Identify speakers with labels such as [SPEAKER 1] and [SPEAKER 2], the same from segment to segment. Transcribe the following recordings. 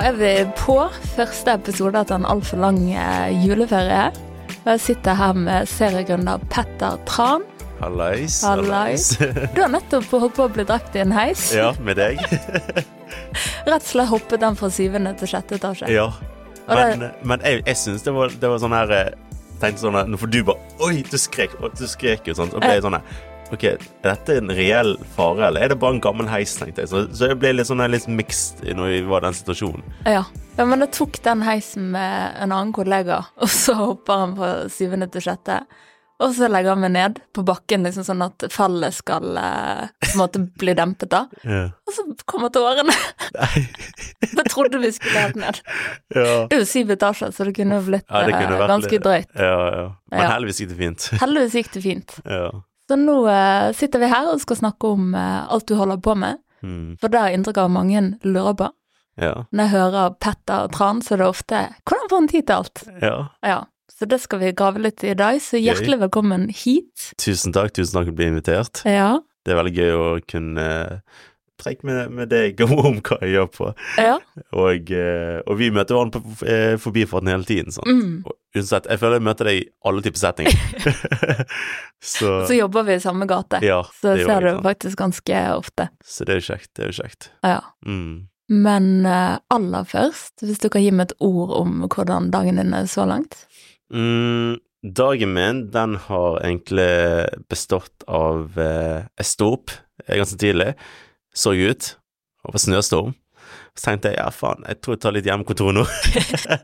[SPEAKER 1] er vi på første episode av den altfor lange eh, juleferie. Og jeg sitter her med seriegründer Petter Tran.
[SPEAKER 2] Hallais.
[SPEAKER 1] Hallais. Du har nettopp holdt på å bli dratt i en heis.
[SPEAKER 2] ja, med deg.
[SPEAKER 1] Rett og slett hoppet den fra syvende til sjette etasje.
[SPEAKER 2] Ja.
[SPEAKER 1] Og
[SPEAKER 2] Men, eh,
[SPEAKER 1] det,
[SPEAKER 2] men jeg, jeg syns det, var- det var sånn her eh, Tenkte sånn her Nå får du bare Oi, du skrek, og du skrek jo sånn. Og ble jeg sånn her OK, er dette en reell fare, eller er det bare en gammel heis, tenkte jeg. Så, så jeg ble litt sånn her, litt mixed når vi var i den situasjonen.
[SPEAKER 1] ja. ja, men jeg tok den heisen med en annen kollega, og så hopper han fra syvende til sjette. Og så legger han meg ned på bakken, liksom sånn at fallet skal eh, på en måte bli dempet da. Og så kommer tårene.
[SPEAKER 2] Nei.
[SPEAKER 1] Jeg trodde vi skulle helt ned.
[SPEAKER 2] Ja.
[SPEAKER 1] Det er jo syv etasjer, så det kunne jo blitt
[SPEAKER 2] Ja, det kunne
[SPEAKER 1] eh,
[SPEAKER 2] vært
[SPEAKER 1] ganske
[SPEAKER 2] litt-
[SPEAKER 1] drøyt.
[SPEAKER 2] Ja, ja. Men
[SPEAKER 1] Ja.
[SPEAKER 2] heldigvis gikk det fint.
[SPEAKER 1] Heldigvis gikk det fint.
[SPEAKER 2] Ja.
[SPEAKER 1] Så nå eh, sitter vi her og skal snakke om eh, alt du holder på med,
[SPEAKER 2] Mm.
[SPEAKER 1] for det har jeg inntrykk av mange lurer på.
[SPEAKER 2] ja.
[SPEAKER 1] Når jeg hører Petter og Tran, så er det ofte 'Hvordan får han tid til alt?'
[SPEAKER 2] Ja.
[SPEAKER 1] Ja, så det skal vi grave litt i i dag, så hjertelig velkommen hit.
[SPEAKER 2] Tusen takk, tusen takk for å bli invitert.
[SPEAKER 1] Ja,
[SPEAKER 2] Det er veldig gøy å kunne eh, trekke med, med deg om hva jeg gjør på.
[SPEAKER 1] ja.
[SPEAKER 2] Og, eh, og vi møter hverandre på eh, forbifarten hele tiden. Sånn.
[SPEAKER 1] Mm.
[SPEAKER 2] Og Uansett, jeg føler jeg møter deg i alle typer settinger. så,
[SPEAKER 1] Så jobber vi i samme gate,
[SPEAKER 2] ja,
[SPEAKER 1] så
[SPEAKER 2] det gjør sånn.
[SPEAKER 1] ser
[SPEAKER 2] jeg,
[SPEAKER 1] du
[SPEAKER 2] sant.
[SPEAKER 1] faktisk ganske ofte.
[SPEAKER 2] Så det er jo kjekt. Det er jo kjekt.
[SPEAKER 1] Ja.
[SPEAKER 2] Mm.
[SPEAKER 1] Men eh, aller først, hvis du kan gi meg et ord om hvordan dagen din er så langt?
[SPEAKER 2] Mm, dagen min, den har egentlig bestått av eh, Jeg sto opp eh, ganske tidlig, så ut, og var snøstorm. Så tenkte jeg ja, faen, jeg tror jeg tar litt hjemmekontor nå.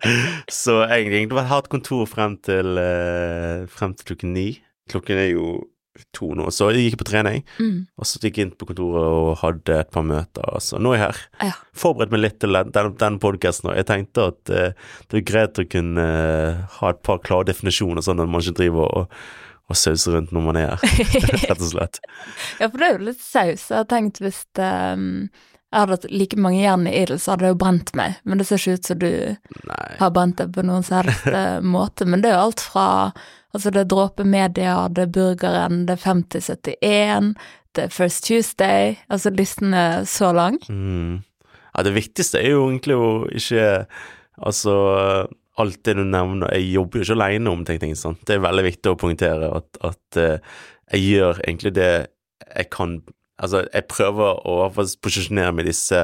[SPEAKER 2] så jeg har egentlig bare hatt kontor frem til, eh, frem til klokken ni. Klokken er jo to nå, så jeg gikk på trening.
[SPEAKER 1] Mm.
[SPEAKER 2] Og så gikk jeg inn på kontoret og hadde et par møter, så nå er jeg her.
[SPEAKER 1] Ja.
[SPEAKER 2] Forberedt meg litt til den, den, den podkasten, og jeg tenkte at eh, det er greit å kunne eh, ha et par klare definisjoner, sånn at man ikke driver og, og sauser rundt når man er her, rett og slett.
[SPEAKER 1] Ja, for det er jo litt saus. Jeg har tenkt hvis det, um, jeg hadde hatt like mange jern i ilden, så hadde det jo brent meg. Men det ser ikke ut som du
[SPEAKER 2] Nei.
[SPEAKER 1] har brent deg på noen som helst eh, måte. Men det er jo alt fra altså det er Dråpe Media, det er Burgeren, det er 5071, det er First Tuesday. Altså listen er så lang.
[SPEAKER 2] Mm. Ja, det viktigste er jo egentlig å ikke Altså, alt det du nevner Jeg jobber jo ikke alene om ting, ting sant? Det er veldig viktig å poengtere at, at eh, jeg gjør egentlig det jeg kan Altså, jeg prøver å i hvert fall posisjonere meg i disse,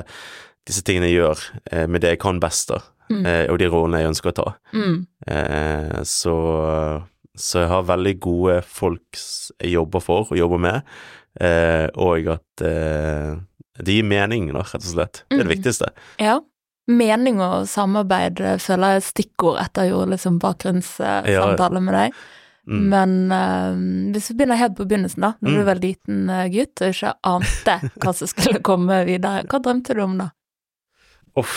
[SPEAKER 2] disse tingene jeg gjør, eh, med det jeg kan best, da.
[SPEAKER 1] Mm.
[SPEAKER 2] eh, Og de rollene jeg ønsker å ta.
[SPEAKER 1] Mm.
[SPEAKER 2] Eh, så, så jeg har veldig gode folk s- jeg jobber for og jobber med, eh, og at eh, det gir mening, da, rett og slett. Det er det
[SPEAKER 1] Mm.
[SPEAKER 2] viktigste.
[SPEAKER 1] Ja. Mening og samarbeid eh, føler jeg er stikkord etter jeg gjorde liksom
[SPEAKER 2] Ja.
[SPEAKER 1] bakgrunnssamtale med deg.
[SPEAKER 2] Mm.
[SPEAKER 1] Men eh, hvis vi begynner helt på begynnelsen, da. Når du
[SPEAKER 2] Mm.
[SPEAKER 1] var liten eh, gutt og ikke ante hva som skulle komme videre, hva drømte du om da?
[SPEAKER 2] Uff,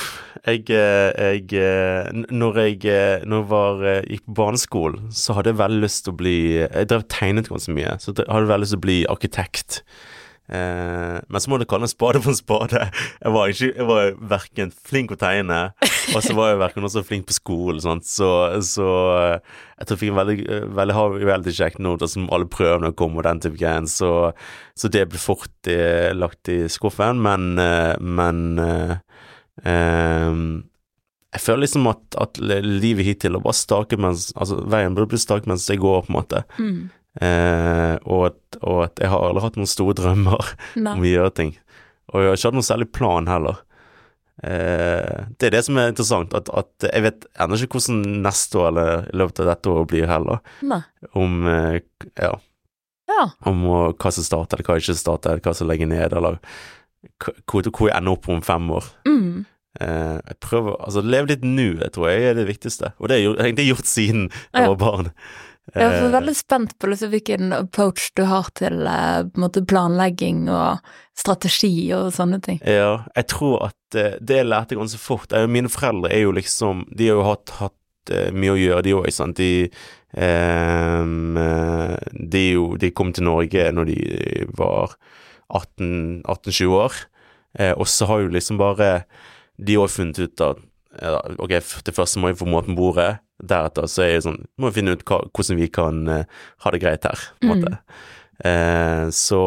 [SPEAKER 2] jeg, eh, jeg eh, n- Når jeg eh, når jeg var, eh, gikk på barneskolen, så hadde jeg veldig lyst til å bli eh, Jeg drev og tegnet ganske mye, så jeg hadde veldig lyst til å bli arkitekt. Eh, men så må du kalle en spade for en spade. Jeg var, ikke, jeg var verken flink å tegne, og så var jeg verken også flink på skolen. Sant? Så, så eh, jeg tror jeg fikk en veldig, eh, veldig hard reality-sjekk nå, da som alle prøvene kom og den type greien, så, så det ble fort eh, lagt i skuffen, men, eh, men eh, Ehm, jeg føler liksom at, at livet hittil har bare staket mens Altså, veien burde bli staket mens jeg går, på en måte.
[SPEAKER 1] Mm.
[SPEAKER 2] Eh, og, at, og at jeg har aldri hatt noen store drømmer om
[SPEAKER 1] Nei.
[SPEAKER 2] å gjøre ting. Og jeg har ikke hatt noen særlig plan heller. Eh, det er det som er interessant, at, at jeg vet ennå ikke hvordan neste år eller i løpet av dette året blir heller.
[SPEAKER 1] Nei.
[SPEAKER 2] Om, eh, ja,
[SPEAKER 1] Ja.
[SPEAKER 2] om å- hva som starter, eller hva ikke starter, eller hva som legger ned, eller k- hvor, hvor jeg ender opp om fem år.
[SPEAKER 1] Mm.
[SPEAKER 2] Eh, jeg prøver, altså Leve litt nå, jeg tror jeg er det viktigste. Og det er jo- egentlig gjort siden jeg
[SPEAKER 1] Ja.
[SPEAKER 2] var barn.
[SPEAKER 1] Jeg er
[SPEAKER 2] Eh,
[SPEAKER 1] veldig spent på liksom hvilken approach du har til eh, på en måte planlegging og strategi og sånne ting.
[SPEAKER 2] ja, jeg tror at eh, det jeg lærte ganske fort eh, Mine foreldre er jo liksom De har jo hatt, hatt eh, mye å gjøre, de òg, sant. De, ehm, eh, de, er jo, de kom til Norge når de var 18 18-20 år, eh, og så har jo liksom bare de har funnet ut at ja, ok, f- det første må jeg få maten på bordet, deretter så er jeg sånn, må vi finne ut hva, hvordan vi kan eh, ha det greit her, på en måte. Eh, så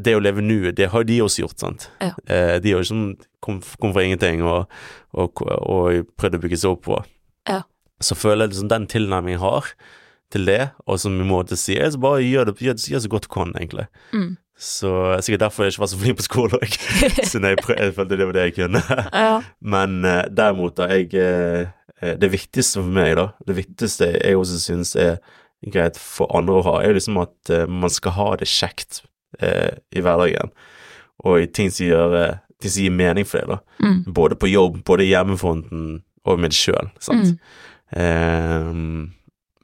[SPEAKER 2] det å leve nå, det har de også gjort, sant.
[SPEAKER 1] Ja.
[SPEAKER 2] Eh, de har jo liksom kom, kom fra ingenting og, og, og prøvd å bygge seg opp på.
[SPEAKER 1] Ja.
[SPEAKER 2] Så føler jeg liksom den tilnærmingen jeg har til det, og som i måte sier, så bare gjør det gjør, gjør så godt du kan, egentlig.
[SPEAKER 1] Mm.
[SPEAKER 2] Så det er sikkert derfor jeg ikke var så flink på skolen òg, siden jeg, prøv, jeg følte det var det jeg kunne.
[SPEAKER 1] Ja.
[SPEAKER 2] Men eh, derimot, da, jeg eh, eh, Det viktigste for meg, da, det viktigste jeg også syns er greit for andre å ha, er liksom at eh, man skal ha det kjekt eh, i hverdagen, og i ting som gjør eh, ting som gir mening for deg, da.
[SPEAKER 1] Mm.
[SPEAKER 2] Både på jobb, både i hjemmefronten og med deg sjøl, sant.
[SPEAKER 1] Mm.
[SPEAKER 2] Ehm,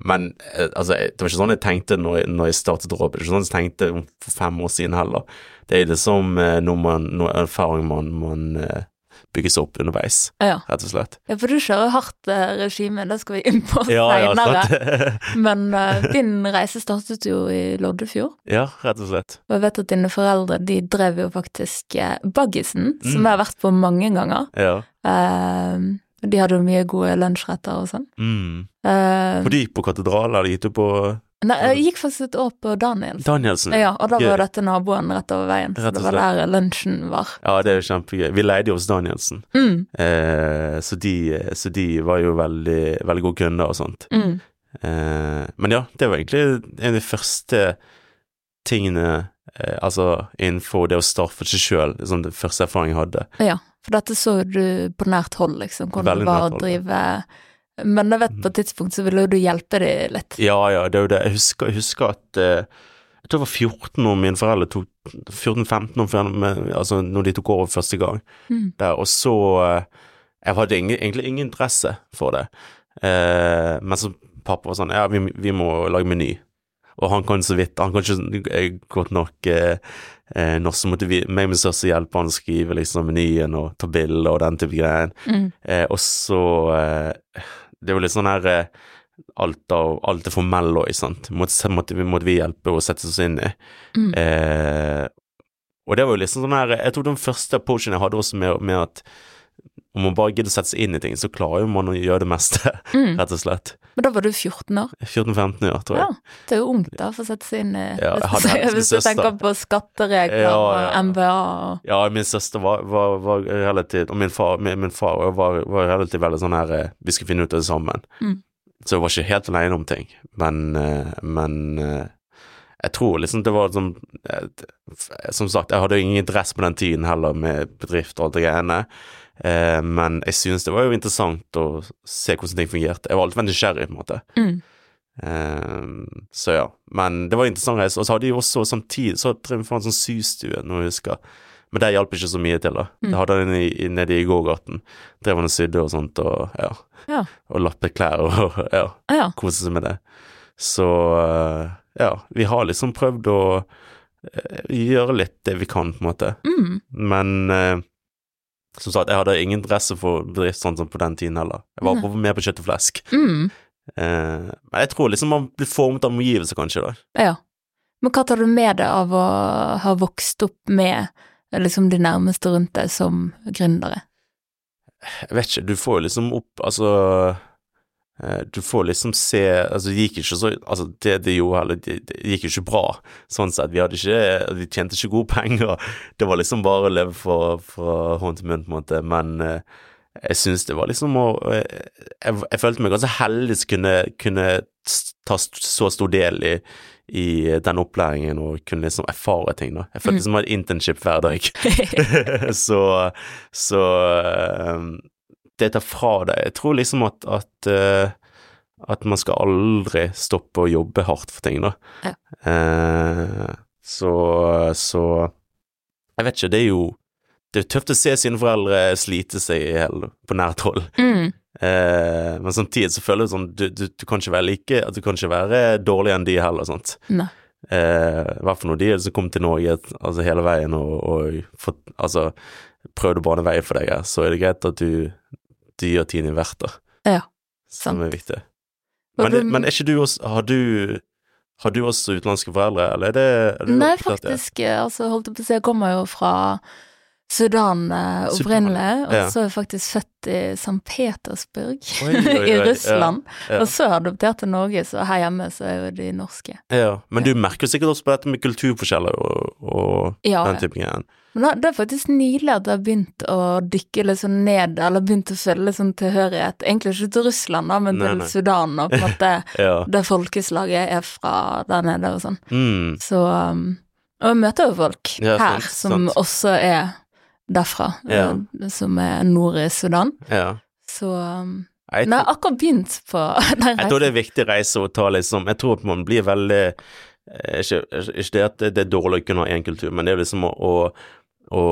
[SPEAKER 2] men eh, altså, jeg- det var ikke sånn jeg tenkte når jeg, når jeg startet Robin. Det er ikke sånn jeg tenkte om- for fem år siden heller. Det er liksom eh, noe man, noe erfaring man, man eh, bygges opp underveis,
[SPEAKER 1] Ja.
[SPEAKER 2] rett og slett.
[SPEAKER 1] ja, for du kjører hardt eh, regime, det skal vi inn på seinere.
[SPEAKER 2] sant.
[SPEAKER 1] Men eh, din reise startet jo i Loddefjord.
[SPEAKER 2] ja, rett og slett.
[SPEAKER 1] Og jeg vet at dine foreldre de drev jo faktisk eh, Baggisen, som
[SPEAKER 2] Mm.
[SPEAKER 1] jeg har vært på mange ganger.
[SPEAKER 2] Ja.
[SPEAKER 1] Eh, de hadde jo mye gode lunsjretter og sånn.
[SPEAKER 2] Mm.
[SPEAKER 1] Eh,
[SPEAKER 2] Og du gikk på katedralen, eller gikk du på
[SPEAKER 1] nei, jeg gikk faktisk et år på Daniels.
[SPEAKER 2] Danielsen?
[SPEAKER 1] Ja, og da var
[SPEAKER 2] Gøy.
[SPEAKER 1] jo dette naboen rett over veien, så
[SPEAKER 2] Rett
[SPEAKER 1] det
[SPEAKER 2] og
[SPEAKER 1] var der lunsjen var.
[SPEAKER 2] Ja, det er jo kjempegøy. Vi leide jo hos Danielsen,
[SPEAKER 1] Mm,
[SPEAKER 2] eh, så, de, så de var jo veldig, veldig gode kunder og sånt.
[SPEAKER 1] mm,
[SPEAKER 2] Eh, men ja, det var egentlig en av de første tingene eh, Altså innenfor det å starte for seg sjøl, liksom den første erfaringen jeg hadde.
[SPEAKER 1] ja, for dette så du på nært hold, liksom, hvordan
[SPEAKER 2] Veldig
[SPEAKER 1] det var
[SPEAKER 2] nært
[SPEAKER 1] å
[SPEAKER 2] hold, Mm.
[SPEAKER 1] drive Men jeg vet på et tidspunkt så ville jo du hjelpe de litt.
[SPEAKER 2] Ja, ja, det er jo det. Jeg husker, jeg husker at eh, Jeg tror jeg var 14 når mine foreldre tok 14-15 år foreldre, men, altså når de tok over første gang.
[SPEAKER 1] Mm.
[SPEAKER 2] Der, og så eh, Jeg hadde ingen, egentlig ingen interesse for det. Eh, men så pappa var sånn Ja, vi, vi må lage meny. Og han kan så vidt Han kan ikke eh, godt nok eh, eh, norsk. Så måtte vi, meg og min søster hjelpe han å skrive liksom menyen og ta bilder og den type greier.
[SPEAKER 1] Mm.
[SPEAKER 2] Eh, og så eh, Det var litt sånn her eh, Alt av alt det formelle òg, sant. Måtte, måtte, vi- måtte vi hjelpe å sette oss inn i.
[SPEAKER 1] Mm.
[SPEAKER 2] Eh, og det var jo liksom sånn her Jeg tror den første approachen jeg hadde også med, med at om man bare gidder å sette seg inn i ting, så klarer jo man å gjøre det meste,
[SPEAKER 1] Mm.
[SPEAKER 2] rett og slett.
[SPEAKER 1] Men da var du 14 år.
[SPEAKER 2] 14-15 år, tror
[SPEAKER 1] Ja,
[SPEAKER 2] jeg.
[SPEAKER 1] det er jo ungt da, for å sette seg inn i
[SPEAKER 2] Ja, jeg
[SPEAKER 1] Hvis,
[SPEAKER 2] hadde helst
[SPEAKER 1] du,
[SPEAKER 2] en
[SPEAKER 1] hvis du
[SPEAKER 2] søster.
[SPEAKER 1] tenker på skatteregler
[SPEAKER 2] Ja, ja, ja.
[SPEAKER 1] og MBA og
[SPEAKER 2] Ja, min søster var, var, var relativt Og min far, min, min far også var, var relativt veldig sånn her eh, Vi skal finne ut av det sammen.
[SPEAKER 1] Mm.
[SPEAKER 2] Så jeg var ikke helt alene om ting, men, eh, men eh, jeg tror liksom det var sånn eh, f- Som sagt, jeg hadde jo ingen interesse på den tiden heller med bedrift og alt det greiene, eh, men jeg synes det var jo interessant å se hvordan ting fungerte. Jeg var alltid veldig nysgjerrig, på en måte.
[SPEAKER 1] mm.
[SPEAKER 2] Ehm, så ja, men det var en interessant reise. Og så hadde de jo også samtidig Så drev vi foran sånn systue, nå husker jeg. Men det hjalp ikke så mye til, da.
[SPEAKER 1] Mm.
[SPEAKER 2] Det hadde han i, i- nede i gågaten. Drev han og sydde og sånt, og ja.
[SPEAKER 1] Ja.
[SPEAKER 2] Og lappet klær og ja,
[SPEAKER 1] Ah, Ja.
[SPEAKER 2] koste seg med det. Så eh, ja, vi har liksom prøvd å eh, gjøre litt det vi kan, på en måte.
[SPEAKER 1] Mm.
[SPEAKER 2] Men eh, som sagt, jeg hadde ingen interesse for bedrift sånn som på den tiden heller. Jeg var
[SPEAKER 1] Nei.
[SPEAKER 2] på, mer på kjøtt og flesk.
[SPEAKER 1] Mm.
[SPEAKER 2] Eh, men jeg tror liksom man blir formet av omgivelser, kanskje. da.
[SPEAKER 1] Ja. Men hva tar du med deg av å ha vokst opp med liksom de nærmeste rundt deg som gründere?
[SPEAKER 2] Jeg vet ikke, du får jo liksom opp Altså eh, du får liksom se Altså, det gikk ikke så Altså, det de gjorde, eller det, det gikk jo ikke bra, sånn sett. Vi hadde ikke Vi tjente ikke gode penger. Det var liksom bare å leve fra, fra hånd til munn, på en måte. Men eh, jeg syns det var liksom å eh, Jeg, jeg følte meg ganske heldig som kunne, kunne s- ta st- så stor del i, i den opplæringen og kunne liksom erfare ting, da. Jeg
[SPEAKER 1] Mm.
[SPEAKER 2] følte liksom jeg hadde internship hver dag. så så ehm, det tar fra deg Jeg tror liksom at at, eh, at man skal aldri stoppe å jobbe hardt for ting, da.
[SPEAKER 1] Ja.
[SPEAKER 2] Eh, så så Jeg vet ikke, det er jo det er jo tøft å se sine foreldre slite seg i hjel på nært hold.
[SPEAKER 1] mm.
[SPEAKER 2] Eh, men samtidig så føler jeg sånn du, du, du kan ikke være like at Du kan ikke være dårligere enn de heller, sant.
[SPEAKER 1] Nei.
[SPEAKER 2] Eh, I hvert fall når de er som kom til Norge altså hele veien og, og fått, altså, prøvd å bane vei for deg her, så er det greit at du, du gjør tiden din verdt, da.
[SPEAKER 1] Ja, sant.
[SPEAKER 2] Som er viktig.
[SPEAKER 1] Og
[SPEAKER 2] Men,
[SPEAKER 1] du-
[SPEAKER 2] men er ikke du også Har du har du også utenlandske foreldre, eller er det er du
[SPEAKER 1] Nei,
[SPEAKER 2] opptatt av det?
[SPEAKER 1] faktisk, eh, altså holdt jeg på å si, jeg kommer jo fra Sudan eh, opprinnelig,
[SPEAKER 2] ja.
[SPEAKER 1] og så er jeg faktisk født i St. Petersburg
[SPEAKER 2] Oi, oi, oi,
[SPEAKER 1] i
[SPEAKER 2] ja,
[SPEAKER 1] Russland.
[SPEAKER 2] ja.
[SPEAKER 1] Og så adoptert til Norge, så her hjemme så er jo de norske.
[SPEAKER 2] Ja, men du merker sikkert også på dette med kulturforskjeller og, og
[SPEAKER 1] Ja,
[SPEAKER 2] den typen greier.
[SPEAKER 1] Men da, det er faktisk nylig at jeg har begynt å dykke litt sånn ned, eller begynt å føle litt sånn tilhørighet. Egentlig ikke til Russland, da, men
[SPEAKER 2] Nei,
[SPEAKER 1] til
[SPEAKER 2] nei.
[SPEAKER 1] Sudan, og på en måte
[SPEAKER 2] Ja.
[SPEAKER 1] det folkeslaget er fra der nede og sånn.
[SPEAKER 2] Mm.
[SPEAKER 1] Så um, Og jeg møter jo folk
[SPEAKER 2] Ja, sant,
[SPEAKER 1] her som
[SPEAKER 2] sant.
[SPEAKER 1] også er derfra,
[SPEAKER 2] Ja.
[SPEAKER 1] eh, som er nord i Sudan.
[SPEAKER 2] ja.
[SPEAKER 1] Så um, Nei,
[SPEAKER 2] Jeg,
[SPEAKER 1] jeg
[SPEAKER 2] tror,
[SPEAKER 1] har akkurat begynt på den
[SPEAKER 2] jeg tror
[SPEAKER 1] reisen.
[SPEAKER 2] det er viktig reise å ta, liksom. Jeg tror at man blir veldig eh, Ikke, ikke det at det- det er dårlig å kunne ha én kultur, men det er liksom å, å, å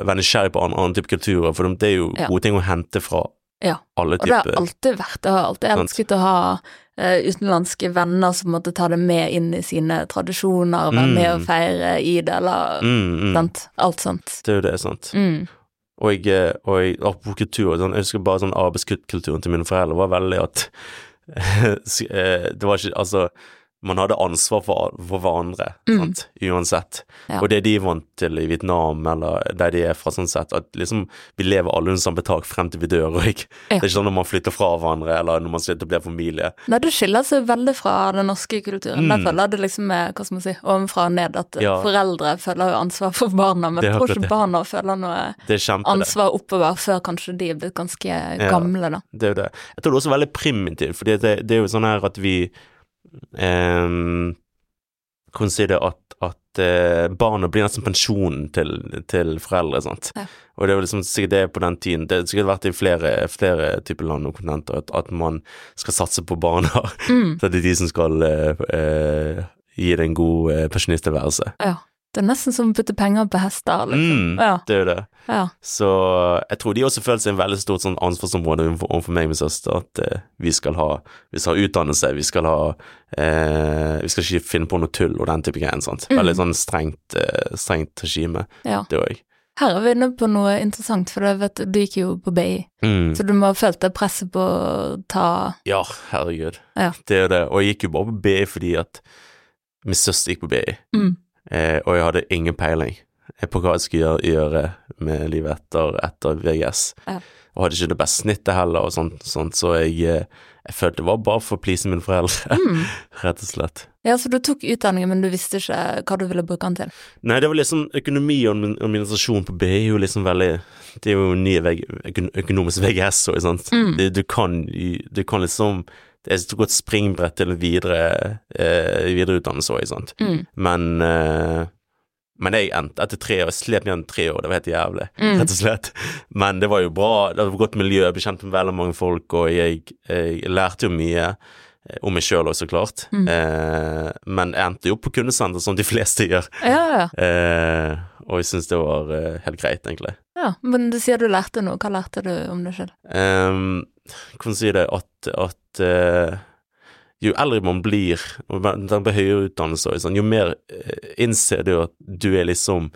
[SPEAKER 2] være nysgjerrig på annen, annen type kulturer, for det er jo
[SPEAKER 1] Ja.
[SPEAKER 2] gode ting å hente fra
[SPEAKER 1] Ja.
[SPEAKER 2] alle
[SPEAKER 1] Og det har
[SPEAKER 2] typer.
[SPEAKER 1] alltid vært. Jeg har alltid
[SPEAKER 2] Sant.
[SPEAKER 1] elsket å ha eh, utenlandske venner som måtte ta det med inn i sine tradisjoner, og være
[SPEAKER 2] Mm.
[SPEAKER 1] med og feire id, eller
[SPEAKER 2] Mm, mm.
[SPEAKER 1] sant. Alt sånt.
[SPEAKER 2] Det er jo det, sant.
[SPEAKER 1] Mm.
[SPEAKER 2] Og, jeg, eh, og jeg, apropos kultur, sånn, jeg husker bare sånn arbeidskulturen til mine foreldre var veldig at s- eh, Det var ikke Altså, man hadde ansvar for, for hverandre,
[SPEAKER 1] Mm.
[SPEAKER 2] sant, uansett.
[SPEAKER 1] Ja.
[SPEAKER 2] Og det de er vant til i Vietnam, eller der de er fra, sånn sett, at liksom vi lever alle under samme tak frem til vi dør, og ikke
[SPEAKER 1] Ja.
[SPEAKER 2] Det er ikke sånn når man flytter fra hverandre, eller når man skal etablere familie.
[SPEAKER 1] Nei, det skiller seg veldig fra den norske kulturen.
[SPEAKER 2] Mm.
[SPEAKER 1] Der føler jeg det liksom er, hva skal man si, ovenfra og ned, at
[SPEAKER 2] Ja.
[SPEAKER 1] foreldre føler jo ansvar for barna, men
[SPEAKER 2] Det er
[SPEAKER 1] jeg tror
[SPEAKER 2] akkurat det.
[SPEAKER 1] ikke barna føler noe
[SPEAKER 2] Det er kjempe, det.
[SPEAKER 1] ansvar oppover før kanskje de er blitt ganske gamle, da.
[SPEAKER 2] Det er jo det. Jeg tror det er også veldig primitivt, for det, det er jo sånn her at vi ehm, Kan man si det at, at eh, barna blir nesten pensjonen til, til foreldre, sant.
[SPEAKER 1] Ja.
[SPEAKER 2] Og det er jo liksom sikkert det på den tiden Det har sikkert vært i flere, flere typer land og kontinenter at, at man skal satse på barna.
[SPEAKER 1] Mm.
[SPEAKER 2] Så det er de som skal eh, eh, gi det en god eh, pensjonisttilværelse.
[SPEAKER 1] Ja. Det er nesten som å putte penger på hester, liksom.
[SPEAKER 2] Mm.
[SPEAKER 1] Ja,
[SPEAKER 2] Det er jo det.
[SPEAKER 1] ja.
[SPEAKER 2] Så jeg tror de også følte seg en veldig stort sånn ansvarsområde overfor overfor meg og min søster, at eh, vi skal ha vi skal ha utdannelse, vi skal ha eh, Vi skal ikke finne på noe tull og den type greier. Sant?
[SPEAKER 1] Mm.
[SPEAKER 2] Veldig sånn strengt, eh, strengt regime,
[SPEAKER 1] ja.
[SPEAKER 2] det òg.
[SPEAKER 1] Her er vi inne på noe interessant, for det vet, du gikk jo på BI,
[SPEAKER 2] Mm.
[SPEAKER 1] så du må ha følt deg presset på å ta
[SPEAKER 2] Ja, herregud.
[SPEAKER 1] Ja.
[SPEAKER 2] Det er jo det. Og jeg gikk jo bare på BI fordi at min søster gikk på BI,
[SPEAKER 1] mm.
[SPEAKER 2] eh, og jeg hadde ingen peiling på hva jeg skulle gjøre, gjøre med livet etter, etter VGS.
[SPEAKER 1] Ja.
[SPEAKER 2] Og hadde ikke det beste snittet heller, og sånt, sånt så jeg, eh, jeg følte det var bare for å please mine foreldre.
[SPEAKER 1] Mm.
[SPEAKER 2] Rett og slett.
[SPEAKER 1] Ja, så du tok utdanningen, men du visste ikke hva du ville bruke den til.
[SPEAKER 2] Nei, det var liksom økonomi og admin- administrasjon på BI er jo liksom veldig Det er jo ny veg, økon- økonomisk VGS òg, sant.
[SPEAKER 1] Mm.
[SPEAKER 2] Det, du, kan, i- du kan liksom Det er et godt springbrett til videre eh, videreutdannelse òg, sant.
[SPEAKER 1] Mm.
[SPEAKER 2] Men eh, men jeg endte etter tre år, jeg slet meg gjennom tre år, det var helt jævlig,
[SPEAKER 1] Mm.
[SPEAKER 2] rett og slett. Men det var jo bra, det var et godt miljø, jeg ble kjent med veldig mange folk, og jeg, jeg lærte jo mye eh, om meg sjøl også, så klart.
[SPEAKER 1] Mm.
[SPEAKER 2] Eh, men jeg endte jo opp på kundesenter, som de fleste gjør.
[SPEAKER 1] Ja, ja,
[SPEAKER 2] Eh, og jeg syns det var eh, helt greit, egentlig.
[SPEAKER 1] ja. Men du sier du lærte noe. Hva lærte du om deg selv?
[SPEAKER 2] Um, kan man si det at, at eh, jo eldre man blir, og med- den på høyere utdannelse, og sånn, jo mer eh, innser du at du er liksom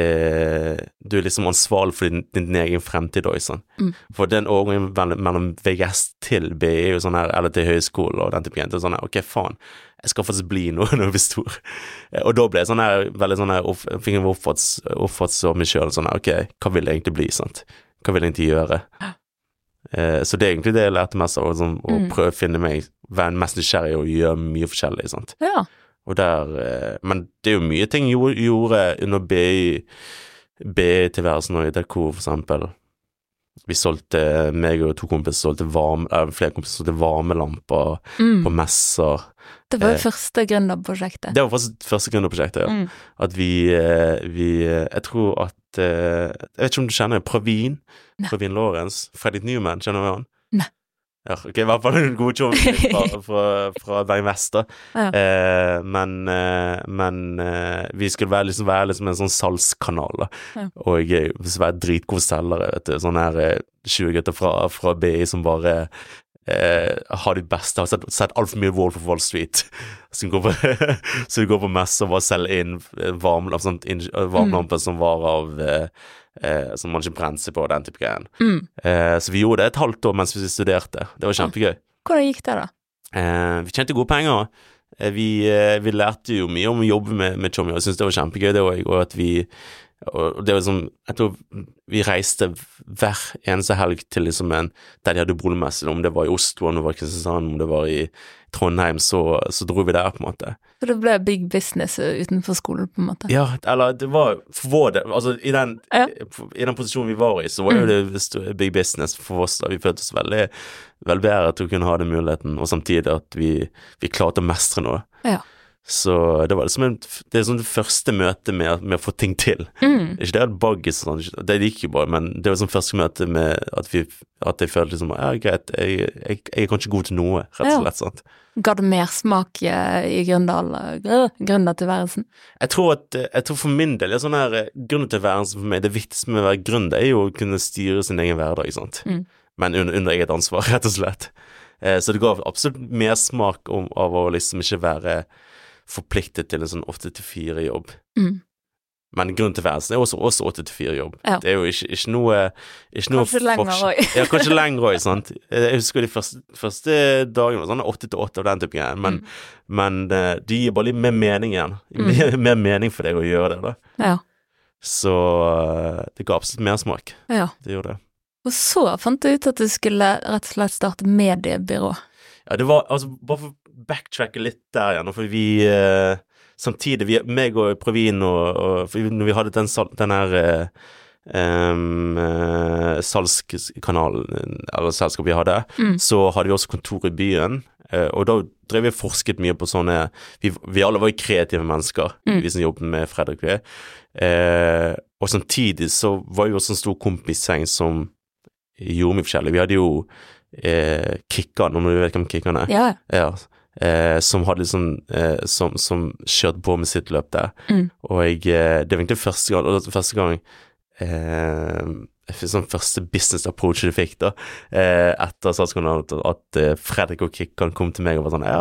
[SPEAKER 2] eh, Du er liksom ansvarlig for din, din egen fremtid òg, sånn.
[SPEAKER 1] Mm.
[SPEAKER 2] For den overgangen vel- mellom VGS til BI er jo sånn her, eller til høyskole og den type jenter, sånn her, ok, faen, jeg skal faktisk bli noe når jeg blir stor. Eh, Og da ble jeg sånn her, veldig sånn her, off, fikk en oppfattelse oppfattelse av meg sjøl, sånn her, ok, hva vil jeg egentlig bli, sant? Hva vil jeg egentlig gjøre? Eh, så det er egentlig det jeg lærte mest av, sånn, å
[SPEAKER 1] Mm.
[SPEAKER 2] prøve å finne meg, være mest nysgjerrig og gjøre mye forskjellig, sant.
[SPEAKER 1] Ja.
[SPEAKER 2] Og der, eh, men det er jo mye ting jeg gjorde, gjorde under BI, BI-tilværelsen og i Dekor, for eksempel. Vi solgte, meg og to kompiser solgte varme, eh, flere kompiser solgte varmelamper
[SPEAKER 1] Mm.
[SPEAKER 2] på messer.
[SPEAKER 1] Det var
[SPEAKER 2] eh,
[SPEAKER 1] jo første gründerprosjektet.
[SPEAKER 2] Det var faktisk første gründerprosjektet, ja.
[SPEAKER 1] Mm.
[SPEAKER 2] At vi, eh, vi eh, Jeg tror at eh, Jeg vet ikke om du kjenner Pravin?
[SPEAKER 1] Nei.
[SPEAKER 2] Pravin Lawrence? Fredrik Newman, kjenner du han?
[SPEAKER 1] Nei.
[SPEAKER 2] Ja, ok, I hvert fall en god kjommis fra, fra, fra Bergen Vest, da.
[SPEAKER 1] Ja.
[SPEAKER 2] Eh, men eh, men eh, vi skulle være, liksom, være liksom en sånn salgskanal, da.
[SPEAKER 1] Ja.
[SPEAKER 2] Og jeg skulle være dritgode selgere, vet du. Sånn her eh, 20 gutter fra, fra BI som bare eh, har de beste, har sett, sett altfor mye Wolf of Wall Street. Som går på, som går på messer og bare selger inn eh, varmlamp- sånt inn- eh, varmlamper som var av eh, eh, Som man ikke brente seg på, den type greien.
[SPEAKER 1] Mm.
[SPEAKER 2] Eh, så vi gjorde det et halvt år mens vi studerte. Det var kjempegøy.
[SPEAKER 1] Hvordan gikk det, da?
[SPEAKER 2] Eh, vi tjente gode penger. Eh, vi, eh, vi lærte jo mye om å jobbe med, med Tjommi, og jeg syntes det var kjempegøy, det òg. Og at vi Og og det var liksom, jeg tror vi reiste hver eneste helg til liksom en der de hadde boligmesse, om det var i Oslo, om det var i Kristiansand, om det var i Trondheim, så, så dro vi der, på en måte.
[SPEAKER 1] Så det ble big business utenfor skolen, på en måte.
[SPEAKER 2] Ja, eller det var for vår del, altså i den,
[SPEAKER 1] Ja.
[SPEAKER 2] i den posisjonen vi var i, så var jo det st- big business for oss, da vi følte oss veldig velværet til å kunne ha den muligheten, og samtidig at vi, vi klarte å mestre noe.
[SPEAKER 1] Ja.
[SPEAKER 2] Så det var liksom en, det er sånn det første møtet med, med å få ting til.
[SPEAKER 1] Mm.
[SPEAKER 2] Ikke det at bagg er sånn, ikke- det gikk jo bra, men det var sånn første møte med at, vi, at jeg følte liksom ja, greit, jeg, jeg, jeg er kanskje god til noe, rett
[SPEAKER 1] Ja.
[SPEAKER 2] og slett. sant?
[SPEAKER 1] Ga det mersmak eh, i Grøndal, eh, gründertilværelsen?
[SPEAKER 2] Jeg tror, at, eh, jeg tror for min del, det er sånn her eh, grunntilværelsen for meg, det viktigste med å være gründer er jo å kunne styre sin egen hverdag, ikke sant.
[SPEAKER 1] Mm.
[SPEAKER 2] Men under, under eget ansvar, rett og slett. Eh, så det ga absolutt mer smak om, av å liksom ikke være forpliktet til en sånn åtte til fire-jobb.
[SPEAKER 1] Mm.
[SPEAKER 2] Men grunntilværelsen er også, også 8-4-jobb.
[SPEAKER 1] Ja.
[SPEAKER 2] Det er jo ikke, ikke noe, ikke noe
[SPEAKER 1] Kanskje lenger
[SPEAKER 2] forskjell.
[SPEAKER 1] også.
[SPEAKER 2] ja, kanskje lenger òg, sant. Jeg husker de første, første dagene var sånn 8-8 og den type greier, men,
[SPEAKER 1] Mm.
[SPEAKER 2] men eh, det gir bare litt mer mening igjen.
[SPEAKER 1] Mm.
[SPEAKER 2] Mer, mer mening for deg å gjøre det, da.
[SPEAKER 1] Ja.
[SPEAKER 2] Så eh, det ga absolutt mersmak.
[SPEAKER 1] ja.
[SPEAKER 2] Det gjorde det.
[SPEAKER 1] Og så fant du ut at du skulle rett og slett starte mediebyrå.
[SPEAKER 2] Ja, det var altså Bare for å backtracke litt der igjen, for vi eh, Samtidig, vi, meg og Provin og, og for Når vi hadde den, sal- den her eh, em, eh, salgskanalen, eller selskapet vi hadde,
[SPEAKER 1] Mm.
[SPEAKER 2] så hadde vi også kontor i byen. eh, og da drev vi og forsket mye på sånne Vi, vi alle var jo kreative mennesker,
[SPEAKER 1] Mm.
[SPEAKER 2] vi som jobbet med Fredrik V. Eh, og samtidig så var jo også en stor kompisgjeng som gjorde mye forskjellig. Vi hadde jo eh, Kikkan, om du vet hvem Kikkan er?
[SPEAKER 1] Ja, ja.
[SPEAKER 2] Ja. Eh, som hadde liksom eh, som, som kjørte på med sitt løp der.
[SPEAKER 1] Mm.
[SPEAKER 2] Og jeg eh, Det var egentlig første gang, og det var første gang eh, jeg fikk Sånn første business approach du fikk da eh, etter Statskanalen, at, at eh, Fredrik og Kikkan kom til meg og var sånn Ja,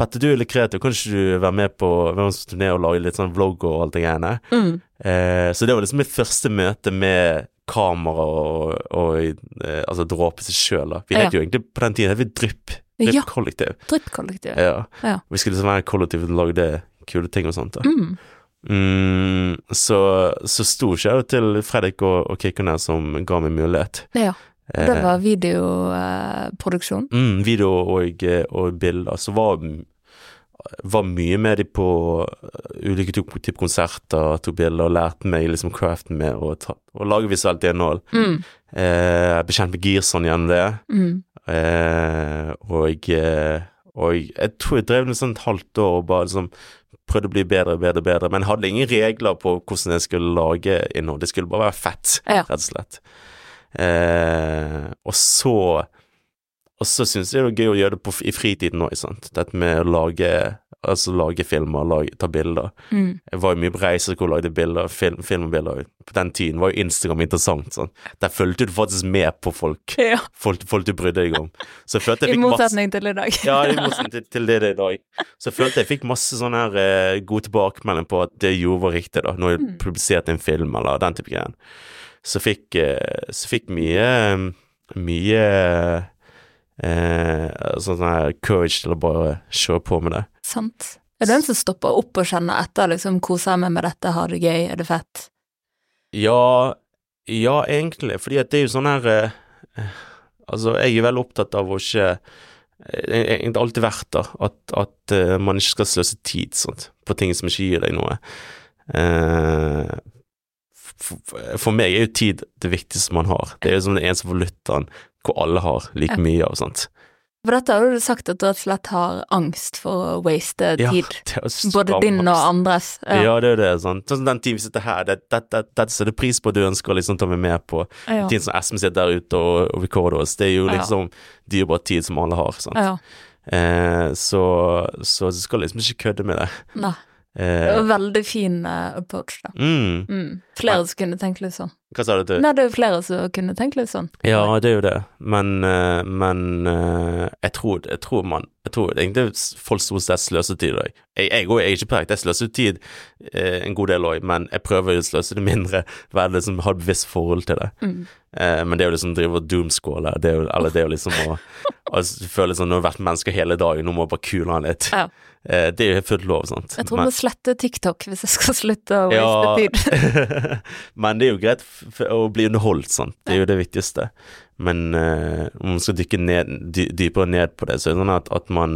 [SPEAKER 2] Petter, du er litt kreativ, kan ikke du være med på være med på turné og lage litt sånn vlogg og alt det greiene?
[SPEAKER 1] Mm.
[SPEAKER 2] Eh, så det var liksom mitt første møte med kamera og, og eh, altså dråpe seg sjøl. Vi het
[SPEAKER 1] Ja.
[SPEAKER 2] jo egentlig på den tiden het vi Drypp. Drypp
[SPEAKER 1] Ja.
[SPEAKER 2] Kollektiv.
[SPEAKER 1] Dryppkollektivet.
[SPEAKER 2] Ja.
[SPEAKER 1] Ja.
[SPEAKER 2] Vi skulle liksom være kollektiv og lagde kule ting og sånt. Da.
[SPEAKER 1] Mm.
[SPEAKER 2] Mm, så, så stor shout til Fredrik og, og Kikkan her som ga meg mulighet.
[SPEAKER 1] Ja. Og det
[SPEAKER 2] Eh,
[SPEAKER 1] var videoproduksjon.
[SPEAKER 2] mm, video og, og bilder. Så var, var mye med de på eh, ulike typ- typer konserter, tok bilder og lærte meg liksom craften med å ta- å lage visuelt innhold.
[SPEAKER 1] Mm.
[SPEAKER 2] Eh, jeg ble kjent med Girson gjennom det.
[SPEAKER 1] Mm.
[SPEAKER 2] Eh, og, eh, og jeg tror jeg drev liksom et halvt år og bare liksom prøvde å bli bedre og bedre og bedre, men hadde ingen regler på hvordan jeg skulle lage innhold. Det skulle bare være fett,
[SPEAKER 1] Ja.
[SPEAKER 2] rett og slett. Eh, og så Og så syns jeg det er gøy å gjøre det på, i fritiden òg, sant. Dette med å lage Altså lage filmer, lage, ta bilder.
[SPEAKER 1] Mm.
[SPEAKER 2] Jeg var jo mye på reiser hvor jeg lagde bilder, film, filmbilder. På den tiden var jo Instagram interessant. Sånn. Der fulgte du faktisk med på folk.
[SPEAKER 1] Ja.
[SPEAKER 2] Folk, folk du brydde deg om. Så jeg følte
[SPEAKER 1] I
[SPEAKER 2] jeg fikk masse
[SPEAKER 1] motsetning til i dag.
[SPEAKER 2] ja, i motsetning til, til det det er i dag. Så jeg følte jeg fikk masse sånn her eh, god tilbakemelding på at det jeg gjorde var riktig, da. Når jeg
[SPEAKER 1] Mm.
[SPEAKER 2] publiserte en film eller den type greier. Så fikk, eh, så fikk mye Mye eh, sånn her courage til å bare kjøre på med det.
[SPEAKER 1] Sant. Er du en som stopper opp og kjenner etter, liksom koser jeg meg med dette, har det gøy, er det fett?
[SPEAKER 2] Ja, ja, egentlig. Fordi at det er jo sånn her eh, eh, Altså, jeg er veldig opptatt av å ikke eh, jeg- jeg- Det har alltid vært da, at, at eh, man ikke skal sløse tid sånt, på ting som ikke gir deg noe. Eh, for, for meg er jo tid det viktigste man har. Det er jo som det eneste valuttaen hvor alle har like mye av. sant?
[SPEAKER 1] For dette har du sagt at du rett og slett har angst for å waste
[SPEAKER 2] Ja,
[SPEAKER 1] tid.
[SPEAKER 2] det er jo
[SPEAKER 1] Både din og andres.
[SPEAKER 2] Ja.
[SPEAKER 1] Ja.
[SPEAKER 2] det er jo det. sant? Sånn som den tiden vi sitter her, det- dette det, det, det setter pris på at du ønsker å liksom ta meg med på.
[SPEAKER 1] Ja.
[SPEAKER 2] Tiden som Espen sitter der ute og, og recorder oss, det er jo
[SPEAKER 1] Ja.
[SPEAKER 2] liksom dyrebar tid som alle har. Sant?
[SPEAKER 1] ja.
[SPEAKER 2] Eh, så, så du skal liksom ikke kødde med det.
[SPEAKER 1] Nei. Det
[SPEAKER 2] Eh,
[SPEAKER 1] var veldig fin eh, approach, da.
[SPEAKER 2] mm.
[SPEAKER 1] Mm. Flere som kunne tenkt litt sånn.
[SPEAKER 2] Hva sa du til?
[SPEAKER 1] Nei, det er jo flere som kunne tenkt litt sånn.
[SPEAKER 2] Ja, det er jo det, men, eh, men eh, jeg, tror, jeg tror man Jeg tror egentlig folk stort sett sløser tid i dag. Jeg, jeg, går- jeg er ikke perfekt, jeg sløser tid eh, en god del òg, men jeg prøver å sløse det mindre, være liksom, ha et bevisst forhold til det.
[SPEAKER 1] Mm.
[SPEAKER 2] Eh, men det er jo liksom å drive og doomscrolle, det er jo, eller det er jo liksom å altså, føle sånn Nå har jeg vært menneske hele dagen, nå må jeg bare kule han litt.
[SPEAKER 1] Ja.
[SPEAKER 2] Eh, det er jo fullt lov, sant.
[SPEAKER 1] Jeg tror jeg må slette TikTok hvis jeg skal slutte å waste
[SPEAKER 2] Ja.
[SPEAKER 1] tid.
[SPEAKER 2] Men det er jo greit f- å bli underholdt, sant. Det er jo det viktigste. Men eh, om man skal dykke ned, dy, dypere ned på det, så er det sånn at, at man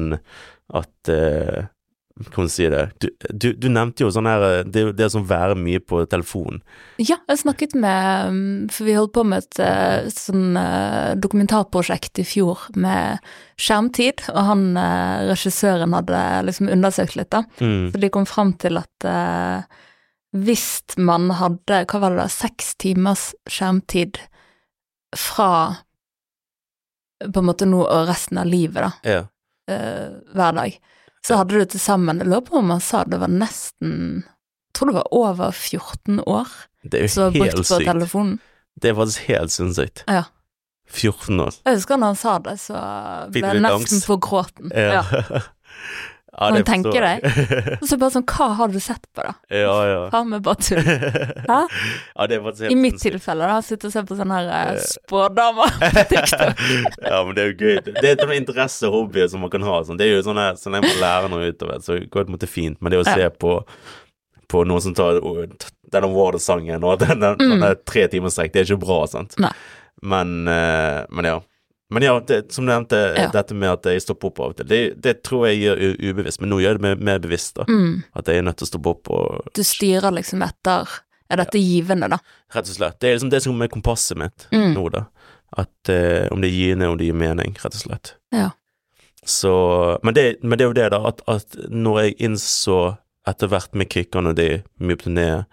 [SPEAKER 2] At eh, Hvordan si det? Du, du, du nevnte jo sånn her eh, Det er jo det som værer mye på telefon.
[SPEAKER 1] Ja, jeg snakket med um, For vi holdt på med et eh, sånn eh, dokumentarprosjekt i fjor med skjermtid, og han eh, regissøren hadde liksom undersøkt litt, da.
[SPEAKER 2] Mm.
[SPEAKER 1] Så de kom fram til at eh, hvis man hadde, hva var det da, seks timers skjermtid fra på en måte nå og resten av livet, da,
[SPEAKER 2] Ja.
[SPEAKER 1] eh, hver dag, så hadde du til sammen, jeg lurer på om han sa det var nesten, jeg tror det var over 14 år
[SPEAKER 2] Det er jo
[SPEAKER 1] som var
[SPEAKER 2] helt
[SPEAKER 1] brukt på
[SPEAKER 2] sykt.
[SPEAKER 1] telefonen.
[SPEAKER 2] Det er faktisk helt sinnssykt.
[SPEAKER 1] Ja.
[SPEAKER 2] 14 år.
[SPEAKER 1] Jeg husker når han sa det, så
[SPEAKER 2] Fikk
[SPEAKER 1] ble
[SPEAKER 2] du
[SPEAKER 1] jeg
[SPEAKER 2] litt
[SPEAKER 1] nesten
[SPEAKER 2] angst?
[SPEAKER 1] på gråten.
[SPEAKER 2] Ja.
[SPEAKER 1] Ja.
[SPEAKER 2] Ja,
[SPEAKER 1] Man
[SPEAKER 2] det
[SPEAKER 1] tenker
[SPEAKER 2] forstår jeg.
[SPEAKER 1] Og så bare sånn, hva har du sett på da?
[SPEAKER 2] ja, ja.
[SPEAKER 1] Har vi bare tull? Hæ?
[SPEAKER 2] Ja, det er faktisk helt
[SPEAKER 1] I mitt
[SPEAKER 2] sinnssykt.
[SPEAKER 1] tilfelle da, sitter og ser på sånne her eh, spådamer på TikTok.
[SPEAKER 2] ja, men det er jo gøy. Det er sånn interesse og hobby som man kan ha. Sånn. Det er jo sånn her, så lenge man lærer noe utover, så går det på en måte fint. Men det å se på, på noen som tar og- den Warder-sangen og den, den,
[SPEAKER 1] Mm.
[SPEAKER 2] den tre timers strekk, det er ikke bra, sant?
[SPEAKER 1] Nei.
[SPEAKER 2] Men, eh, men ja. Men ja, det, som du nevnte,
[SPEAKER 1] Ja.
[SPEAKER 2] dette med at jeg stopper opp av og til, det, det tror jeg gjør u- ubevisst, men nå gjør jeg det mer, mer bevisst, da.
[SPEAKER 1] Mm.
[SPEAKER 2] At jeg er nødt til å stoppe opp og
[SPEAKER 1] Du styrer liksom etter, er dette givende da?
[SPEAKER 2] Rett og slett. Det er liksom det som er kompasset mitt
[SPEAKER 1] Mm.
[SPEAKER 2] nå, da. At eh, om det gir ned, om det gir mening, rett og slett.
[SPEAKER 1] Ja.
[SPEAKER 2] Så Men det, men det er jo det, da, at, at når jeg innså etter hvert med Kikkan og de mye på turné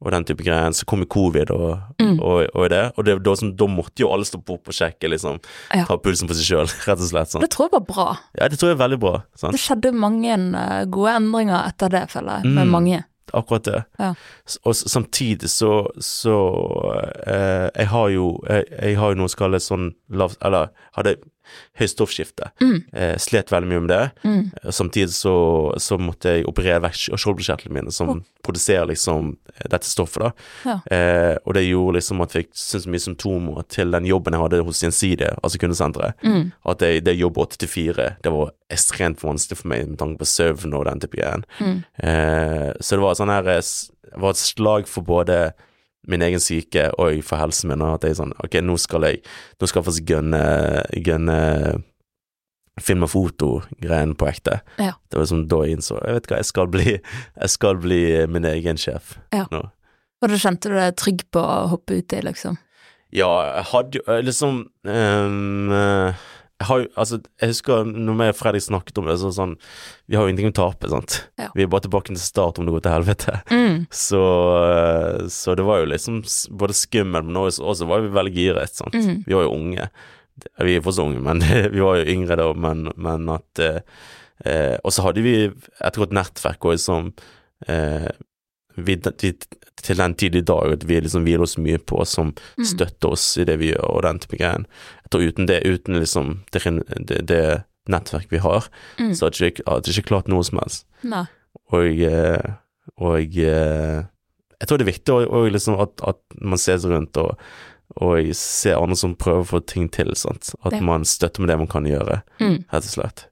[SPEAKER 2] og den type greier, så kom jo covid og,
[SPEAKER 1] Mm.
[SPEAKER 2] og, og det, og det, var da, som, da måtte jo alle stoppe opp og sjekke, liksom.
[SPEAKER 1] Ja.
[SPEAKER 2] Ta pulsen på seg sjøl, rett og slett.
[SPEAKER 1] Det
[SPEAKER 2] Sant?
[SPEAKER 1] tror jeg var bra.
[SPEAKER 2] Ja, det tror jeg er veldig bra. sånn. Sant?
[SPEAKER 1] Det skjedde mange eh, gode endringer etter det, føler jeg, med
[SPEAKER 2] Mm.
[SPEAKER 1] mange.
[SPEAKER 2] akkurat det.
[SPEAKER 1] Ja.
[SPEAKER 2] S- Og s- samtidig så, så eh, Jeg har jo jeg, jeg har jo noe som kalles sånn lav... Eller hadde høyt stoffskifte.
[SPEAKER 1] Mm.
[SPEAKER 2] Eh, slet veldig mye med det.
[SPEAKER 1] Mm.
[SPEAKER 2] Og Samtidig så, så måtte jeg operere vekk sk- skjoldbeskjertlene mine, som produserer liksom dette stoffet, da.
[SPEAKER 1] Ja.
[SPEAKER 2] Eh, og det gjorde liksom at jeg fikk så mye symptomer til den jobben jeg hadde hos Gjensidige, altså kundesenteret
[SPEAKER 1] Mm.
[SPEAKER 2] at jeg, det jobb 8-4, det var ekstremt vanskelig for meg med tanke på søvn og den type igjen.
[SPEAKER 1] Mm.
[SPEAKER 2] Eh, så det var, sånn her, eh, s- var et slag for både min egen syke og for helsen min, og at jeg sånn, ok, nå skal jeg, nå skal jeg faktisk gønne, gønne film og foto-greien på ekte.
[SPEAKER 1] Ja.
[SPEAKER 2] Det var liksom da jeg innså, jeg vet hva, jeg skal bli, jeg skal bli eh, min egen sjef
[SPEAKER 1] Ja.
[SPEAKER 2] nå.
[SPEAKER 1] Og da kjente du deg trygg på å hoppe ut i, liksom.
[SPEAKER 2] Ja, jeg hadde jo eh, liksom ehm, eh, jeg, har, jo- altså, jeg husker når vi og Fredrik snakket om det, så sånn Vi har jo ingenting å tape, sant?
[SPEAKER 1] Ja.
[SPEAKER 2] Vi er bare tilbake til start om det går til helvete.
[SPEAKER 1] Mm.
[SPEAKER 2] Så, eh, så det var jo liksom s- både skummelt, men også, også var vi veldig giret, sant.
[SPEAKER 1] Mm.
[SPEAKER 2] Vi var jo unge. Det- Vi er fortsatt unge, men vi var jo yngre da, men, men at eh, eh, Og så hadde vi et godt nettverk også som eh, vi, vi, til den tid i dag at vi liksom hviler oss mye på, som
[SPEAKER 1] Mm.
[SPEAKER 2] støtte oss i det vi gjør, og den type greien. Jeg tror uten det, uten liksom det, det, det nettverket vi har,
[SPEAKER 1] Mm.
[SPEAKER 2] så hadde ikke, jeg- hadde jeg ikke klart noe som helst.
[SPEAKER 1] Nei.
[SPEAKER 2] Og, eh, og eh, jeg tror det er viktig å, å liksom at, at man ser seg rundt og, og ser andre som prøver å få ting til, sant. At
[SPEAKER 1] Ja.
[SPEAKER 2] man støtter med det man kan gjøre,
[SPEAKER 1] Mm.
[SPEAKER 2] rett og slett.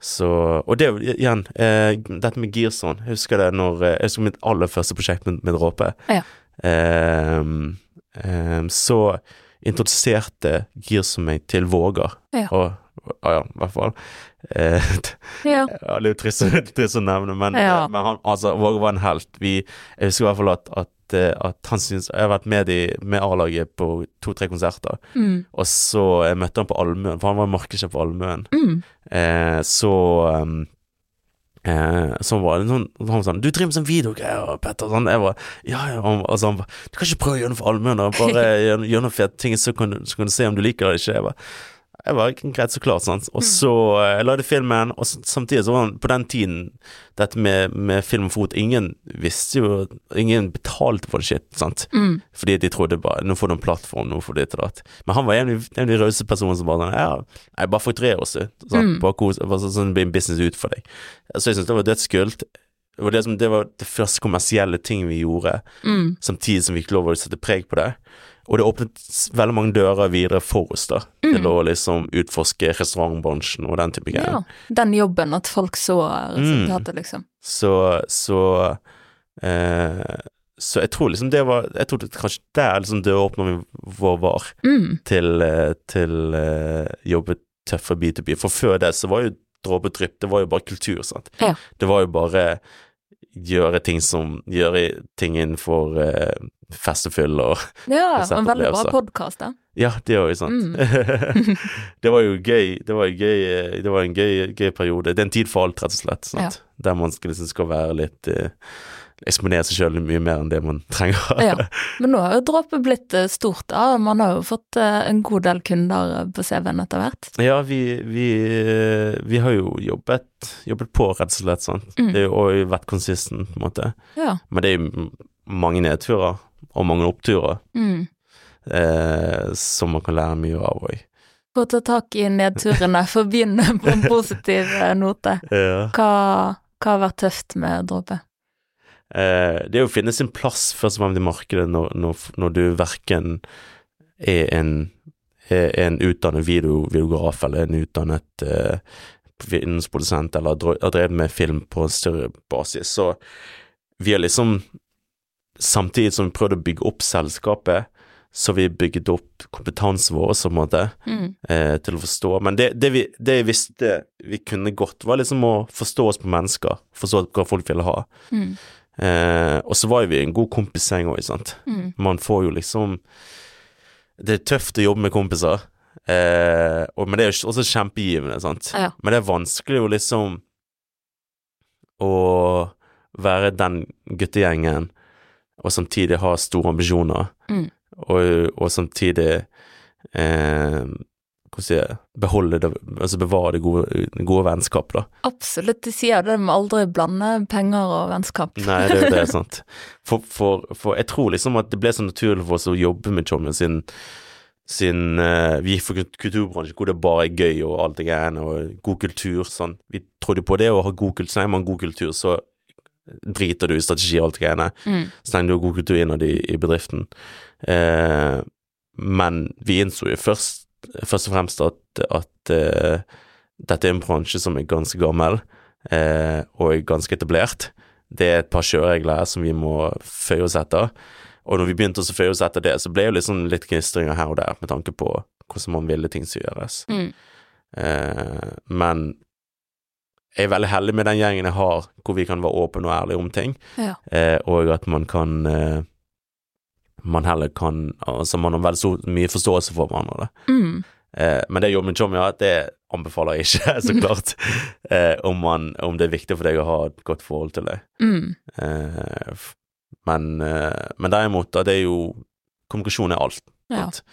[SPEAKER 2] Så, og det er jo igjen, eh, dette med Girson, jeg husker det når eh, Jeg husker mitt aller første prosjekt med, med Dråpe.
[SPEAKER 1] Ja.
[SPEAKER 2] Ehm, ehm, så introduserte Girson meg til Våger,
[SPEAKER 1] Ja.
[SPEAKER 2] og ah, ja, i hvert fall. Eh,
[SPEAKER 1] Ja.
[SPEAKER 2] ja, det er jo trist, trist å nevne, men,
[SPEAKER 1] Ja.
[SPEAKER 2] men han, altså, Våge var en helt. Vi, jeg husker i hvert fall at, at, eh, at han syns Jeg har vært med, i- med A-laget på to-tre konserter,
[SPEAKER 1] Mm.
[SPEAKER 2] og så eh, møtte han på Almøen, for han var markedssjef på Almøen.
[SPEAKER 1] Mm.
[SPEAKER 2] Eh, så um, eh, så var det sånn, han sånn 'Du driver med sånn videogreier, Petter.' og Sånn. Jeg var, ja, ja, han, altså, han ba, 'Du kan ikke prøve å gjøre noe for allmuen, og bare gjøre, gjøre noe fete ting, så kan, du- så kan du se om du liker det eller ikke.' Jeg var, jeg var greit, så klart. Sant? Og så eh, jeg lagde filmen, og s- samtidig så var han på den tiden Dette med, med film og fot Ingen visste jo Ingen betalte for det shit, sant?
[SPEAKER 1] Mm.
[SPEAKER 2] Fordi de trodde bare Nå får du en plattform, nå får du ditt og datt. Men han var en, av de- en av de rause personene som bare sånn Ja, jeg bare for tre år siden. Sånn,
[SPEAKER 1] Mm.
[SPEAKER 2] bare kos, bare sånn, sånn det blir en business ut for deg. Så jeg syns det var dødskult. Det var det, som, det var det første kommersielle ting vi gjorde,
[SPEAKER 1] Mm.
[SPEAKER 2] samtidig som vi fikk lov å sette preg på det. Og det åpnet s- veldig mange dører videre for oss, da,
[SPEAKER 1] Mm.
[SPEAKER 2] til å liksom utforske restaurantbransjen og den type greier.
[SPEAKER 1] Ja. Den jobben
[SPEAKER 2] Mm.
[SPEAKER 1] at folk så resultatet, liksom.
[SPEAKER 2] Så, så eh, Så jeg tror liksom det var Jeg tror det kanskje der liksom døråpneren vår var
[SPEAKER 1] Mm.
[SPEAKER 2] til, eh, til eh, jobbe tøffere by til by. For før det så var jo dråpedrypp, det var jo bare kultur, sant.
[SPEAKER 1] Ja.
[SPEAKER 2] Det var jo bare gjøre ting som Gjøre ting innenfor eh, fest og fyll og
[SPEAKER 1] Ja,
[SPEAKER 2] Konsert-
[SPEAKER 1] og en veldig bra
[SPEAKER 2] opplevelser.
[SPEAKER 1] podkast, da.
[SPEAKER 2] Ja, det er jo sant.
[SPEAKER 1] Mm.
[SPEAKER 2] det var jo gøy. Det var, jo gøy, eh, det var en gøy, gøy periode. Det er en tid for alt, rett og slett. Sant? Der man skal, liksom skal være litt eh, Eksponere seg sjøl mye mer enn det man trenger.
[SPEAKER 1] Ja. Men nå har jo dråpe blitt eh, stort, da. Man har jo fått eh, en god del kunder eh, på CV-en etter hvert.
[SPEAKER 2] Ja, vi, vi, eh, vi har jo jobbet, jobbet på, rett og slett. Sant?
[SPEAKER 1] Mm.
[SPEAKER 2] Det er jo, og vært konsistent, på en måte.
[SPEAKER 1] Ja.
[SPEAKER 2] Men det er jo m- mange nedturer, og mange oppturer,
[SPEAKER 1] Mm.
[SPEAKER 2] eh, som man kan lære mye av òg.
[SPEAKER 1] Gå ta tak i nedturene, for å begynne på en positiv eh, note. Hva, hva har vært tøft med dråpe?
[SPEAKER 2] Eh, det er jo å finne sin plass først og fremst i markedet når, når, når du verken er en, er en utdannet video, videograf eller en utdannet eh, filmprodusent eller dro- har drevet med film på en større basis. Så vi har liksom Samtidig som vi prøvde å bygge opp selskapet, så har vi bygget opp kompetansen vår også, på en måte
[SPEAKER 1] Mm.
[SPEAKER 2] eh, til å forstå. Men det, det, vi, det jeg visste vi kunne godt, var liksom å forstå oss på mennesker, forstå hva folk ville ha.
[SPEAKER 1] Mm.
[SPEAKER 2] Eh, og så var jo vi en god kompisgjeng òg, sant.
[SPEAKER 1] Mm.
[SPEAKER 2] Man får jo liksom Det er tøft å jobbe med kompiser, eh, og, men det er jo også kjempegivende, sant.
[SPEAKER 1] Ja.
[SPEAKER 2] Men det er vanskelig å liksom å være den guttegjengen og samtidig ha store ambisjoner,
[SPEAKER 1] Mm.
[SPEAKER 2] og, og samtidig eh, Hvordan sier jeg Beholde det, altså bevare det gode, gode vennskapet, da.
[SPEAKER 1] Absolutt, de sier det, de må aldri blande penger og vennskap.
[SPEAKER 2] Nei, det er jo det, sant. For, for, for jeg tror liksom at det ble så naturlig for oss å jobbe med Tjommen sin, sin eh, Vi gikk for kult- kulturbransjen hvor det bare er gøy og alt det greiene, og god kultur, sånn. Vi trodde på det å ha god kultur. Så lenge man har god kultur, så driter du i strategi og alt det greiene.
[SPEAKER 1] Mm.
[SPEAKER 2] Så lenge du har god kultur innad i, i bedriften. Eh, men vi innså jo først, først og fremst at, at eh, dette er en bransje som er ganske gammel, eh, og ganske etablert det er et par kjøreregler her som vi må føye oss etter. Og når vi begynte å føye oss etter det, så ble det liksom litt gnistringer her og der med tanke på hvordan man ville ting skulle gjøres.
[SPEAKER 1] Mm.
[SPEAKER 2] Eh, men jeg er veldig heldig med den gjengen jeg har, hvor vi kan være åpne og ærlige om ting,
[SPEAKER 1] Ja.
[SPEAKER 2] eh, og at man kan eh, man heller kan Altså, man har veldig stor, mye forståelse for hverandre. da.
[SPEAKER 1] Mm.
[SPEAKER 2] Eh, men det jobben som jeg har, det anbefaler jeg ikke, så klart. eh, om, man, om det er viktig for deg å ha et godt forhold til det.
[SPEAKER 1] Mm.
[SPEAKER 2] Eh, f- men, eh, men derimot, da, det er jo Kommunikasjon er alt.
[SPEAKER 1] Ja.
[SPEAKER 2] sant?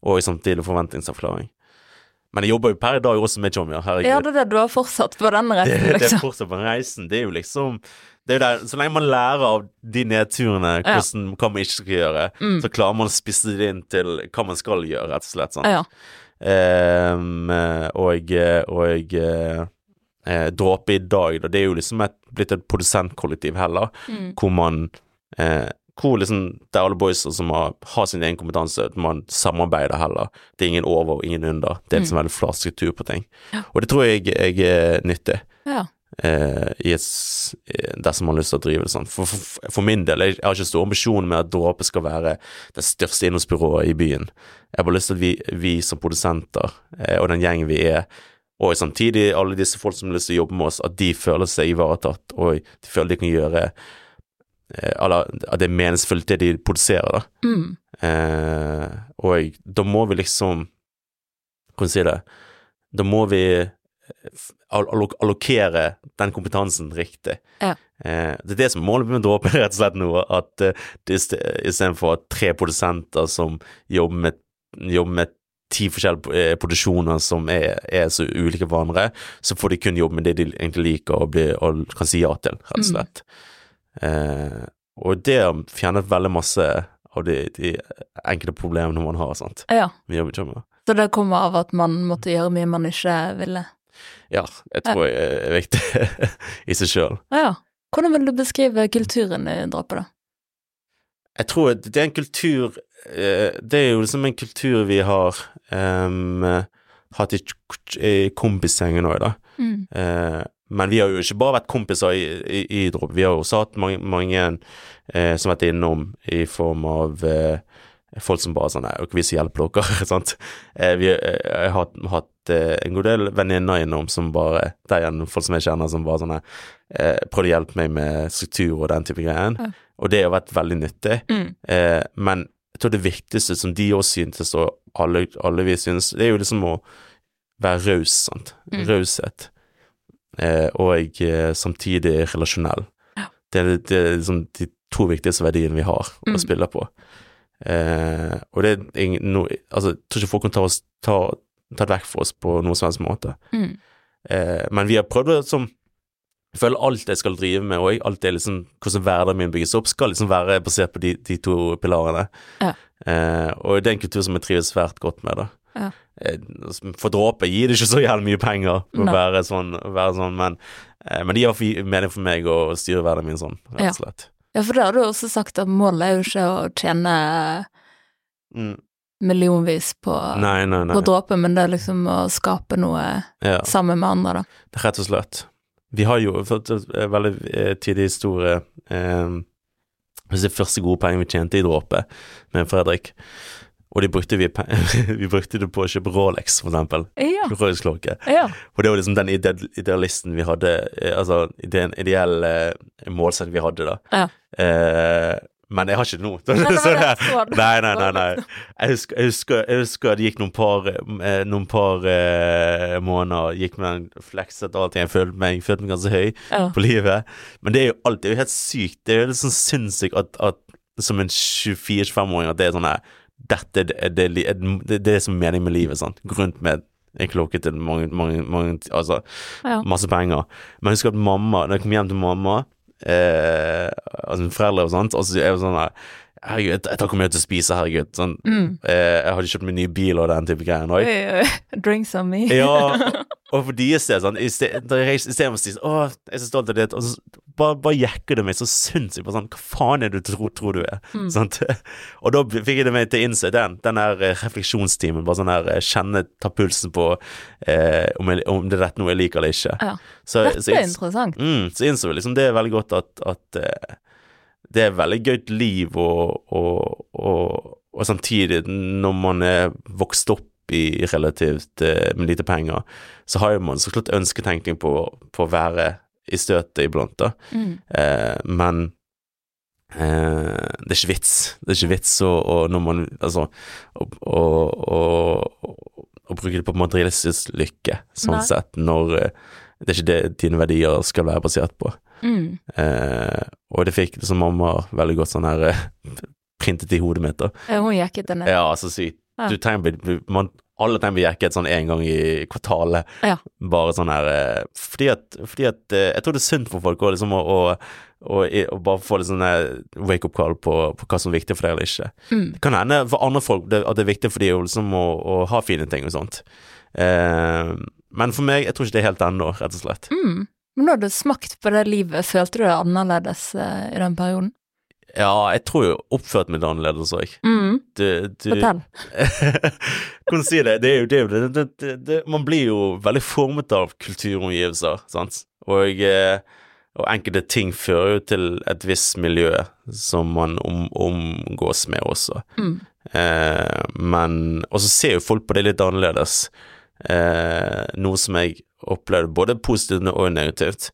[SPEAKER 2] Og samtidig forventningsavklaring. Men jeg jobber jo per dag også med Jomia, herregud.
[SPEAKER 1] ja, det er det du har fortsatt på den
[SPEAKER 2] det,
[SPEAKER 1] retten,
[SPEAKER 2] det er
[SPEAKER 1] liksom.
[SPEAKER 2] fortsatt på reisen. Det er jo liksom det er jo der, Så lenge man lærer av de nedturene,
[SPEAKER 1] Ja.
[SPEAKER 2] hvordan, hva man ikke skal gjøre,
[SPEAKER 1] Mm.
[SPEAKER 2] så klarer man å spisse det inn til hva man skal gjøre, rett og slett. sant?
[SPEAKER 1] Ja.
[SPEAKER 2] Ehm, og og eh, eh, Dråpe i dag, da. Det er jo liksom et, blitt et produsentkollektiv heller,
[SPEAKER 1] Mm.
[SPEAKER 2] hvor man eh, hvor liksom det er alle boyser som har, har sin egen kompetanse, at man samarbeider heller. Det er ingen over og ingen under. Det er liksom veldig flat struktur på ting.
[SPEAKER 1] Mm. Ja.
[SPEAKER 2] Og det tror jeg, jeg er nyttig.
[SPEAKER 1] ja.
[SPEAKER 2] Eh, i et, s- eh, dersom man har lyst til å drive det sånn. For, for, for min del, jeg, jeg har ikke stor ambisjon med at Dråpe skal være det største innholdsbyrået i byen. Jeg har bare lyst til at vi, vi som produsenter, eh, og den gjengen vi er, og samtidig alle disse folk som har lyst til å jobbe med oss, at de føler seg ivaretatt, og de føler de kan gjøre eh, Eller at det er meningsfullt, det de produserer, da.
[SPEAKER 1] Mm.
[SPEAKER 2] Eh, og da må vi liksom Hvordan si det? Da må vi eh, f- al- allo- allokere den kompetansen riktig.
[SPEAKER 1] Ja.
[SPEAKER 2] Eh, det er det som er målet med Dråpen, rett og slett nå. At eh, det iste- istedenfor at tre produsenter som jobber med, jobber med ti forskjellige eh, produksjoner som er, er så ulike hverandre, så får de kun jobbe med det de egentlig liker og, blir, og kan si ja til, rett og
[SPEAKER 1] Mm.
[SPEAKER 2] slett. Eh, og det har fjernet veldig masse av de, de enkelte problemene man har. sant?
[SPEAKER 1] ja.
[SPEAKER 2] Vi jobber ikke med det.
[SPEAKER 1] Så det kommer av at man måtte gjøre mye man ikke ville.
[SPEAKER 2] Ja, jeg tror jeg er viktig i seg sjøl.
[SPEAKER 1] Ja, ja. Hvordan vil du beskrive kulturen i drapet, da?
[SPEAKER 2] Jeg tror at det er en kultur eh, Det er jo liksom en kultur vi har ehm, em, hatt i, i kompisgjengen òg, da.
[SPEAKER 1] Mm.
[SPEAKER 2] Eh, Men vi har jo ikke bare vært kompiser i, i, i idrett. Vi har jo også hatt mange, mange eh, som har vært innom i form av eh, folk som bare sånn Nei, dere viser hjelp, dere. sant? Eh, vi eh, jeg har hatt- hatt eh, en god del venninner innom som bare Der igjen, folk som jeg kjenner, som bare sånn eh, Prøvde å hjelpe meg med struktur og den type greien.
[SPEAKER 1] Ja.
[SPEAKER 2] Og det har vært veldig nyttig.
[SPEAKER 1] Mm.
[SPEAKER 2] Eh, men jeg tror det viktigste som de også syntes, og alle, alle vi synes, det er jo liksom å være raus, sant.
[SPEAKER 1] Mm.
[SPEAKER 2] Raushet. Eh, og eh, samtidig relasjonell.
[SPEAKER 1] Ja.
[SPEAKER 2] Det er, det er liksom de to viktigste verdiene vi har
[SPEAKER 1] Mm.
[SPEAKER 2] å spille på. Eh, og det er ingen, no, altså, jeg tror ikke folk kan ta, oss, ta, ta det vekk fra oss på noen som helst måte.
[SPEAKER 1] Mm.
[SPEAKER 2] Eh, men vi har prøvd å som jeg føler alt jeg skal drive med òg, alt det liksom, hvordan hverdagen min bygges opp, skal liksom være basert på de, de to pilarene.
[SPEAKER 1] Ja.
[SPEAKER 2] Eh, og det er en kultur som jeg trives svært godt med, da.
[SPEAKER 1] Ja.
[SPEAKER 2] Eh, som For dråper gir det ikke så jævlig mye penger på å
[SPEAKER 1] Nei.
[SPEAKER 2] være sånn, å være sånn men, eh, men de har fi- mening for meg å styre hverdagen min sånn, rett
[SPEAKER 1] Ja.
[SPEAKER 2] og slett.
[SPEAKER 1] Ja, for det har du også sagt at målet er jo ikke å tjene
[SPEAKER 2] Mm.
[SPEAKER 1] millionvis på,
[SPEAKER 2] Nei, nei, nei.
[SPEAKER 1] på dråper, men det er liksom å skape noe
[SPEAKER 2] Ja.
[SPEAKER 1] sammen med andre, da.
[SPEAKER 2] Rett og slett. Vi har jo fått en veldig eh, tidlig historie eh, Hvis det første gode pengene vi tjente i dråpe med Fredrik, og de brukte vi, pe- vi brukte det på å kjøpe Rolex, for eksempel.
[SPEAKER 1] Ja.
[SPEAKER 2] Rolex-klokke.
[SPEAKER 1] ja.
[SPEAKER 2] Og det var liksom den ide- idealisten vi hadde, eh, altså den ideelle eh, målsettingen vi hadde, da.
[SPEAKER 1] Ja.
[SPEAKER 2] Eh, men jeg har ikke det nå.
[SPEAKER 1] Nei, det var det jeg så.
[SPEAKER 2] Nei, nei, nei. nei. Jeg, husker, jeg, husker, jeg husker det gikk noen par, eh, noen par eh, måneder, gikk med den flekset og alt, jeg følte meg, følte meg ganske høy
[SPEAKER 1] Ja.
[SPEAKER 2] på livet. Men det er jo alt, det er jo helt sykt. Det er jo litt sånn sinnssykt at, at som en 24-25-åring at det er sånn her dette er det, er det, li- er det, det er som er meningen med livet, sant. Grunt med en klokke til mange, mange, mange Altså,
[SPEAKER 1] Ja.
[SPEAKER 2] masse penger. Men jeg husker at mamma, når jeg kom hjem til mamma, eh, altså mine foreldre og sånt, og så er jeg sånn her Herregud, jeg tar ikke mye til å spise, herregud. Sånn,
[SPEAKER 1] Mm.
[SPEAKER 2] eh, jeg hadde kjøpt meg ny bil og den type greier. Og,
[SPEAKER 1] Oi, oi, oi. Drinks on me.
[SPEAKER 2] ja, og for deres del, sånn, i ste- da jeg- istedenfor å si sånn, Å, jeg er så stolt av det, og så bare, bare jekker det meg så sinnssykt på sånn Hva faen er det du tror, tror du er?
[SPEAKER 1] Mm.
[SPEAKER 2] Sant? Og da fikk jeg det meg til å innse den, den der eh, refleksjonstimen. Bare sånn her eh, kjenne, ta pulsen på eh, om, jeg, om det er dette noe jeg liker eller ikke.
[SPEAKER 1] Ja.
[SPEAKER 2] Så, så
[SPEAKER 1] Dette er
[SPEAKER 2] jeg-
[SPEAKER 1] interessant.
[SPEAKER 2] Mm, så innså vi liksom det er veldig godt at, at eh, det er et veldig gøyt liv, og, og, og, og samtidig, når man er vokst opp i relativt eh, med lite penger, så har jo man så klart ønsketenkning på, på å være i støtet iblant, da.
[SPEAKER 1] Mm.
[SPEAKER 2] Eh, men eh, det er ikke vits. Det er ikke vits å, å når man Altså å, å, å, å, å bruke det på materialistisk lykke, sånn
[SPEAKER 1] Nei.
[SPEAKER 2] sett, når eh, det er ikke det dine verdier skal være basert på.
[SPEAKER 1] Mm.
[SPEAKER 2] Eh, og det fikk liksom mamma veldig godt sånn her eh, printet i hodet mitt, da.
[SPEAKER 1] Ja, Hun jekket det ned.
[SPEAKER 2] Ja, altså sykt.
[SPEAKER 1] Ja.
[SPEAKER 2] Du trenger å bli- man, alle trenger å bli jekket sånn en gang i kvartalet.
[SPEAKER 1] Ja.
[SPEAKER 2] Bare sånn her eh, Fordi at, fordi at eh, Jeg tror det er sunt for folk også, liksom, å, å, å, å bare få litt sånn sånne wake-up-call på, på hva som er viktig for deg eller ikke.
[SPEAKER 1] Mm.
[SPEAKER 2] Det kan hende for andre folk det, at det er viktig for dem liksom, å, å ha fine ting og sånt. Eh, men for meg, jeg tror ikke det er helt ennå, rett og slett.
[SPEAKER 1] Mm. Men nå har du smakt på det livet. Følte du det annerledes eh, i den perioden?
[SPEAKER 2] Ja, jeg tror jo oppført meg litt annerledes òg.
[SPEAKER 1] Mm. Fortell.
[SPEAKER 2] kan si det. Det er jo det, er jo det, det, det, det. Man blir jo veldig formet av kulturomgivelser, sant. Og, eh, og enkelte ting fører jo til et visst miljø som man om, omgås med også.
[SPEAKER 1] Mm.
[SPEAKER 2] Eh, men Og så ser jo folk på det litt annerledes. Eh, noe som jeg opplevde både positivt og negativt.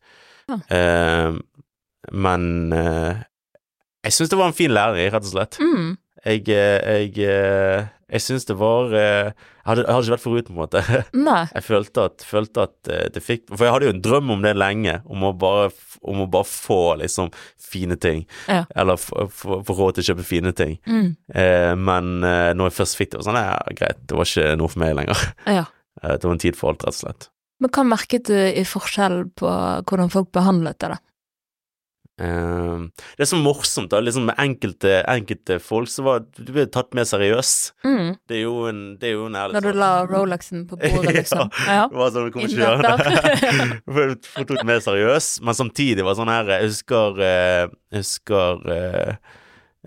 [SPEAKER 1] Ja.
[SPEAKER 2] Eh, men eh, jeg syns det var en fin lærer, rett og slett.
[SPEAKER 1] Mm.
[SPEAKER 2] Jeg, eh, jeg, eh, jeg syns det var eh, Jeg hadde, jeg hadde ikke vært foruten, på en måte.
[SPEAKER 1] Nei.
[SPEAKER 2] Jeg følte at, følte at eh, det fikk For jeg hadde jo en drøm om det lenge, om å bare, f- om å bare få liksom fine ting.
[SPEAKER 1] Ja.
[SPEAKER 2] Eller få- få få råd til å kjøpe fine ting.
[SPEAKER 1] Mm.
[SPEAKER 2] Eh, men eh, når jeg først fikk det, var det sånn ja, greit, det var ikke noe for meg lenger.
[SPEAKER 1] Ja.
[SPEAKER 2] Eh, det var en tid for alt, rett og slett.
[SPEAKER 1] Men hva merket du i forskjell på hvordan folk behandlet det, da?
[SPEAKER 2] Eh, det er så morsomt, da. Liksom med enkelte, enkelte folk så var du ble tatt mer seriøst.
[SPEAKER 1] Mm.
[SPEAKER 2] Det er jo en, det er jo en ærlig
[SPEAKER 1] Når du
[SPEAKER 2] sak.
[SPEAKER 1] la Rolexen på bordet, liksom? Ja.
[SPEAKER 2] Det var sånn, du kommer ikke til å
[SPEAKER 1] Inn
[SPEAKER 2] gjøre det. For for tok det mer seriøst, men samtidig var sånn her Jeg husker eh, Jeg husker eh,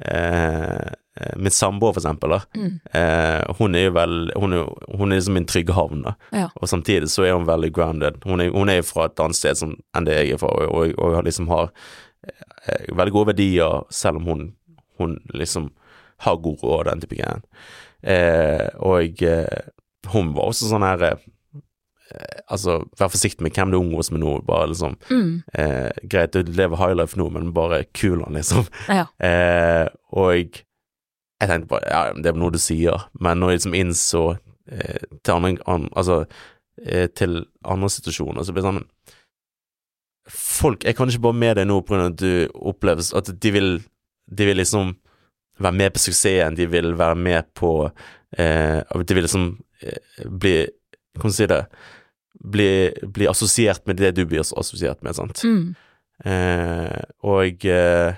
[SPEAKER 2] eh, eh, min samboer, for eksempel, da,
[SPEAKER 1] Mm.
[SPEAKER 2] eh, hun er jo vel Hun er, jo- hun er liksom min trygge havn, da.
[SPEAKER 1] Ja.
[SPEAKER 2] Og samtidig så er hun veldig grounded. Hun er, hun er jo fra et annet sted som, enn det jeg er fra, og, og, og har liksom har eh, veldig gode verdier, selv om hun, hun liksom har god råd og den type greier. Eh, og eh, hun var også sånn her eh, Altså, vær forsiktig med hvem du omgås med nå, bare liksom
[SPEAKER 1] Mm.
[SPEAKER 2] eh, Greit, du lever high life nå, men bare kul han, liksom.
[SPEAKER 1] Ja.
[SPEAKER 2] Eh, og jeg tenkte bare ja, det er noe du sier, men når jeg liksom innså eh, til, andre, an, altså, eh, til andre situasjoner, så ble det sånn Folk, jeg kan ikke bare med deg nå pga. at du oppleves At de vil, de vil liksom være med på suksessen, de vil være med på eh, at De vil liksom eh, bli Hvordan skal jeg si det? Bli, bli assosiert med det du blir assosiert med, sant.
[SPEAKER 1] Mm.
[SPEAKER 2] Eh, og eh,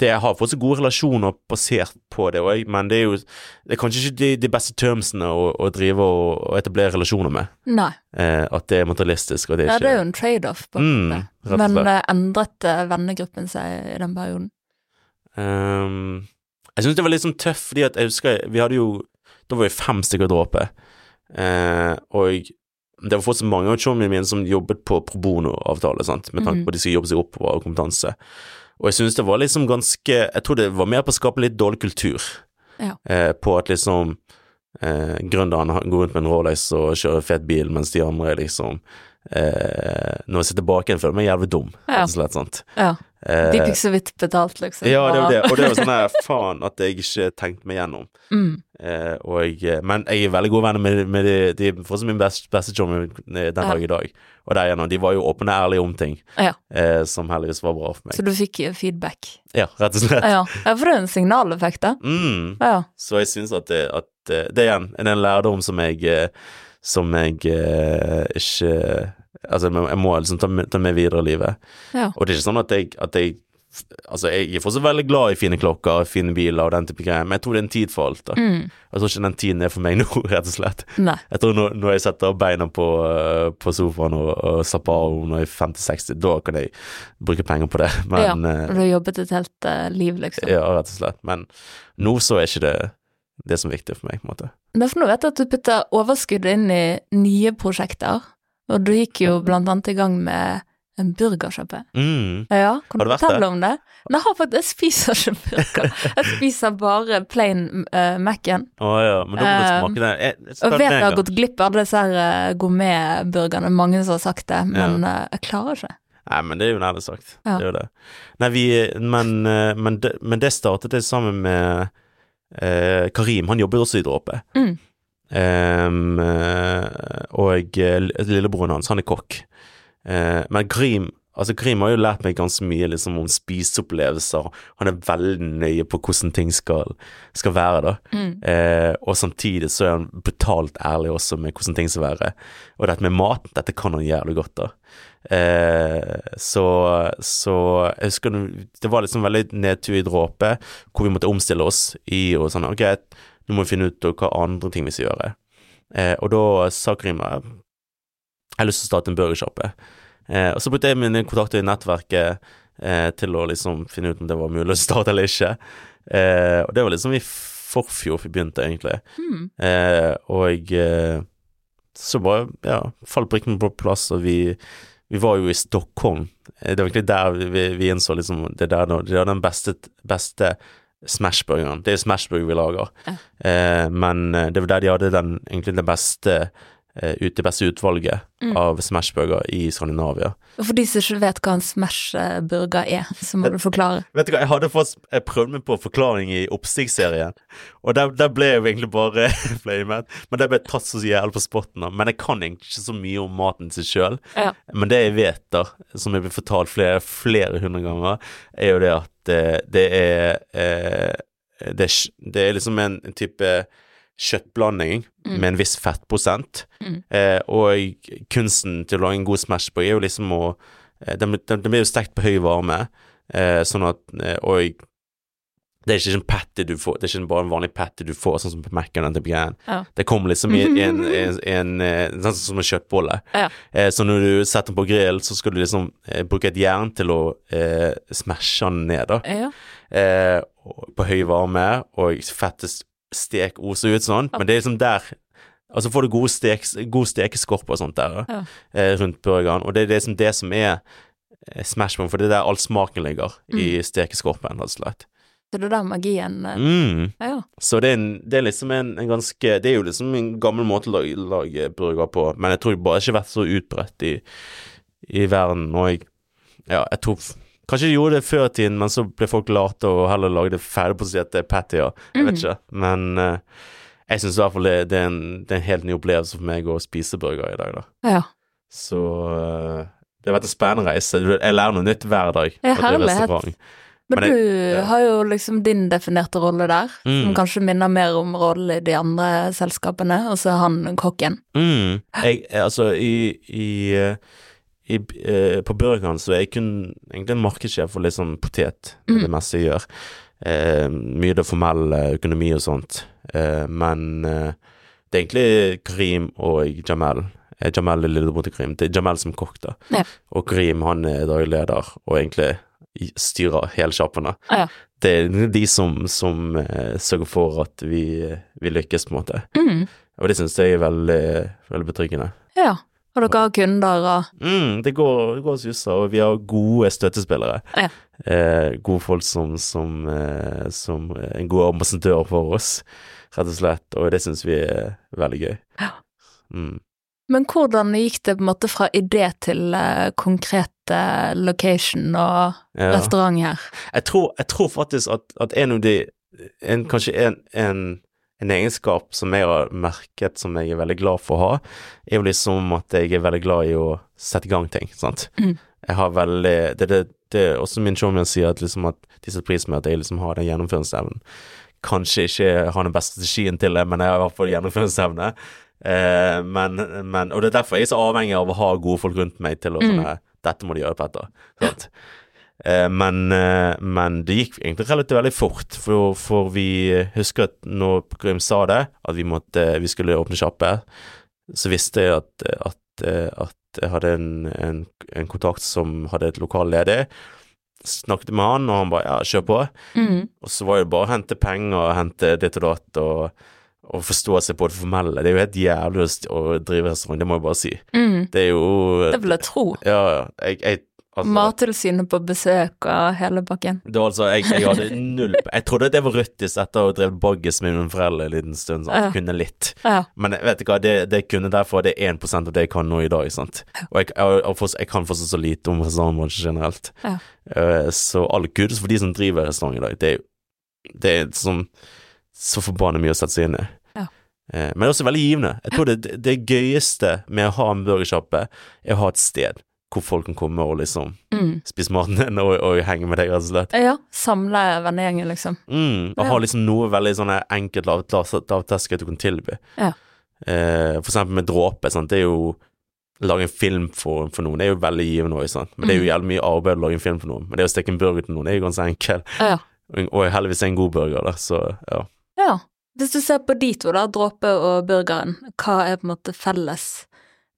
[SPEAKER 2] det jeg har fortsatt gode relasjoner basert på det òg, men det er jo det er kanskje ikke de, de beste termsene å, å drive og, og etablere relasjoner med.
[SPEAKER 1] Nei.
[SPEAKER 2] Eh, at det er materialistisk, og det er
[SPEAKER 1] Ja,
[SPEAKER 2] ikke
[SPEAKER 1] det er jo en trade-off, på en
[SPEAKER 2] Mm,
[SPEAKER 1] måte.
[SPEAKER 2] rett og
[SPEAKER 1] Men
[SPEAKER 2] slett.
[SPEAKER 1] eh, endret eh, vennegruppen seg i den perioden?
[SPEAKER 2] Ehm, jeg syns det var litt sånn tøff, fordi at jeg husker vi hadde jo Da var vi fem stykker dråper. Eh, og det var fortsatt mange av showene mine som jobbet på pro bono-avtale, sant, med tanke på at de skulle jobbe seg oppover av kompetanse. Og jeg syns det var liksom ganske Jeg tror det var mer på å skape litt dårlig kultur.
[SPEAKER 1] Ja.
[SPEAKER 2] Eh, på at liksom eh, gründeren han går rundt med en Rolex og kjører fet bil, mens de andre liksom eh, Når jeg ser tilbake igjen, føler jeg meg jævlig dum,
[SPEAKER 1] Ja.
[SPEAKER 2] rett og slett. sant
[SPEAKER 1] Ja. De
[SPEAKER 2] Eh,
[SPEAKER 1] fikk så vidt betalt, liksom.
[SPEAKER 2] ja, det er jo det.
[SPEAKER 1] Og-
[SPEAKER 2] Og det er jo sånn her faen at jeg ikke tenkte meg gjennom.
[SPEAKER 1] Mm.
[SPEAKER 2] Eh, og jeg, men jeg er veldig god venn med, med de, de fortsatt min best, beste chummy den dag i dag. Og der igjennom, de var jo åpne og ærlige om ting,
[SPEAKER 1] Ja.
[SPEAKER 2] eh, som heldigvis var bra for meg.
[SPEAKER 1] Så du fikk eh, feedback?
[SPEAKER 2] Ja, rett og slett.
[SPEAKER 1] Ja, ja, for det er en signaleffekt, da.
[SPEAKER 2] Mm.
[SPEAKER 1] Ja, ja.
[SPEAKER 2] Så jeg syns at, det, at eh, Det igjen er en lærdom som jeg eh, Som jeg eh, ikke Altså, jeg må- jeg må liksom ta med, ta med videre i livet.
[SPEAKER 1] Ja.
[SPEAKER 2] Og det er ikke sånn at jeg, at jeg Altså, jeg er fortsatt veldig glad i fine klokker, fine biler og den type greier, men jeg tror det er en tid for alt, da.
[SPEAKER 1] Mm.
[SPEAKER 2] Jeg tror ikke den tiden er for meg nå, rett og slett.
[SPEAKER 1] Nei.
[SPEAKER 2] Jeg tror når, når jeg setter beina på, eh, på sofaen og, og slapper av når jeg er 50-60, da kan jeg bruke penger på det, men
[SPEAKER 1] Og
[SPEAKER 2] eh,
[SPEAKER 1] Du har jobbet et helt eh, liv, liksom.
[SPEAKER 2] ja, rett og slett. Men nå så er ikke det det som er viktig for meg, på en måte.
[SPEAKER 1] Det er for nå vet jeg at du putter overskuddet inn i nye prosjekter, og du gikk jo blant annet i gang med en burgersjappe.
[SPEAKER 2] Mm.
[SPEAKER 1] Ja, kan du
[SPEAKER 2] Har du vært der?
[SPEAKER 1] fortelle om det? Nei, jeg har faktisk, jeg spiser ikke burger. Jeg spiser bare plain uh, Mac-en.
[SPEAKER 2] Å ja, men da må du
[SPEAKER 1] Eh,
[SPEAKER 2] smake den. Jeg, jeg skal
[SPEAKER 1] Og
[SPEAKER 2] ta
[SPEAKER 1] vet
[SPEAKER 2] den en
[SPEAKER 1] jeg har
[SPEAKER 2] gang.
[SPEAKER 1] gått glipp av disse her eh, gourmetburgerne, mange som har sagt det, men eh, jeg klarer ikke.
[SPEAKER 2] Nei, men det er jo nærmere sagt.
[SPEAKER 1] Ja.
[SPEAKER 2] Det er jo det. Nei, vi, men, eh, men, det, men det startet det sammen med eh, Karim. Han jobbet også i Dråpe.
[SPEAKER 1] Mm.
[SPEAKER 2] Em, eh, og eh, lillebroren hans, han er kokk. Eh, men Karim Altså Karim har jo lært meg ganske mye liksom, om spiseopplevelser. Han er veldig nøye på hvordan ting skal, skal være. da
[SPEAKER 1] Mm.
[SPEAKER 2] Eh, og samtidig så er han brutalt ærlig også med hvordan ting skal være. Og dette med mat, dette kan han jævlig godt, da. Eh, så, så jeg husker det- det var liksom veldig nedtur i dråpe, hvor vi måtte omstille oss i og sånn Ok, nå må vi finne ut hva andre ting vi skal gjøre. Eh, og da sa Karima jeg har lyst til å starte en burgersjappe. Eh, og så brukte jeg mine kontakter i nettverket eh, til å liksom finne ut om det var mulig å starte eller ikke. Eh, og det var liksom i forfjor vi begynte, egentlig.
[SPEAKER 1] Mm.
[SPEAKER 2] Eh, og eh, så bare, ja, falt brikkene på plass, og vi, vi var jo i Stockholm. Eh, Det var egentlig der vi- vi, vi innså liksom Det der nå, det er den beste, beste Smashburgeren. Det er jo Smashburger vi lager,
[SPEAKER 1] Ja.
[SPEAKER 2] eh, men eh, det var der de hadde den, egentlig det beste eh, ut, det beste utvalget
[SPEAKER 1] Mm.
[SPEAKER 2] av Smashburger i Skandinavia.
[SPEAKER 1] Og for de som ikke vet hva en smash-burger er, så må du forklare.
[SPEAKER 2] Vet du hva, jeg hadde fått Jeg prøvde meg på forklaring i Oppstig-serien, og der, der ble jeg jo egentlig bare flamet. Men der ble jeg tatt så jævlig på spotten. da. Men jeg kan egentlig ikke så mye om maten til sjøl.
[SPEAKER 1] Ja.
[SPEAKER 2] Men det jeg vet, da, som jeg blir fortalt flere, flere hundre ganger, er jo det at eh, det er eh, det, er sj- det er liksom en type kjøttblanding med en viss fettprosent.
[SPEAKER 1] Mm.
[SPEAKER 2] Eh, og kunsten til å lage en god smash på er jo liksom å eh, den, blir- den, den blir jo stekt på høy varme, eh, sånn at eh, Og Det er ikke en patty du får, det er ikke bare en vanlig patty du får, sånn som på Mac-en. og den type greien.
[SPEAKER 1] Ja.
[SPEAKER 2] Det kommer liksom i en, en, en, eh, sånn som en kjøttbolle.
[SPEAKER 1] Ja.
[SPEAKER 2] Eh, så når du setter den på grill, så skal du liksom eh, bruke et jern til å eh, smashe den ned, da.
[SPEAKER 1] Ja.
[SPEAKER 2] Eh, og- på høy varme, og fettet stek oser ut sånn. Men det er liksom der Og så får du god, stek, god stekeskorpe og sånt der
[SPEAKER 1] Ja.
[SPEAKER 2] eh, rundt burgeren, og det er det som, det som er eh, smash bun, for det er der all smaken ligger, i stekeskorpen, rett og slett.
[SPEAKER 1] Så det er der magien eh,
[SPEAKER 2] Mm.
[SPEAKER 1] Ja, ja.
[SPEAKER 2] Så det er, en, det er liksom en, en ganske Det er jo liksom en gammel måte å lage, lage burger på, men jeg tror det bare ikke har vært så utbredt i, i verden. Og jeg, ja, jeg tror f- Kanskje de gjorde det før i tiden, men så ble folk late og heller lagde ferdigprosesserte pattyer. Jeg
[SPEAKER 1] Mm.
[SPEAKER 2] vet ikke. Men eh, jeg syns i hvert fall det, det, er en, det er en helt ny opplevelse for meg å spise burger i dag, da.
[SPEAKER 1] Ja, ja.
[SPEAKER 2] Så eh, det har vært en spennende reise. Jeg lærer noe nytt hver dag.
[SPEAKER 1] Ja,
[SPEAKER 2] fra å drive
[SPEAKER 1] herlighet.
[SPEAKER 2] restaurant.
[SPEAKER 1] Men,
[SPEAKER 2] Men
[SPEAKER 1] du
[SPEAKER 2] ja.
[SPEAKER 1] har jo liksom din definerte rolle der, som
[SPEAKER 2] Mm.
[SPEAKER 1] kanskje minner mer om rollen i de andre selskapene, og så er han kokken.
[SPEAKER 2] Mm. Jeg, altså, i, i, eh, i eh, På burgeren så er jeg kun egentlig en markedssjef for litt sånn potet, det er det meste jeg gjør. Eh, mye av det formelle, økonomi og sånt. Eh, men eh, det er egentlig Karim og Jamel. Eh, Jamel er lillebror til Karim. Det er Jamel som kokk, da.
[SPEAKER 1] Ja.
[SPEAKER 2] Og Karim han er daglig leder, og egentlig i- styrer hele sjappen. da.
[SPEAKER 1] Ah, Ja.
[SPEAKER 2] Det er de som, som eh, sørger for at vi, vi lykkes, på en måte.
[SPEAKER 1] Mm.
[SPEAKER 2] Og det syns jeg er veldig, veldig betryggende.
[SPEAKER 1] Ja. Og dere har kunder og
[SPEAKER 2] Mm, det går, det går suser, og vi har gode støttespillere.
[SPEAKER 1] Ja.
[SPEAKER 2] Eh, gode folk som, som, eh, som er en god ambassadør for oss, rett og slett. Og det syns vi er veldig gøy.
[SPEAKER 1] Ja.
[SPEAKER 2] Mm.
[SPEAKER 1] Men hvordan gikk det på en måte fra idé til eh, konkret eh, location og
[SPEAKER 2] Ja.
[SPEAKER 1] restaurant her?
[SPEAKER 2] Jeg, tror, jeg tror faktisk at, at en av de en, Kanskje en, en, en egenskap som jeg har merket som jeg er veldig glad for å ha, er jo liksom at jeg er veldig glad i å sette i gang ting. sant?
[SPEAKER 1] Mm.
[SPEAKER 2] Jeg har veldig Det er det, det er også min showman sier, at, liksom at de setter pris med at jeg liksom har den gjennomføringsevnen. Kanskje ikke har den beste strategien til det, men jeg har i hvert fall gjennomføringsevne. Eh, men, men, og det er derfor jeg er så avhengig av å ha gode folk rundt meg til å
[SPEAKER 1] Mm.
[SPEAKER 2] sånn her, Dette må de gjøre, Petter. Sant? Eh, men, eh, men det gikk egentlig relativt veldig fort, for, for vi husker at når Grim sa det, at vi, måtte, vi skulle åpne sjappe, så visste jeg at, at, at jeg hadde en, en, en kontakt som hadde et lokal ledig. Snakket med han, og han bare ja, kjør på.
[SPEAKER 1] Mm.
[SPEAKER 2] Og så var det bare å hente penger og hente ditt og datt og, og forstå seg på det formelle. Det er jo helt jævlig å st- å drive restaurant, det må jeg bare si.
[SPEAKER 1] Mm.
[SPEAKER 2] Det er jo
[SPEAKER 1] Det vil jeg tro.
[SPEAKER 2] Ja, ja. Jeg, jeg, altså,
[SPEAKER 1] Mattilsynet på besøk og hele bakken.
[SPEAKER 2] Det var altså, jeg, jeg hadde null Jeg trodde at jeg var røttis etter å ha drevet baggis med mine foreldre en liten stund. Sånn.
[SPEAKER 1] Ja.
[SPEAKER 2] Jeg kunne litt.
[SPEAKER 1] Ah, Ja.
[SPEAKER 2] Men vet du hva, det, det jeg kunne derfor, det er 1 av det jeg kan nå i dag. sant? Og jeg, jeg, jeg, får- jeg kan fortsatt så lite om restaurantbransjen generelt.
[SPEAKER 1] Ja.
[SPEAKER 2] Eh, så all kudos for de som driver restaurant i dag. Det er, jo- det er sånn så forbanna mye å sette seg inn i.
[SPEAKER 1] Ja.
[SPEAKER 2] Eh, men det er også veldig givende. Jeg tror det, det, det gøyeste med å ha en burgersjappe, er å ha et sted hvor folk kan komme og liksom
[SPEAKER 1] Mm.
[SPEAKER 2] spise maten din og, og henge med deg, rett og slett.
[SPEAKER 1] ja. Samle vennegjengen, liksom.
[SPEAKER 2] Mm, og
[SPEAKER 1] Ja.
[SPEAKER 2] har liksom noe veldig sånn her enkelt lavterskel lavterskel du kan tilby.
[SPEAKER 1] Ja.
[SPEAKER 2] Eh, for eksempel med dråpe, sant? det er jo Lage en film for, for noen det er jo veldig givende òg, sant. Men det er
[SPEAKER 1] Mm.
[SPEAKER 2] jo jævlig mye arbeid å lage en film for noen. Men det å stikke en burger til noen det er jo ganske enkelt.
[SPEAKER 1] Ah, Ja.
[SPEAKER 2] Og, og heldigvis en god burger, da, så ja.
[SPEAKER 1] ja. Hvis du ser på de to, da, dråpe og burgeren, hva er på en måte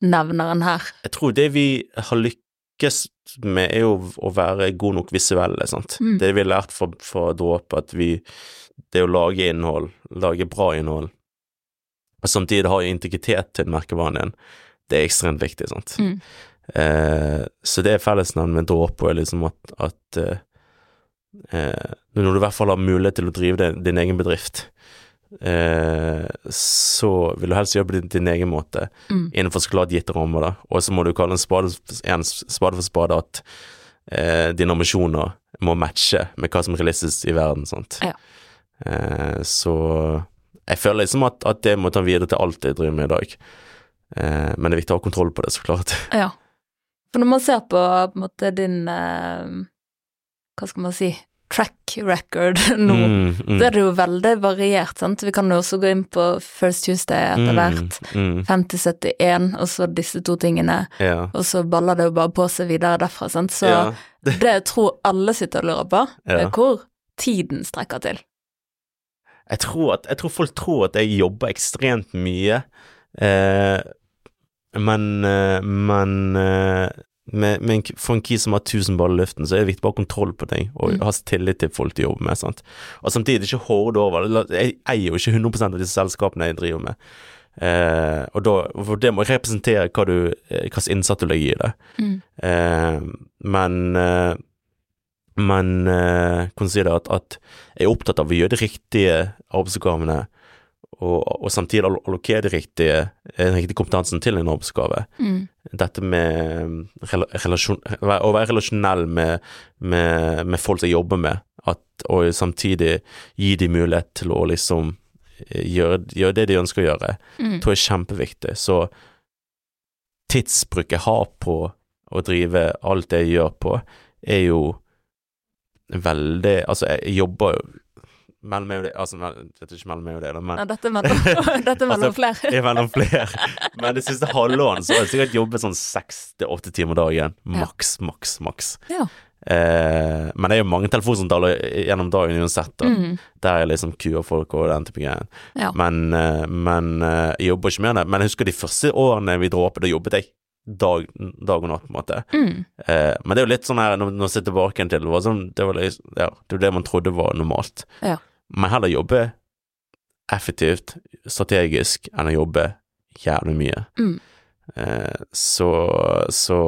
[SPEAKER 1] fellesnevneren her?
[SPEAKER 2] Jeg tror det vi har lykkes med, er jo å være gode nok visuelle, sant.
[SPEAKER 1] Mm.
[SPEAKER 2] Det vi har lært fra, fra dråpe, at vi Det å lage innhold, lage bra innhold, og samtidig ha integritet til merkevaren din, det er ekstremt viktig, sant.
[SPEAKER 1] Mm.
[SPEAKER 2] Eh, så det er fellesnevn med dråpe, er liksom at, at eh, eh, Når du i hvert fall har mulighet til å drive din, din egen bedrift, eh, så vil du helst gjøre det på din, din egen måte,
[SPEAKER 1] Mm.
[SPEAKER 2] innenfor så klart gitte rammer, da. Og så må du kalle en spade, en spade for spade at eh, dine ambisjoner må matche med hva som er realistisk i verden, sant.
[SPEAKER 1] Ja.
[SPEAKER 2] Eh, så jeg føler liksom at, at det må ta videre til alt jeg driver med i dag. Eh, men det er viktig å ha kontroll på det, så klart.
[SPEAKER 1] Ja. For når man ser på, på en måte din eh, Hva skal man si track record nå,
[SPEAKER 2] Mm, mm,
[SPEAKER 1] så er det jo veldig variert, sant. Vi kan jo også gå inn på First Tuesday etter
[SPEAKER 2] mm,
[SPEAKER 1] hvert.
[SPEAKER 2] Mm,
[SPEAKER 1] 50-71, og så disse to tingene,
[SPEAKER 2] ja.
[SPEAKER 1] og så baller det jo bare på seg videre derfra, sant. Så eh,
[SPEAKER 2] ja.
[SPEAKER 1] det jeg tror alle sitter og lurer på,
[SPEAKER 2] Ja.
[SPEAKER 1] er hvor tiden strekker til.
[SPEAKER 2] Jeg tror, at, jeg tror folk tror at jeg jobber ekstremt mye, eh, men, eh, men eh, med, med en, k- for en key som har 1000 ball i luften, så er det viktig å ha kontroll på ting og
[SPEAKER 1] Mm.
[SPEAKER 2] ha tillit til folk du jobber med. Sant? Og samtidig ikke horde over. det. La- Jeg eier jo ikke 100 av disse selskapene jeg driver med. Eh, og da, for det må representere hva du, eh, hva slags innsatt du legger i det.
[SPEAKER 1] Mm.
[SPEAKER 2] Eh, men eh, Men eh, kan si det at, at jeg er opptatt av å gjøre de riktige arbeidsoppgavene, og, og samtidig allo- allokere de riktige, eh, den riktige kompetansen til en arbeidsoppgave.
[SPEAKER 1] Mm.
[SPEAKER 2] Dette med eh, rela- relasjon, å være relasjonell med, med, med folk som jeg jobber med, at, og samtidig gi dem mulighet til å liksom eh, gjøre, gjøre det de ønsker å gjøre
[SPEAKER 1] Mm.
[SPEAKER 2] tror jeg er kjempeviktig. Så tidsbruk jeg har på å drive alt det jeg gjør på, er jo veldig Altså, jeg jeg jobber jo Mellom meg og det Altså, mell- jeg vet ikke mellom meg og det, da, men
[SPEAKER 1] Ja, dette er mellom, dette er mellom
[SPEAKER 2] Altså,
[SPEAKER 1] flere.
[SPEAKER 2] jeg er mellom flere. Men det siste halvåret så har jeg sikkert jobbet sånn seks til åtte timer dagen. Maks, maks, maks.
[SPEAKER 1] Ja.
[SPEAKER 2] Eh, men det er jo mange telefonsamtaler gjennom dagen uansett, da,
[SPEAKER 1] Mm.
[SPEAKER 2] der jeg liksom kuer folk og den type greier.
[SPEAKER 1] Ja.
[SPEAKER 2] Men, eh, men eh, jeg jobber ikke med det. Men jeg husker de første årene vi dro opp, da jobbet jeg dag, dag og natt, på en måte.
[SPEAKER 1] Mm.
[SPEAKER 2] Eh, men det er jo litt sånn her, når når jeg ser tilbake igjen til det, var sånn, det var litt, ja, det var det man trodde var normalt.
[SPEAKER 1] Ja.
[SPEAKER 2] Men heller jobbe effektivt, strategisk, enn å jobbe jævlig mye.
[SPEAKER 1] Mm.
[SPEAKER 2] Eh, så, så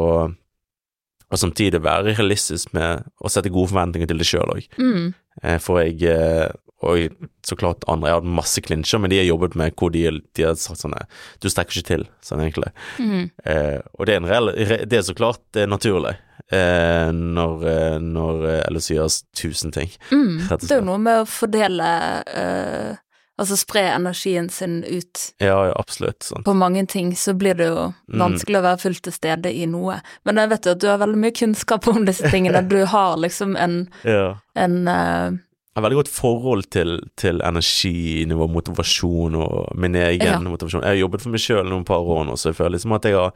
[SPEAKER 2] Og samtidig være realistisk med å sette gode forventninger til deg sjøl òg.
[SPEAKER 1] Mm.
[SPEAKER 2] Eh, For jeg eh, og så klart andre Jeg har hatt masse klinsjer, men de jeg jobbet med, hvor de, de har sagt sånn eh, Du strekker ikke til, sånn egentlig.
[SPEAKER 1] Mm.
[SPEAKER 2] Eh, og det er, en reell, re- det er så klart det er naturlig eh, når, eh, når eh, Ellis gjør tusen ting.
[SPEAKER 1] Mm.
[SPEAKER 2] Rett
[SPEAKER 1] Det
[SPEAKER 2] og
[SPEAKER 1] er
[SPEAKER 2] slett.
[SPEAKER 1] jo noe med å fordele eh, Altså spre energien sin ut
[SPEAKER 2] Ja, ja, absolutt. Sånn.
[SPEAKER 1] på mange ting, så blir det jo
[SPEAKER 2] Mm.
[SPEAKER 1] vanskelig å være fullt til stede i noe. Men jeg vet jo at du har veldig mye kunnskap om disse tingene. Du har liksom en,
[SPEAKER 2] Ja.
[SPEAKER 1] en eh,
[SPEAKER 2] Jeg har veldig godt forhold til, til energinivå, motivasjon og min egen
[SPEAKER 1] Ja.
[SPEAKER 2] motivasjon. Jeg har jobbet for meg sjøl noen par år nå, så jeg føler liksom at jeg har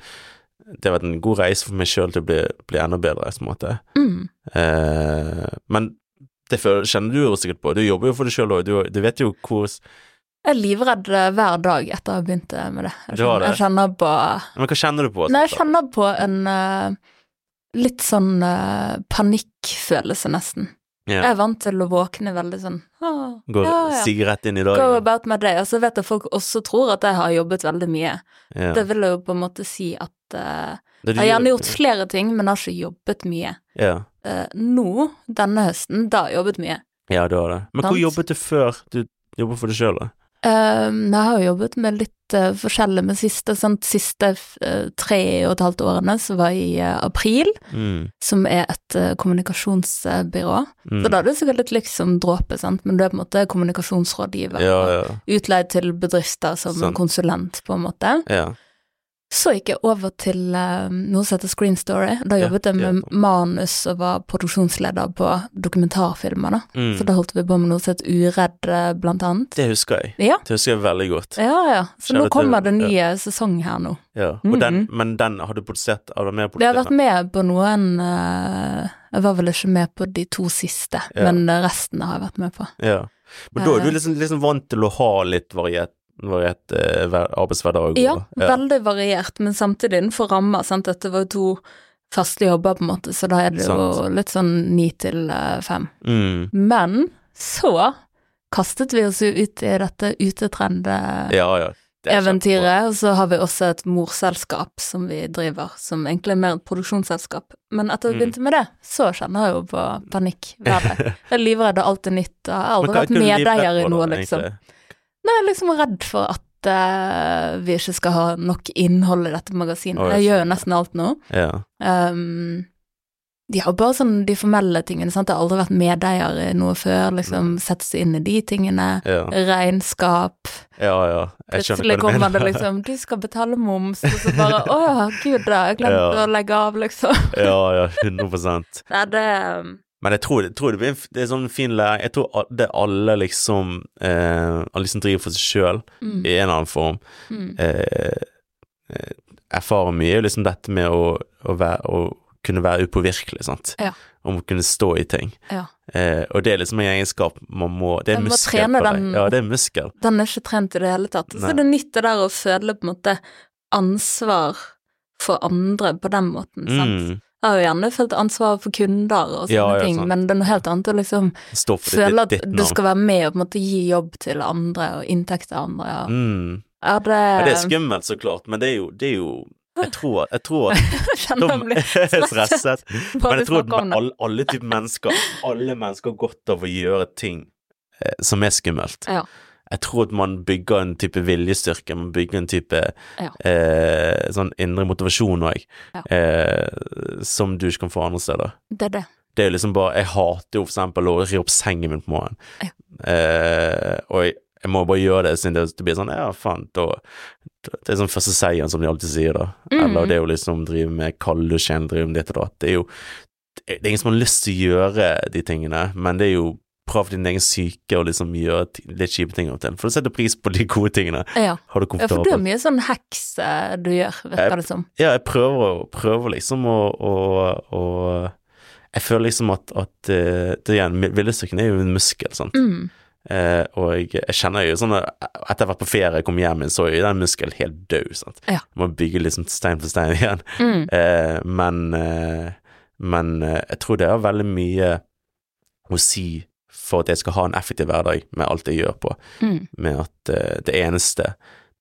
[SPEAKER 2] Det har vært en god reise for meg sjøl til å bli, bli enda bedre, på en måte.
[SPEAKER 1] mm.
[SPEAKER 2] Eh, men det føler, kjenner du jo sikkert på. Du jobber jo for deg sjøl òg. Du, du vet jo hvor
[SPEAKER 1] Jeg er livredd eh, hver dag etter å ha begynt eh, med det. Jeg
[SPEAKER 2] Du har
[SPEAKER 1] kjenner,
[SPEAKER 2] det? Altså,
[SPEAKER 1] jeg kjenner på
[SPEAKER 2] Men hva kjenner du på?
[SPEAKER 1] Nei, jeg kjenner på en eh, litt sånn eh, panikkfølelse, nesten.
[SPEAKER 2] Ja.
[SPEAKER 1] Jeg er vant til å våkne veldig sånn ah,
[SPEAKER 2] Går
[SPEAKER 1] ja, ja.
[SPEAKER 2] siger rett inn i dag.
[SPEAKER 1] Go about my day. Og så vet jeg at folk også tror at jeg har jobbet veldig mye.
[SPEAKER 2] Ja.
[SPEAKER 1] Det vil jeg jo på en måte si at eh,
[SPEAKER 2] Det du
[SPEAKER 1] Jeg har gjerne
[SPEAKER 2] gjør-
[SPEAKER 1] gjort flere ting, men har ikke jobbet mye.
[SPEAKER 2] ja.
[SPEAKER 1] Eh, nå, denne høsten, da har jeg jobbet mye.
[SPEAKER 2] ja, du har det. Men hvor
[SPEAKER 1] Sant.
[SPEAKER 2] jobbet du før du jobbet for deg sjøl, da?
[SPEAKER 1] Eh, men jeg har jo jobbet med litt eh, forskjellig med siste, sant, siste eh, tre og et halvt årene, som var i eh, april,
[SPEAKER 2] Mm.
[SPEAKER 1] som er et eh, kommunikasjonsbyrå.
[SPEAKER 2] Mm.
[SPEAKER 1] Så da er det sikkert litt liksom dråpe, sant, men du er på en måte kommunikasjonsrådgiver.
[SPEAKER 2] ja, ja,
[SPEAKER 1] Utleid til bedrifter som
[SPEAKER 2] Sant.
[SPEAKER 1] konsulent, på en måte.
[SPEAKER 2] ja.
[SPEAKER 1] Så gikk jeg over til eh, noe som heter Screen Story. Da
[SPEAKER 2] Ja,
[SPEAKER 1] jobbet jeg
[SPEAKER 2] ja.
[SPEAKER 1] med manus og var produksjonsleder på dokumentarfilmer. da.
[SPEAKER 2] Mm.
[SPEAKER 1] Så da holdt vi på med noe som het Uredd, eh, blant annet.
[SPEAKER 2] Det husker jeg.
[SPEAKER 1] Ja.
[SPEAKER 2] Det husker jeg veldig godt.
[SPEAKER 1] Ja, ja. Så nå
[SPEAKER 2] Kjære
[SPEAKER 1] kommer
[SPEAKER 2] til-
[SPEAKER 1] det ny eh, sesong her nå.
[SPEAKER 2] Ja. Og den,
[SPEAKER 1] Mhm.
[SPEAKER 2] men den har du produsert? Har du med
[SPEAKER 1] Jeg har
[SPEAKER 2] produsert?
[SPEAKER 1] vært med på noen eh, Jeg var vel ikke med på de to siste,
[SPEAKER 2] Ja.
[SPEAKER 1] men eh, resten har jeg vært med på.
[SPEAKER 2] Ja. Men da er
[SPEAKER 1] Eh.
[SPEAKER 2] du liksom, liksom vant til å ha litt variert, variert eh, hver- arbeidshverdag? og-
[SPEAKER 1] Ja, veldig variert, men samtidig innenfor rammer. Sant? Dette var jo to faste jobber, på en måte, så da er det jo
[SPEAKER 2] Sant.
[SPEAKER 1] litt sånn ni til eh, fem.
[SPEAKER 2] Mm.
[SPEAKER 1] Men så kastet vi oss jo ut i dette utetrendeeventyret,
[SPEAKER 2] Ja, ja. Det er kjempebra.
[SPEAKER 1] og så har vi også et morselskap som vi driver, som egentlig er mer et produksjonsselskap. Men etter
[SPEAKER 2] Mm.
[SPEAKER 1] vi begynte med det, så kjenner jeg jo på panikk hver dag. Jeg er livredd av alt det nytt, og jeg har
[SPEAKER 2] Men
[SPEAKER 1] aldri
[SPEAKER 2] hva er
[SPEAKER 1] vært
[SPEAKER 2] ikke du livredd
[SPEAKER 1] medeier i
[SPEAKER 2] for da,
[SPEAKER 1] noe, liksom.
[SPEAKER 2] egentlig?
[SPEAKER 1] Nei, jeg er liksom redd for at eh, vi ikke skal ha nok innhold i dette magasinet.
[SPEAKER 2] Å, jeg
[SPEAKER 1] Jeg gjør jo
[SPEAKER 2] skjønner.
[SPEAKER 1] nesten alt nå.
[SPEAKER 2] Ja.
[SPEAKER 1] Um, de har bare sånn de formelle tingene, sant. Jeg har aldri vært medeier i noe før, liksom. Sette seg inn i de tingene.
[SPEAKER 2] Ja,
[SPEAKER 1] Regnskap.
[SPEAKER 2] ja. ja. Jeg
[SPEAKER 1] Plutselig
[SPEAKER 2] skjønner hva du
[SPEAKER 1] kommer
[SPEAKER 2] mener.
[SPEAKER 1] det liksom 'Du skal betale moms', og så bare 'Å ja, gud da, jeg glemte
[SPEAKER 2] Ja.
[SPEAKER 1] å legge av', liksom.
[SPEAKER 2] ja, ja, 100
[SPEAKER 1] Nei, det
[SPEAKER 2] Men jeg tror, jeg tror det blir en, f- det er sånn fin læring. Jeg tror al- det alle liksom eh, Alle som driver for seg sjøl,
[SPEAKER 1] mm,
[SPEAKER 2] i en eller annen form,
[SPEAKER 1] mm,
[SPEAKER 2] eh, eh, erfarer mye. Liksom dette med å, å være å kunne være upåvirkelig, sant.
[SPEAKER 1] Ja.
[SPEAKER 2] Om å kunne stå i ting.
[SPEAKER 1] Ja.
[SPEAKER 2] Eh, og det er liksom en egenskap man må Det er
[SPEAKER 1] Man
[SPEAKER 2] en
[SPEAKER 1] må
[SPEAKER 2] muskel
[SPEAKER 1] trene
[SPEAKER 2] for deg.
[SPEAKER 1] den.
[SPEAKER 2] Ja, det er en muskel.
[SPEAKER 1] Den er ikke trent i det hele tatt. Så
[SPEAKER 2] Nei.
[SPEAKER 1] det er nytt det der å føle på en måte ansvar for andre på den måten, sant.
[SPEAKER 2] Mm.
[SPEAKER 1] Jeg har jo gjerne følt ansvar for kunder og sånne
[SPEAKER 2] Ja, ja,
[SPEAKER 1] ting,
[SPEAKER 2] sant.
[SPEAKER 1] men det er noe helt annet å liksom
[SPEAKER 2] Stå for ditt,
[SPEAKER 1] føle at
[SPEAKER 2] ditt, ditt
[SPEAKER 1] du
[SPEAKER 2] navn.
[SPEAKER 1] skal være med og på en måte gi jobb til andre og inntekt til andre. Ja.
[SPEAKER 2] Mm.
[SPEAKER 1] Er det,
[SPEAKER 2] Ja, det er skummelt, så klart, men det er jo, det er jo Jeg tror, jeg tror
[SPEAKER 1] Kjenner jeg blir stresset.
[SPEAKER 2] stresset.
[SPEAKER 1] bare
[SPEAKER 2] Men jeg
[SPEAKER 1] vi
[SPEAKER 2] tror
[SPEAKER 1] snakker om
[SPEAKER 2] at
[SPEAKER 1] det.
[SPEAKER 2] alle, alle typer mennesker Alle mennesker har godt av å gjøre ting eh, som er skummelt.
[SPEAKER 1] Ja.
[SPEAKER 2] Jeg tror at man bygger en type viljestyrke, man bygger en type
[SPEAKER 1] Ja.
[SPEAKER 2] eh, sånn indre motivasjon òg,
[SPEAKER 1] Ja.
[SPEAKER 2] eh, som du ikke kan få andre steder.
[SPEAKER 1] Det er det.
[SPEAKER 2] Det er jo liksom bare Jeg hater jo for eksempel å ri opp sengen min på morgenen.
[SPEAKER 1] Ja.
[SPEAKER 2] Eh, og jeg, jeg må bare gjøre det, siden det, det blir sånn Ja, faen, da Det er sånn første seieren, som de alltid sier, da.
[SPEAKER 1] Mm.
[SPEAKER 2] Eller det er jo liksom drive med kalddusjen, drive med ditt og datt. Det er jo Det er ingen som har lyst til å gjøre de tingene, men det er jo Prøv din egen syke og liksom gjøre ti- litt kjipe ting av og til. For du setter pris på de gode tingene.
[SPEAKER 1] Ja.
[SPEAKER 2] Har
[SPEAKER 1] ja, for du
[SPEAKER 2] du
[SPEAKER 1] har
[SPEAKER 2] komfortabelt?
[SPEAKER 1] mye sånn heks eh, du gjør,
[SPEAKER 2] Jeg-
[SPEAKER 1] virker det som.
[SPEAKER 2] Ja, jeg prøver, å- prøver liksom å, å, å Jeg føler liksom at, at eh, det igjen, Villestykken er jo en muskel, sant.
[SPEAKER 1] Mm.
[SPEAKER 2] Eh, og jeg, jeg kjenner jo sånn at Etter jeg har vært på ferie og kom hjem, så er jo den muskelen helt død. sant?
[SPEAKER 1] Ja.
[SPEAKER 2] Jeg må bygge liksom stein for stein igjen.
[SPEAKER 1] Mm.
[SPEAKER 2] Eh, men eh, men eh, jeg tror det har veldig mye å si for at jeg skal ha en effektiv hverdag med alt jeg gjør på,
[SPEAKER 1] Mm.
[SPEAKER 2] med at eh, det eneste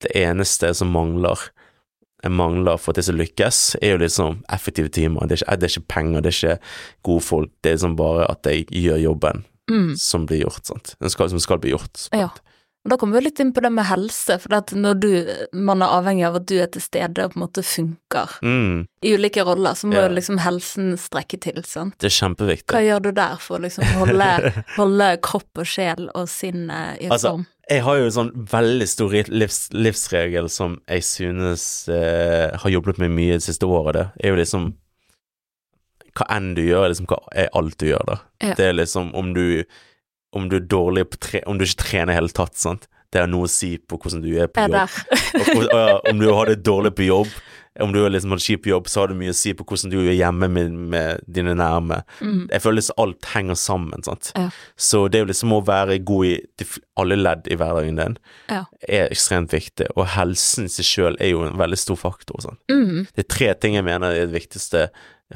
[SPEAKER 2] det eneste som mangler jeg mangler for at det skal lykkes, er jo liksom effektive timer. Det er, ikke, eh, det er ikke penger, det er ikke gode folk, det er liksom bare at jeg gjør jobben
[SPEAKER 1] Mm.
[SPEAKER 2] som blir gjort, sant. Den skal, som skal bli gjort.
[SPEAKER 1] Ja. Og Da kommer vi litt inn på det med helse, for det at når du, man er avhengig av at du er til stede og på en måte funker
[SPEAKER 2] Mm,
[SPEAKER 1] i ulike roller, så må
[SPEAKER 2] Ja.
[SPEAKER 1] jo liksom helsen strekke til, sant.
[SPEAKER 2] det er kjempeviktig.
[SPEAKER 1] Hva gjør du der for å liksom holde, holde kropp og sjel og sinn eh, i
[SPEAKER 2] Altså,
[SPEAKER 1] form?
[SPEAKER 2] Jeg har jo en sånn veldig stor livs, livsregel som jeg synes eh, har jobbet med mye det siste året. Det er jo liksom Hva enn du gjør, er liksom hva er alt du gjør, da.
[SPEAKER 1] Ja.
[SPEAKER 2] Det er liksom om du om du er dårlig på tre, om du ikke trener i hele tatt, sant. Det har noe å si på hvordan du er på
[SPEAKER 1] Jeg er
[SPEAKER 2] jobb.
[SPEAKER 1] der.
[SPEAKER 2] Og hvor- og ja, om du har det dårlig på jobb, om du liksom har det kjipt på jobb, så har det mye å si på hvordan du er hjemme med, med dine nærme.
[SPEAKER 1] Mm.
[SPEAKER 2] Jeg føler liksom alt henger sammen, sant.
[SPEAKER 1] Ja.
[SPEAKER 2] Så det er jo liksom å være god i de fl- alle ledd i hverdagen din,
[SPEAKER 1] Ja.
[SPEAKER 2] er ekstremt viktig. Og helsen i seg sjøl er jo en veldig stor faktor. Sant?
[SPEAKER 1] Mm.
[SPEAKER 2] Det er tre ting jeg mener er det viktigste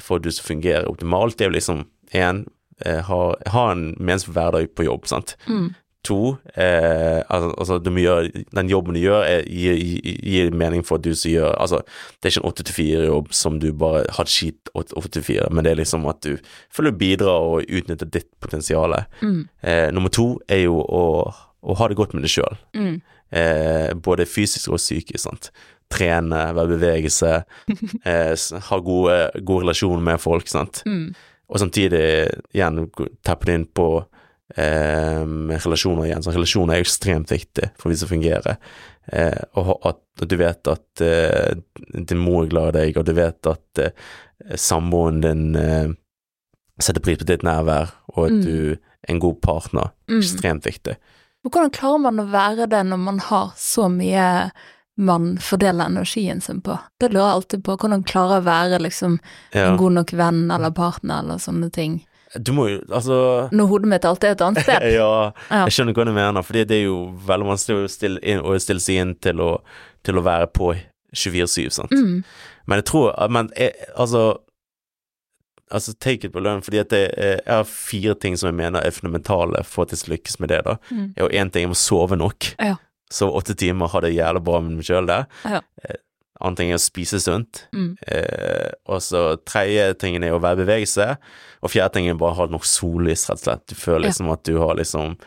[SPEAKER 2] for at du skal fungere optimalt. Det er jo liksom én, ha, ha en meningsfull hverdag på jobb, sant.
[SPEAKER 1] Mm.
[SPEAKER 2] To, eh, altså, altså du må gjøre, den jobben du gjør, er- gir gir- gir mening for at du som gjør Altså, det er ikke en 8-4-jobb som du bare har skit 8-4, men det er liksom at du føler du bidrar og utnytter ditt potensial.
[SPEAKER 1] Mm.
[SPEAKER 2] Eh, nummer to er jo å, å ha det godt med deg sjøl,
[SPEAKER 1] Mm.
[SPEAKER 2] eh, både fysisk og psykisk. sant? Trene, være i bevegelse, eh, s- ha gode, gode relasjoner med folk. sant?
[SPEAKER 1] Mm.
[SPEAKER 2] Og samtidig igjen tappe det inn på eh, relasjoner igjen. Så relasjoner er ekstremt viktig for hvis det fungerer. Eh, og ha- at at du vet at eh, din mor er glad i deg, og du vet at eh, samboeren din eh, setter pris på ditt nærvær, og at
[SPEAKER 1] Mm.
[SPEAKER 2] du er en god partner.
[SPEAKER 1] Mm.
[SPEAKER 2] Ekstremt viktig.
[SPEAKER 1] Men hvordan klarer man å være det når man har så mye man fordeler energien sin på? Det lurer jeg alltid på. Hvordan klarer jeg å være liksom
[SPEAKER 2] Ja.
[SPEAKER 1] en god nok venn eller partner eller sånne ting?
[SPEAKER 2] Du må jo, altså
[SPEAKER 1] Når hodet mitt alltid er et annet sted.
[SPEAKER 2] ja,
[SPEAKER 1] Ja.
[SPEAKER 2] jeg skjønner hva du mener, fordi det er jo veldig vanskelig å stille, inn, å stille seg inn til å, til å være på 24-7, sant.
[SPEAKER 1] Mm.
[SPEAKER 2] Men jeg tror men jeg, Altså Altså take it på lønn, fordi at jeg, jeg har fire ting som jeg mener er fundamentale for at jeg skal lykkes med det. da
[SPEAKER 1] Mm.
[SPEAKER 2] Og én ting jeg må sove nok.
[SPEAKER 1] Ja.
[SPEAKER 2] Sove åtte timer, ha det jævlig bra med meg sjøl der.
[SPEAKER 1] Ja.
[SPEAKER 2] Eh, annen ting er å spise sunt.
[SPEAKER 1] Mm.
[SPEAKER 2] Eh, og så tredje tingen er å være i bevegelse. Og fjerde tingen er bare å ha nok sollys, rett og slett. Du føler
[SPEAKER 1] Ja.
[SPEAKER 2] liksom at du har liksom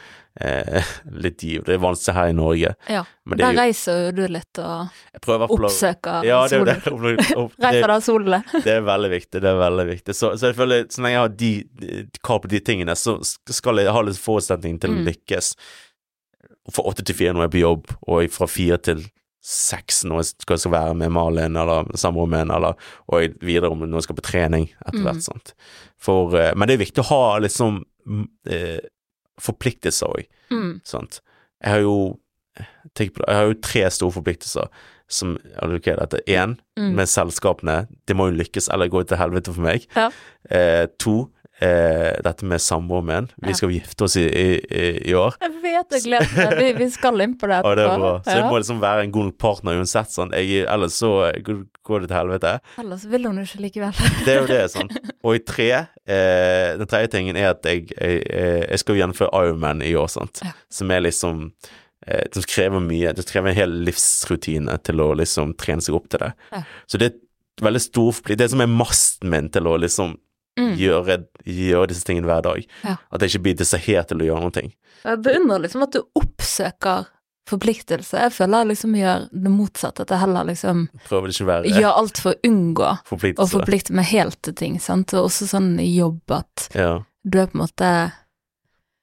[SPEAKER 2] eh, litt liv. Det er vanskelig her i Norge.
[SPEAKER 1] Ja.
[SPEAKER 2] Men det
[SPEAKER 1] Der
[SPEAKER 2] er jo,
[SPEAKER 1] reiser jo du litt og
[SPEAKER 2] jeg prøver i hvert fall å
[SPEAKER 1] oppsøker
[SPEAKER 2] Ja, det er jo
[SPEAKER 1] solen.
[SPEAKER 2] det. Opp- opp- det-
[SPEAKER 1] Reiser da solen.
[SPEAKER 2] det er veldig viktig. det er veldig viktig Så, så jeg føler så lenge jeg har de, de kar på de tingene, så skal jeg ha litt forutsetning til å
[SPEAKER 1] Mm.
[SPEAKER 2] lykkes. Og Fra åtte til fire når jeg er på jobb, og fra fire til seks når jeg skal skal være med Malin eller samboeren min, eller og jeg- videre om når jeg skal på trening etter
[SPEAKER 1] Mm.
[SPEAKER 2] hvert. sant For, eh, men det er viktig å ha liksom mm, eh, forpliktelser òg
[SPEAKER 1] Mm.
[SPEAKER 2] sant. Jeg har jo tenk på det, jeg har jo tre store forpliktelser. som ok, dette er én,
[SPEAKER 1] Mm.
[SPEAKER 2] med selskapene. Det må jo lykkes, eller gå til helvete for meg.
[SPEAKER 1] Ja.
[SPEAKER 2] Eh, to, eh, dette med samboeren min. Vi
[SPEAKER 1] Ja.
[SPEAKER 2] skal jo gifte oss i, i, i, i år.
[SPEAKER 1] Jeg vet jeg gleder meg. Vi, vi skal inn på det
[SPEAKER 2] Og det er bra. Så det
[SPEAKER 1] Ja.
[SPEAKER 2] må liksom være en god nok partner uansett. Sånn. Jeg, ellers så går det til helvete.
[SPEAKER 1] Ellers vil hun ikke likevel.
[SPEAKER 2] Det er jo det, sant. Og i tre, eh, den tredje tingen er at jeg, jeg, eh, jeg skal jo gjennomføre Ironman i år, sant.
[SPEAKER 1] Ja.
[SPEAKER 2] Som er liksom eh, Som krever mye. Det krever en hel livsrutine til å liksom trene seg opp til det.
[SPEAKER 1] Ja.
[SPEAKER 2] Så det er veldig stor forpli- Det er som er masten min til å liksom
[SPEAKER 1] Mm.
[SPEAKER 2] gjøre, gjøre disse tingene hver dag.
[SPEAKER 1] Ja.
[SPEAKER 2] At jeg ikke blir distrahert til å gjøre noen ting.
[SPEAKER 1] Jeg beundrer liksom at du oppsøker forpliktelse. Jeg føler jeg liksom gjør det motsatte, at jeg heller liksom
[SPEAKER 2] Prøver ikke å være
[SPEAKER 1] gjør alt for å unngå å
[SPEAKER 2] forpliktelse.
[SPEAKER 1] forplikte meg helt til ting, sant. Og også sånn i jobb at
[SPEAKER 2] ja.
[SPEAKER 1] du er på en måte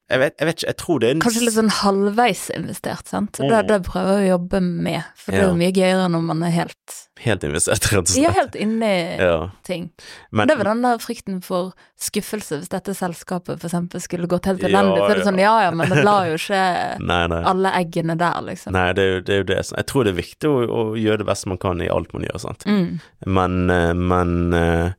[SPEAKER 2] jeg, vet, jeg vet ikke, jeg tror det er en
[SPEAKER 1] kanskje litt sånn halvveis investert, sant. Og det er det jeg prøver å jobbe med, for det er
[SPEAKER 2] Mm. Ja.
[SPEAKER 1] jo mye gøyere når man er helt
[SPEAKER 2] Helt investert, rett og
[SPEAKER 1] sånn- Ja,
[SPEAKER 2] slett.
[SPEAKER 1] helt inne i
[SPEAKER 2] Ja.
[SPEAKER 1] ting.
[SPEAKER 2] Men,
[SPEAKER 1] det var den der frykten for skuffelse hvis dette selskapet for eksempel skulle gått helt
[SPEAKER 2] Ja,
[SPEAKER 1] elendig. så er det
[SPEAKER 2] ja.
[SPEAKER 1] sånn, ja ja, men det la jo ikke
[SPEAKER 2] nei, nei.
[SPEAKER 1] alle eggene der, liksom.
[SPEAKER 2] nei det, er jo, det er jo det. som- Jeg tror det er viktig å, å gjøre det beste man kan i alt man gjør, sant.
[SPEAKER 1] Mm.
[SPEAKER 2] Men, eh, men eh,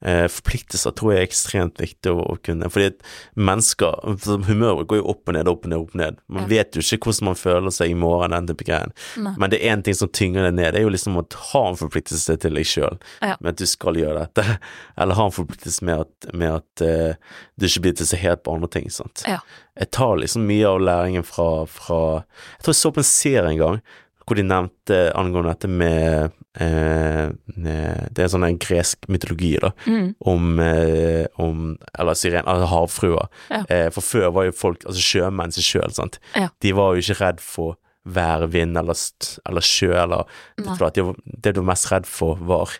[SPEAKER 2] eh, forpliktelser tror jeg er ekstremt viktig å, å kunne. Fordi at mennesker, altså, humøret går jo opp og ned, opp og ned, opp og ned. Man
[SPEAKER 1] Ja.
[SPEAKER 2] vet jo ikke hvordan man føler seg i morgen, den type greien.
[SPEAKER 1] Nei.
[SPEAKER 2] Men det er én ting som tynger deg ned, det er jo liksom å ha en forpliktelse til deg sjøl
[SPEAKER 1] Ja.
[SPEAKER 2] med at du skal gjøre dette, eller ha en forpliktelse med at, med at eh, du ikke blir distrahert på andre ting. Sant?
[SPEAKER 1] Ja.
[SPEAKER 2] Jeg tar liksom mye av læringen fra, fra Jeg tror jeg så på en serie en gang hvor de nevnte angående dette med eh, med- Det er sånn en gresk mytologi, da
[SPEAKER 1] Mm.
[SPEAKER 2] om, eh, om eller siren, altså havfruer.
[SPEAKER 1] Ja.
[SPEAKER 2] Eh, for før var jo folk, altså sjømenn seg sjøl, sant.
[SPEAKER 1] Ja.
[SPEAKER 2] De var jo ikke redd for vær, vind eller, st- eller sjø eller
[SPEAKER 1] Nei.
[SPEAKER 2] for at de, var- Det du var mest redd for, var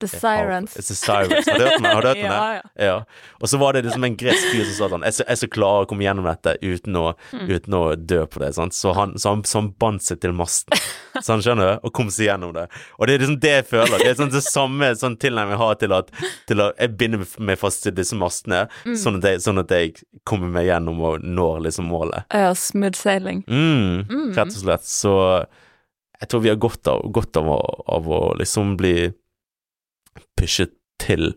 [SPEAKER 1] The Sirens.
[SPEAKER 2] It's the sirens. Har du hørt den? Har du hørt den?
[SPEAKER 1] ja, ja.
[SPEAKER 2] Ja. Og så var det liksom en gresk fyr som sa sånn Jeg skal- jeg skal klare å komme gjennom dette uten å,
[SPEAKER 1] Mm.
[SPEAKER 2] uten å dø på det. Sant? Så, han, så, han, så han bandt seg til masten, så han skjønner, og kom seg gjennom det. Og det er liksom det jeg føler. Det er sånn, det samme sånn tilnærming jeg har til at, til at jeg binder meg fast til disse mastene,
[SPEAKER 1] Mm.
[SPEAKER 2] sånn, at jeg, sånn at jeg kommer meg gjennom og når liksom målet.
[SPEAKER 1] Ja, smooth sailing.
[SPEAKER 2] Mm, Rett og slett. Så jeg tror vi har godt av, godt av, å, av å liksom bli pushet til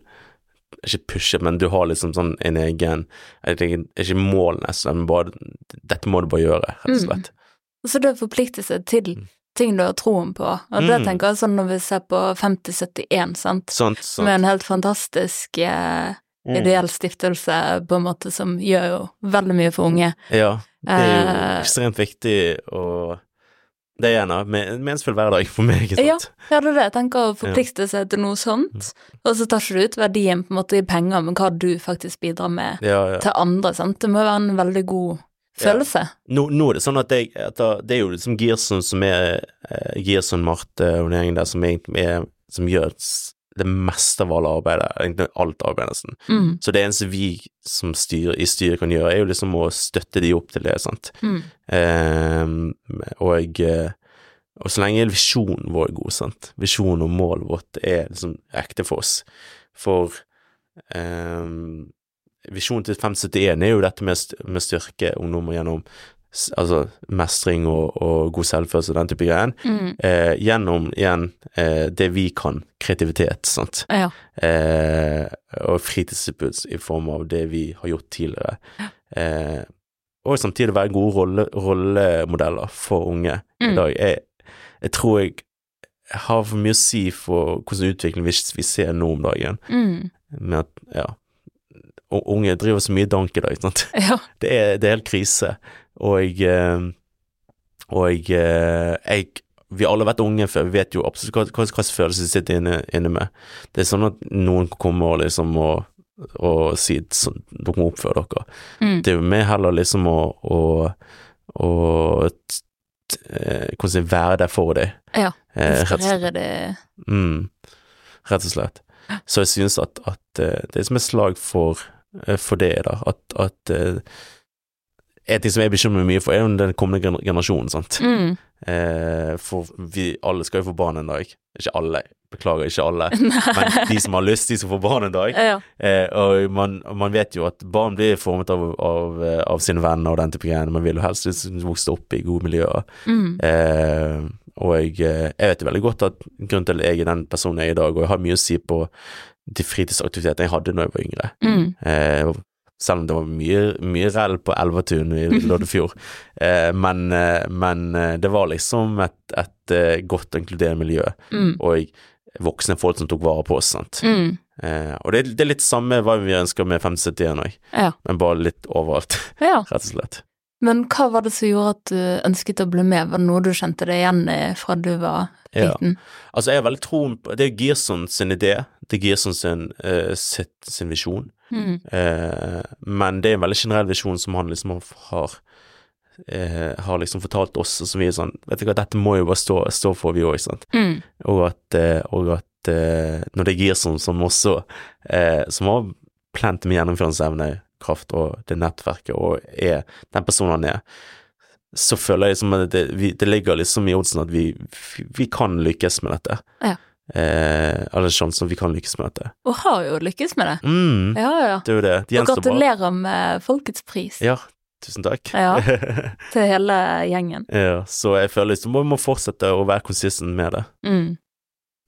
[SPEAKER 2] Ikke pushet, men du har liksom sånn en egen jeg tenker, Ikke mål, nesten, men bare Dette må du bare gjøre, rett og
[SPEAKER 1] Mm.
[SPEAKER 2] slett.
[SPEAKER 1] Så det forplikter seg til
[SPEAKER 2] Mm.
[SPEAKER 1] ting du har troen på. Og det
[SPEAKER 2] Mm.
[SPEAKER 1] tenker jeg sånn når vi ser på 5071, sant.
[SPEAKER 2] Sånt,
[SPEAKER 1] Som er
[SPEAKER 2] sånt.
[SPEAKER 1] en helt fantastisk eh,
[SPEAKER 2] Mm.
[SPEAKER 1] ideell stiftelse, på en måte, som gjør jo veldig mye for unge.
[SPEAKER 2] Ja. Det er jo
[SPEAKER 1] Eh,
[SPEAKER 2] ekstremt viktig å Det er en av men- meningsfull hverdag for meg, ikke sant?
[SPEAKER 1] Ja, det er det. Jeg tenker å forplikte seg til noe sånt,
[SPEAKER 2] Mm.
[SPEAKER 1] og så tar ikke du ut verdien på en måte i penger, men hva du faktisk bidrar med
[SPEAKER 2] Ja, ja.
[SPEAKER 1] til andre, sant. Det må være en veldig god følelse.
[SPEAKER 2] Nå, nå er det sånn at, jeg, at da- det er jo liksom Girson som er eh, Girson, Marte og den gjengen der som, egentlig er, som gjør s- det meste av alle arbeidet, egentlig alt arbeidet nesten.
[SPEAKER 1] Mm,
[SPEAKER 2] Så det eneste vi som styr, i styret kan gjøre, er jo liksom å støtte de opp til det, sant.
[SPEAKER 1] mm,
[SPEAKER 2] Ehm, og, eh, og så lenge visjonen vår er god, sant. Visjonen og målet vårt er liksom ekte for oss. For ehm, visjonen til 571 er jo dette med, st- med styrke ungdommer gjennom s- altså, mestring og, og god selvfølelse og den type greien.
[SPEAKER 1] mm.
[SPEAKER 2] Eh, gjennom igjen eh, det vi kan, kreativitet, sant.
[SPEAKER 1] Ja.
[SPEAKER 2] Eh, og fritidstilbud i form av det vi har gjort tidligere. Eh, og samtidig være gode rolle, rollemodeller for unge
[SPEAKER 1] Mm.
[SPEAKER 2] i dag. Jeg, jeg tror jeg har for mye å si for hvordan utvikling vi, vi ser nå om dagen.
[SPEAKER 1] Mm,
[SPEAKER 2] Med at, ja u- Unge driver så mye dank i dag, ikke sant.
[SPEAKER 1] ja.
[SPEAKER 2] Det er, det er helt krise. Og, eh, og eh, jeg Vi har alle vært unge før, vi vet jo absolutt hva, hva hva slags følelser vi sitter inne, inne med. Det er sånn at noen kommer og liksom og, og sier sånn Dere må oppføre dere.
[SPEAKER 1] Mm.
[SPEAKER 2] Det er jo mer heller liksom å, å, å t, t, eh, Hvordan skal jeg være der for deg?
[SPEAKER 1] Ja,
[SPEAKER 2] Eh, rett og slett.
[SPEAKER 1] Inspirerer det
[SPEAKER 2] Mm, rett og slett. Så jeg synes at, at eh, det er som et slag for, eh, for det, da. At, at eh, En ting som jeg bekymrer meg mye for, er jo den kommende gener- generasjonen, sant.
[SPEAKER 1] mm.
[SPEAKER 2] Eh, for vi alle skal jo få barn en dag. Ikke alle, beklager, ikke alle. Men
[SPEAKER 1] Nei.
[SPEAKER 2] de som har lyst, de skal få barn en dag.
[SPEAKER 1] Ja.
[SPEAKER 2] Eh, og man, man vet jo at barn blir formet av, av, eh, av sine venner og den type greier. Man vil jo helst vokse opp i gode miljøer.
[SPEAKER 1] Mm.
[SPEAKER 2] Eh, og jeg, eh, jeg vet jo veldig godt at grunnen til at jeg er den personen jeg er i dag, og jeg har mye å si på de fritidsaktivitetene jeg hadde da jeg var yngre.
[SPEAKER 1] Mm.
[SPEAKER 2] Eh, selv om det var mye, mye rell på Elvetun i Loddefjord. Eh, men, eh, men eh, det var liksom et, et eh, godt inkluderende miljø,
[SPEAKER 1] Mm.
[SPEAKER 2] og voksne folk som tok vare på oss. sant?
[SPEAKER 1] Mm.
[SPEAKER 2] Eh, og det, det er litt samme hva vi ønsker med 571 òg,
[SPEAKER 1] Ja.
[SPEAKER 2] men bare litt overalt,
[SPEAKER 1] ja.
[SPEAKER 2] rett og slett.
[SPEAKER 1] Men hva var det som gjorde at du ønsket å bli med? Var det noe du kjente deg igjen i fra du var
[SPEAKER 2] Ja.
[SPEAKER 1] liten?
[SPEAKER 2] Altså, jeg har veldig troen på Det er Girson sin idé, det er Girson sin, eh, sitt, sin visjon,
[SPEAKER 1] Mm.
[SPEAKER 2] eh, men det er en veldig generell visjon som han liksom har eh, har liksom fortalt oss, og som vi er sånn Vet du hva, dette må jo bare stå, stå for, vi òg, sant.
[SPEAKER 1] Mm.
[SPEAKER 2] Og at, eh, og at eh, når det er Girson som også eh, Som har plent med gjennomføringsevne, kraft og det nettverket, og er den personen han er, så føler jeg liksom at det, vi, det ligger liksom i oddsen at vi, vi kan lykkes med dette.
[SPEAKER 1] Ja.
[SPEAKER 2] Eh, eller sjansen vi kan lykkes med dette.
[SPEAKER 1] Og har jo lykkes med det.
[SPEAKER 2] Mm,
[SPEAKER 1] Ja, ja.
[SPEAKER 2] det er jo det.
[SPEAKER 1] Og
[SPEAKER 2] Det gjenstår bare
[SPEAKER 1] gratulerer med Folkets pris
[SPEAKER 2] Ja, tusen takk.
[SPEAKER 1] Ja. til hele gjengen.
[SPEAKER 2] Ja, så jeg føler liksom man må fortsette å være konsistent med det.
[SPEAKER 1] Mm.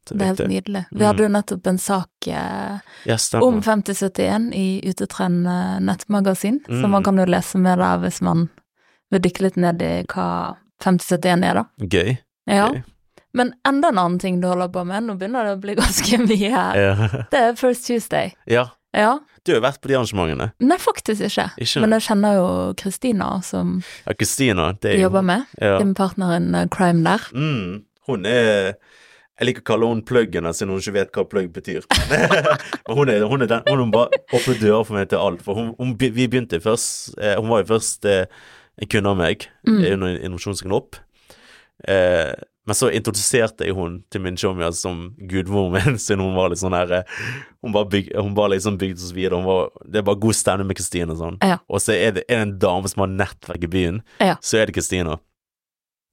[SPEAKER 1] Det er helt
[SPEAKER 2] viktig.
[SPEAKER 1] nydelig.
[SPEAKER 2] Mm.
[SPEAKER 1] Vi hadde jo nettopp en sak eh,
[SPEAKER 2] Ja,
[SPEAKER 1] om
[SPEAKER 2] stemmer.
[SPEAKER 1] 5071 i Utetrend eh, nettmagasin, så
[SPEAKER 2] Mm.
[SPEAKER 1] man kan jo lese mer der hvis man vil dykke litt ned i hva 5071 er, da.
[SPEAKER 2] Gøy.
[SPEAKER 1] Ja.
[SPEAKER 2] Gøy.
[SPEAKER 1] Men enda en annen ting du holder på med, nå begynner det å bli ganske mye her,
[SPEAKER 2] Ja.
[SPEAKER 1] det er First Tuesday.
[SPEAKER 2] ja.
[SPEAKER 1] Ja.
[SPEAKER 2] Du har jo vært på de arrangementene.
[SPEAKER 1] Nei, faktisk ikke.
[SPEAKER 2] Ikke
[SPEAKER 1] Men
[SPEAKER 2] det?
[SPEAKER 1] jeg kjenner jo Kristina, som
[SPEAKER 2] Ja, Kristina, det er
[SPEAKER 1] vi
[SPEAKER 2] jo
[SPEAKER 1] jobber med.
[SPEAKER 2] Ja.
[SPEAKER 1] Din partneren eh, Crime der.
[SPEAKER 2] Mm, hun er Jeg liker å kalle hun pluggen, da, siden hun ikke vet hva plugg betyr. Men hun er, hun er den Hun bare åpner dører for meg til alt. For hun, hun, be- vi begynte først eh, Hun var jo først eh, en kunde av meg
[SPEAKER 1] Mm.
[SPEAKER 2] eh, under Innovasjonsknopp. Eh, men så introduserte jeg hun til min showmia som gudmor min, siden hun var litt sånn her eh, Hun bare, byg, hun bare liksom bygde oss videre. Hun var, det er bare god stemning med Kristine og sånn.
[SPEAKER 1] Ja.
[SPEAKER 2] Og så er det, er det en dame som har nettverk i byen,
[SPEAKER 1] Ja.
[SPEAKER 2] så er det Kristina.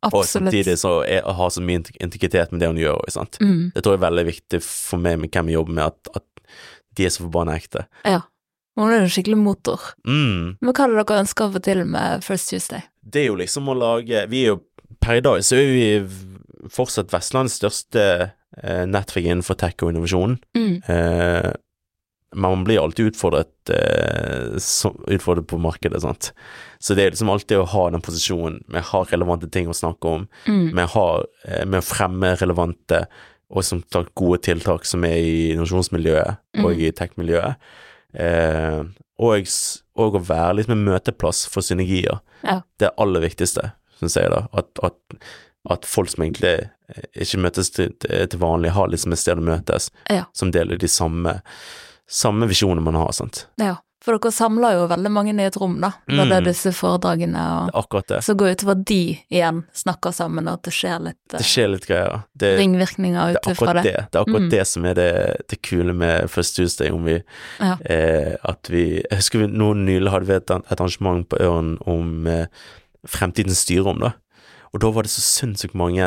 [SPEAKER 2] Og samtidig
[SPEAKER 1] Absolutt.
[SPEAKER 2] så er, har så mye integritet med det hun gjør også, sant.
[SPEAKER 1] Mm.
[SPEAKER 2] Det tror jeg er veldig viktig for meg med hvem jeg jobber med, at, at de er så forbanna ekte.
[SPEAKER 1] Ja. Hun er jo en skikkelig motor.
[SPEAKER 2] Mm.
[SPEAKER 1] Men hva er det dere ønsker å få til med First Tuesday?
[SPEAKER 2] Det er jo liksom å lage Vi er jo per i dag så er vi v- fortsatt Vestlandets største eh, nettverk innenfor tech og innovasjon.
[SPEAKER 1] Mm.
[SPEAKER 2] Eh, men man blir alltid utfordret, eh, så, utfordret på markedet, sant. Så det er liksom alltid å ha den posisjonen, med å ha relevante ting å snakke om.
[SPEAKER 1] Mm.
[SPEAKER 2] med, å ha- eh, med å fremme relevante og som sagt gode tiltak som er i innovasjonsmiljøet
[SPEAKER 1] Mm.
[SPEAKER 2] og i tech-miljøet. Eh, og, s- og å være liksom en møteplass for synergier.
[SPEAKER 1] Ja.
[SPEAKER 2] Det er aller viktigste, syns jeg, da. At, at, at folk som egentlig eh, ikke møtes til, til vanlig, har liksom et sted å møtes,
[SPEAKER 1] Ja.
[SPEAKER 2] som deler de samme, samme visjonene man har, sant.
[SPEAKER 1] ja. For dere samler jo veldig mange i et rom, da, når
[SPEAKER 2] Mm.
[SPEAKER 1] det er disse foredragene,
[SPEAKER 2] Det
[SPEAKER 1] og
[SPEAKER 2] er akkurat det.
[SPEAKER 1] så går det utover de igjen snakker sammen, og at det skjer litt eh,
[SPEAKER 2] Det skjer litt greier. Det,
[SPEAKER 1] ringvirkninger
[SPEAKER 2] det
[SPEAKER 1] ut
[SPEAKER 2] er
[SPEAKER 1] ifra
[SPEAKER 2] akkurat
[SPEAKER 1] det.
[SPEAKER 2] det. Det er akkurat
[SPEAKER 1] Mm.
[SPEAKER 2] det som er det, det kule med First Tuesday, om vi
[SPEAKER 1] Ja.
[SPEAKER 2] eh, At vi Jeg husker vi nå nylig hadde vi et, an- et arrangement på Ørn om eh, fremtidens styrerom, da. Og da var det så sinnssykt mange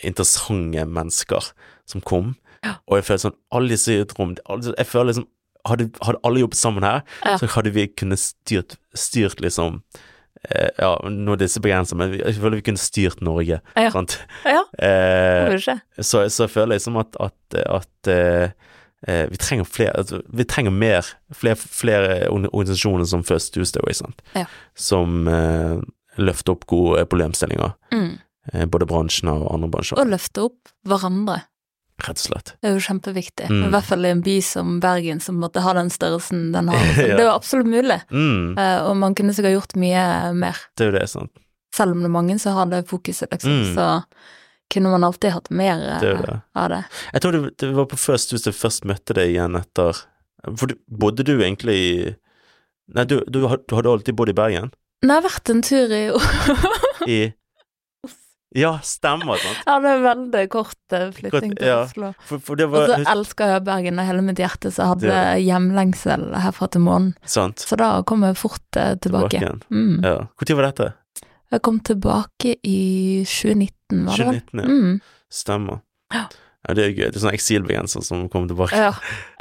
[SPEAKER 2] interessante mennesker som kom.
[SPEAKER 1] Ja.
[SPEAKER 2] Og jeg føler sånn Alle disse i et rom alle, Jeg føler liksom hadde, hadde alle jobbet sammen her,
[SPEAKER 1] Ja.
[SPEAKER 2] så hadde vi kunnet styrt, styrt liksom eh, Ja, nå er disse begrenset, men vi- jeg føler vi kunne styrt Norge,
[SPEAKER 1] Ja.
[SPEAKER 2] sant?
[SPEAKER 1] Ja,
[SPEAKER 2] Eh,
[SPEAKER 1] hvorfor ikke?
[SPEAKER 2] så, så jeg føler liksom at, at, at eh, eh, vi trenger flere at Vi trenger mer flere, flere organ- organisasjoner som First Tuesday, ikke sant?
[SPEAKER 1] Ja.
[SPEAKER 2] som eh, løfter opp gode eh, problemstillinger.
[SPEAKER 1] Mm.
[SPEAKER 2] eh, Både bransjen og andre bransjer,
[SPEAKER 1] Og løfte opp hverandre.
[SPEAKER 2] rett og slett.
[SPEAKER 1] Det er jo kjempeviktig.
[SPEAKER 2] Mm.
[SPEAKER 1] I hvert fall i en by som Bergen, som måtte ha den størrelsen den har. Så
[SPEAKER 2] Ja.
[SPEAKER 1] Det er jo absolutt mulig,
[SPEAKER 2] Mm,
[SPEAKER 1] Eh, og man kunne sikkert gjort mye mer.
[SPEAKER 2] det er jo det, sant.
[SPEAKER 1] Selv om det er mange som har det fokuset, liksom,
[SPEAKER 2] Mm.
[SPEAKER 1] så kunne man alltid hatt mer eh,
[SPEAKER 2] Det er jo det.
[SPEAKER 1] av det.
[SPEAKER 2] Jeg tror det, det var på First Tuesday jeg først møtte deg igjen etter For du, bodde du egentlig i Nei, du, du, had- du hadde alltid bodd i Bergen?
[SPEAKER 1] Men jeg har vært en tur i
[SPEAKER 2] I Ja, stemmer, sant.
[SPEAKER 1] Ja, det er veldig kort eh, flytting
[SPEAKER 2] Kort,
[SPEAKER 1] til
[SPEAKER 2] ja.
[SPEAKER 1] Oslo.
[SPEAKER 2] For, for det
[SPEAKER 1] Og
[SPEAKER 2] var
[SPEAKER 1] så elsker jeg Bergen av hele mitt hjerte, så jeg
[SPEAKER 2] Det
[SPEAKER 1] hadde
[SPEAKER 2] er
[SPEAKER 1] hjemlengsel herfra til månen.
[SPEAKER 2] Sant.
[SPEAKER 1] Så da kom jeg fort eh,
[SPEAKER 2] Tilbake
[SPEAKER 1] tilbake.
[SPEAKER 2] igjen.
[SPEAKER 1] Mm.
[SPEAKER 2] Ja. Når var dette?
[SPEAKER 1] Jeg kom tilbake i 2019, var det vel?
[SPEAKER 2] 2019, ja.
[SPEAKER 1] Mm.
[SPEAKER 2] Stemmer.
[SPEAKER 1] Ja.
[SPEAKER 2] Ja, det er gøy. Det er sånn eksilbegenser som kommer tilbake.
[SPEAKER 1] Ja.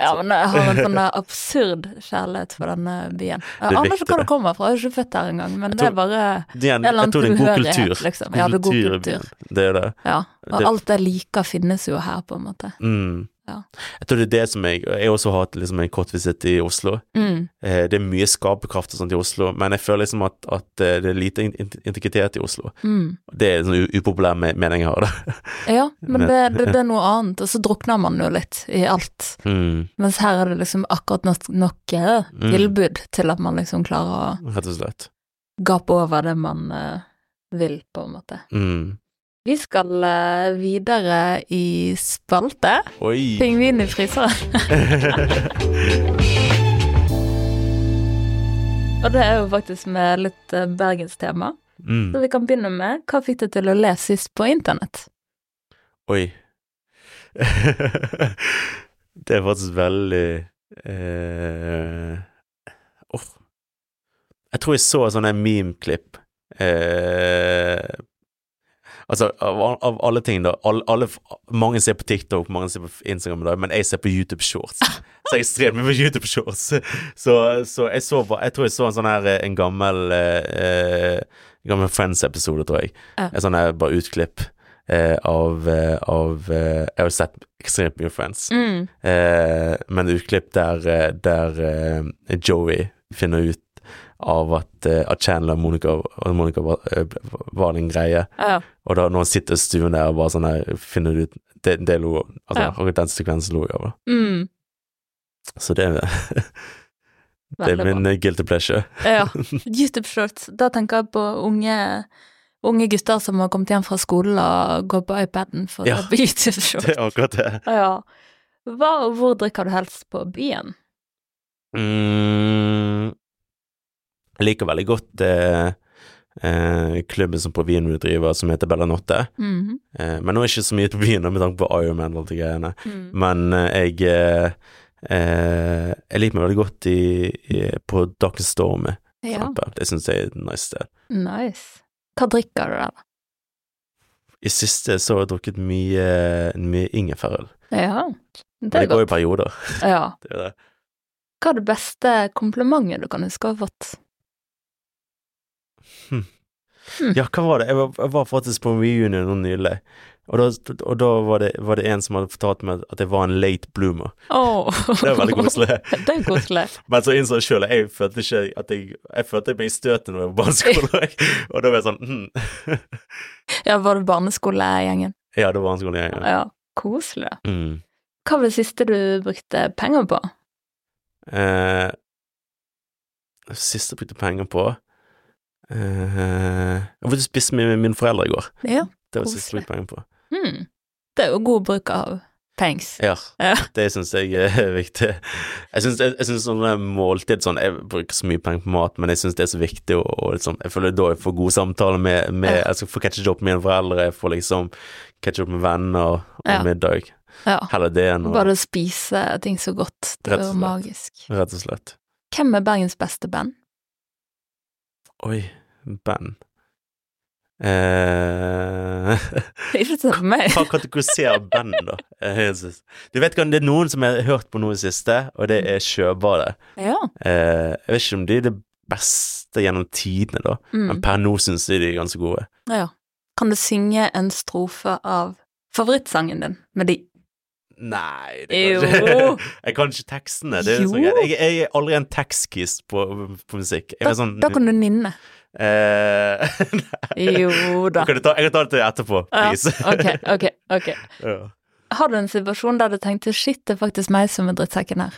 [SPEAKER 1] ja, men jeg har en sånn der absurd kjærlighet for denne byen. Jeg
[SPEAKER 2] Det er
[SPEAKER 1] aner ikke
[SPEAKER 2] viktig,
[SPEAKER 1] hvor det kommer fra, jeg er ikke født her engang, men det
[SPEAKER 2] tror-
[SPEAKER 1] er bare
[SPEAKER 2] Det er en,
[SPEAKER 1] Det er
[SPEAKER 2] jeg tror det er en god
[SPEAKER 1] tilhørighet,
[SPEAKER 2] kultur.
[SPEAKER 1] liksom. Ja, det er god
[SPEAKER 2] i
[SPEAKER 1] kultur.
[SPEAKER 2] byen. Det er det.
[SPEAKER 1] Ja. Og
[SPEAKER 2] Det-
[SPEAKER 1] alt jeg liker, finnes jo her, på en måte.
[SPEAKER 2] Mm.
[SPEAKER 1] Ja.
[SPEAKER 2] Jeg tror det er det som jeg Jeg har også hatt liksom en kort visitt i Oslo.
[SPEAKER 1] Mm.
[SPEAKER 2] Eh, det er mye skaperkraft og sånt i Oslo, men jeg føler liksom at, at eh, det er lite in- in- integritet i Oslo.
[SPEAKER 1] Mm.
[SPEAKER 2] Det er en sånn u- upopulær me- mening jeg har, da.
[SPEAKER 1] Ja, men
[SPEAKER 2] Men-
[SPEAKER 1] det, det, det er noe annet, og så drukner man jo litt i alt.
[SPEAKER 2] Mm.
[SPEAKER 1] Mens her er det liksom akkurat nok, nok eh,
[SPEAKER 2] Mm.
[SPEAKER 1] tilbud til at man liksom klarer å
[SPEAKER 2] Rett og slett.
[SPEAKER 1] gape over det man eh, vil, på en måte.
[SPEAKER 2] Mm.
[SPEAKER 1] Vi skal eh, videre i spalte.
[SPEAKER 2] Oi!
[SPEAKER 1] Pingvin i fryseren. Og det er jo faktisk med litt eh, bergenstema.
[SPEAKER 2] Mm.
[SPEAKER 1] Så vi kan begynne med hva fikk deg til å le sist på internett?
[SPEAKER 2] Oi. det er faktisk veldig eh, åh. Jeg tror jeg så sånne meme-klipp. Eh, altså, av, av alle ting, da. Alle, alle, mange ser på TikTok, mange ser på Instagram, i dag, men jeg ser på YouTube Shorts. Så jeg strever med YouTube Shorts. Så, så jeg så på Jeg tror jeg så en sånn her eh, En gammel eh, eh, Gammel Friends-episode, tror jeg.
[SPEAKER 1] Ja.
[SPEAKER 2] En sånn her bare utklipp eh, av, eh, av eh, Jeg har sett ekstremt mye Friends,
[SPEAKER 1] Mm.
[SPEAKER 2] eh, men utklipp der, eh, der eh, Joey finner ut av at, eh, at Chandler og Monica, og Monica var, eh, var en greie,
[SPEAKER 1] Ja.
[SPEAKER 2] og da når han sitter i stuen der og bare sånn her finner du ut det, det lo altså,
[SPEAKER 1] Ja.
[SPEAKER 2] akkurat den sekvensen lo jeg av. da.
[SPEAKER 1] Mm.
[SPEAKER 2] Så det, det er
[SPEAKER 1] Veldig bra.
[SPEAKER 2] min eh, guilty pleasure.
[SPEAKER 1] Ja. YouTube Shorts. Da tenker jeg på unge, unge gutter som har kommet hjem fra skolen og går på iPaden for å
[SPEAKER 2] Ja.
[SPEAKER 1] se på YouTube Shorts.
[SPEAKER 2] Det er akkurat det.
[SPEAKER 1] Ja. Hva og hvor drikker du helst på byen?
[SPEAKER 2] Mm, jeg liker veldig godt eh, eh, klubben som Provinio driver, som heter Bellanotte.
[SPEAKER 1] Mhm.
[SPEAKER 2] Eh, men nå er det ikke så mye på byen, da, med tanke på Ironman og alt de greiene.
[SPEAKER 1] Mm.
[SPEAKER 2] Men eh, jeg eh, eh, Jeg liker meg veldig godt i, i, på Dark Storm. eh, for
[SPEAKER 1] Ja,
[SPEAKER 2] eksempel. Det syns jeg er et nice sted.
[SPEAKER 1] nice. Hva drikker du der?
[SPEAKER 2] I siste så har jeg drukket mye, mye ingefærøl.
[SPEAKER 1] Ja, det
[SPEAKER 2] Men
[SPEAKER 1] er
[SPEAKER 2] det går
[SPEAKER 1] godt.
[SPEAKER 2] i perioder.
[SPEAKER 1] Ja.
[SPEAKER 2] Det er det.
[SPEAKER 1] Hva er det beste komplimentet du kan huske å ha fått?
[SPEAKER 2] Ja, hva var det? Jeg var, jeg var faktisk på en reunion nå nylig, og da, og da var, det, var det en som hadde fortalt meg at jeg var en late bloomer.
[SPEAKER 1] Åh.
[SPEAKER 2] Det var veldig koselig.
[SPEAKER 1] det er koselig.
[SPEAKER 2] Men så innså jeg sjøl at jeg følte ikke at jeg Jeg følte meg i støtet når jeg var på barneskolen, og da var jeg sånn hm.
[SPEAKER 1] Ja, var det barneskolegjengen?
[SPEAKER 2] Ja, det var en skole jeg
[SPEAKER 1] Ja, koselig.
[SPEAKER 2] mm.
[SPEAKER 1] Hva var det siste du brukte penger på?
[SPEAKER 2] eh, det Siste jeg brukte penger på eh, Jeg var ute og spiste med mine foreldre i går.
[SPEAKER 1] Ja.
[SPEAKER 2] Det var det siste
[SPEAKER 1] Koselig.
[SPEAKER 2] jeg brukte penger på.
[SPEAKER 1] Hmm. Det er jo god bruk av pengs.
[SPEAKER 2] Ja,
[SPEAKER 1] Ja.
[SPEAKER 2] det syns jeg eh, er viktig. Jeg syns, jeg, jeg syns sånne måltid sånn, Jeg bruker ikke så mye penger på mat, men jeg syns det er så viktig, og, og liksom, jeg føler da jeg får gode samtaler med, med altså,
[SPEAKER 1] Ja.
[SPEAKER 2] Jeg skal få catchet opp med mine foreldre, jeg får liksom catchet opp med venner og, og
[SPEAKER 1] Ja.
[SPEAKER 2] middag.
[SPEAKER 1] Ja.
[SPEAKER 2] Heller det enn å
[SPEAKER 1] Bare å spise ting så godt, det er
[SPEAKER 2] Rett og
[SPEAKER 1] jo
[SPEAKER 2] slett.
[SPEAKER 1] magisk.
[SPEAKER 2] Rett og slett.
[SPEAKER 1] Hvem er Bergens beste band?
[SPEAKER 2] Oi, band. Eh,
[SPEAKER 1] Ikke se på meg.
[SPEAKER 2] hva kategoriserer band, da? Eh, Jesus. Du vet hva, Det er noen som jeg har hørt på noe i det siste, og det er Sjøbadet.
[SPEAKER 1] Ja.
[SPEAKER 2] Eh, jeg vet ikke om de er det beste gjennom tidene, da. Men
[SPEAKER 1] Mm.
[SPEAKER 2] per nå syns jeg de er ganske gode.
[SPEAKER 1] ja. Kan du synge en strofe av favorittsangen din med de?
[SPEAKER 2] Nei,
[SPEAKER 1] Jo!
[SPEAKER 2] kan jeg ikke. Jeg kan ikke tekstene. Det er
[SPEAKER 1] Jo.
[SPEAKER 2] så greit. Jeg, jeg er aldri en tekstkis på, på musikk. Jeg
[SPEAKER 1] Da,
[SPEAKER 2] er sånn
[SPEAKER 1] da kan du nynne.
[SPEAKER 2] eh, nei.
[SPEAKER 1] Jo da.
[SPEAKER 2] Kan du ta, jeg kan ta det til etterpå,
[SPEAKER 1] Ja.
[SPEAKER 2] please.
[SPEAKER 1] Ok, ok, ok.
[SPEAKER 2] Ja.
[SPEAKER 1] Har du en situasjon der du tenkte 'shit, det er faktisk meg som er drittsekken her'?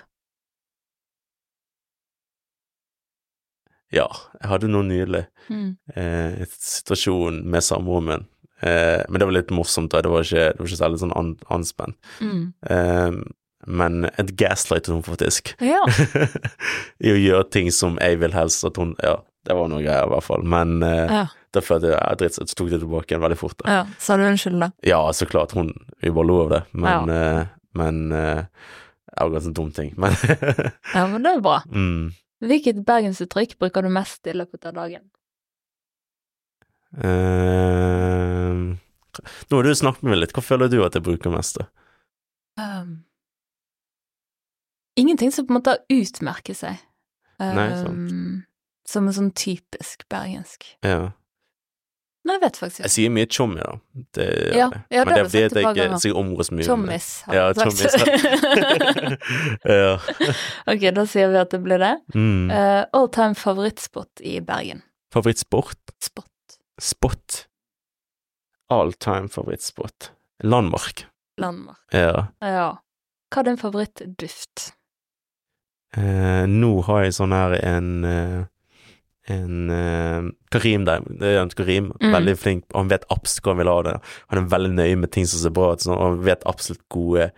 [SPEAKER 2] ja. Jeg hadde noe nylig.
[SPEAKER 1] Mm.
[SPEAKER 2] Eh, en situasjon med samboeren min. Eh, men det var litt morsomt, da. Det var ikke, det var ikke særlig sånn an, anspent.
[SPEAKER 1] Mm.
[SPEAKER 2] Eh, men et gaslight hun faktisk.
[SPEAKER 1] Ja.
[SPEAKER 2] I å gjøre ting som jeg vil helst at hun Ja, det var noe greier, i hvert fall. Men eh,
[SPEAKER 1] ja.
[SPEAKER 2] Da følte jeg ja, dritt, så tok det tilbake igjen veldig fort. Da.
[SPEAKER 1] ja. Sa du unnskyld, da?
[SPEAKER 2] Ja, så klart, hun Vi bare lo av det, men eh, Men eh, Det var ganske en dum ting, men
[SPEAKER 1] Ja, men det er bra.
[SPEAKER 2] mm,
[SPEAKER 1] Hvilket bergensuttrykk bruker du mest i løpet av dagen?
[SPEAKER 2] eh, Nå har du snakket med meg litt, hva føler du at jeg bruker mest, da?
[SPEAKER 1] Ehm, ingenting som på en måte har utmerket seg.
[SPEAKER 2] Nei, sant.
[SPEAKER 1] Ehm, som en sånn typisk bergensk.
[SPEAKER 2] Ja.
[SPEAKER 1] Nei, jeg vet faktisk
[SPEAKER 2] Jeg
[SPEAKER 1] ikke.
[SPEAKER 2] sier mye tjommi, da. Det, gjør
[SPEAKER 1] Ja,
[SPEAKER 2] jeg.
[SPEAKER 1] ja, det
[SPEAKER 2] Men
[SPEAKER 1] har du
[SPEAKER 2] det er
[SPEAKER 1] sagt et
[SPEAKER 2] fordi
[SPEAKER 1] par
[SPEAKER 2] jeg ikke
[SPEAKER 1] ganger.
[SPEAKER 2] sier områs mye. om det.
[SPEAKER 1] Tommis har
[SPEAKER 2] Ja,
[SPEAKER 1] jeg sagt.
[SPEAKER 2] Tjommis. ja.
[SPEAKER 1] ok, da sier vi at det blir det.
[SPEAKER 2] Mm.
[SPEAKER 1] Eh, all time favorittspot i Bergen.
[SPEAKER 2] Favorittsport?
[SPEAKER 1] Spot.
[SPEAKER 2] Spot. All time favorittspot. Landmark.
[SPEAKER 1] Landmark.
[SPEAKER 2] Ja.
[SPEAKER 1] Ja. Hva er din favorittduft?
[SPEAKER 2] Eh, nå har jeg sånn her en eh, en eh, Karim der. Det er Jens Karim.
[SPEAKER 1] Mm.
[SPEAKER 2] Veldig flink. Han vet absolutt hva han vil ha. det. Han er veldig nøye med ting som ser bra ut, sånn, og han vet absolutt gode,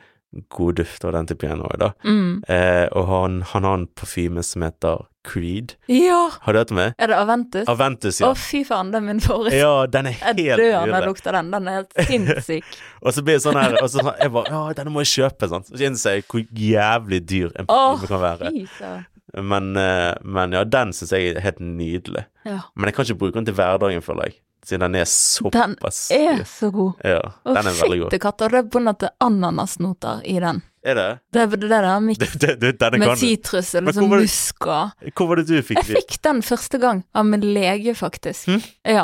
[SPEAKER 2] gode dufter og den type greier også, da.
[SPEAKER 1] Mm.
[SPEAKER 2] Eh, og han, han har en parfyme som heter Creed.
[SPEAKER 1] Ja!
[SPEAKER 2] Har du hørt om det?
[SPEAKER 1] Er det Aventus? Å,
[SPEAKER 2] Aventus, ja.
[SPEAKER 1] fy faen, det er min favoritt.
[SPEAKER 2] Ja, den er helt
[SPEAKER 1] Jeg dør når jeg
[SPEAKER 2] nydelig.
[SPEAKER 1] lukter den. Den er helt sinnssyk.
[SPEAKER 2] Og så blir det sånn her og så sånn, Jeg bare Ja, denne må jeg kjøpe, sant. Så innser jeg hvor jævlig dyr en
[SPEAKER 1] Åh,
[SPEAKER 2] parfyme kan være.
[SPEAKER 1] Fy søren.
[SPEAKER 2] Men, eh, men ja, den syns jeg er helt nydelig.
[SPEAKER 1] Ja.
[SPEAKER 2] Men jeg kan ikke bruke den til hverdagen, føler jeg. Siden den er såpass
[SPEAKER 1] Er så god.
[SPEAKER 2] Ja,
[SPEAKER 1] Og
[SPEAKER 2] den er veldig god.
[SPEAKER 1] fittekatter, det er på grunn av at det er ananasnoter i den.
[SPEAKER 2] Er det?
[SPEAKER 1] Det er det der miks
[SPEAKER 2] Du, du, du, denne
[SPEAKER 1] med
[SPEAKER 2] kan du.
[SPEAKER 1] sitrus og
[SPEAKER 2] Men
[SPEAKER 1] liksom
[SPEAKER 2] hvor var det-
[SPEAKER 1] musk og
[SPEAKER 2] Hvor var det du fikk
[SPEAKER 1] Jeg fikk den første gang av min lege, faktisk.
[SPEAKER 2] Hm?
[SPEAKER 1] Ja.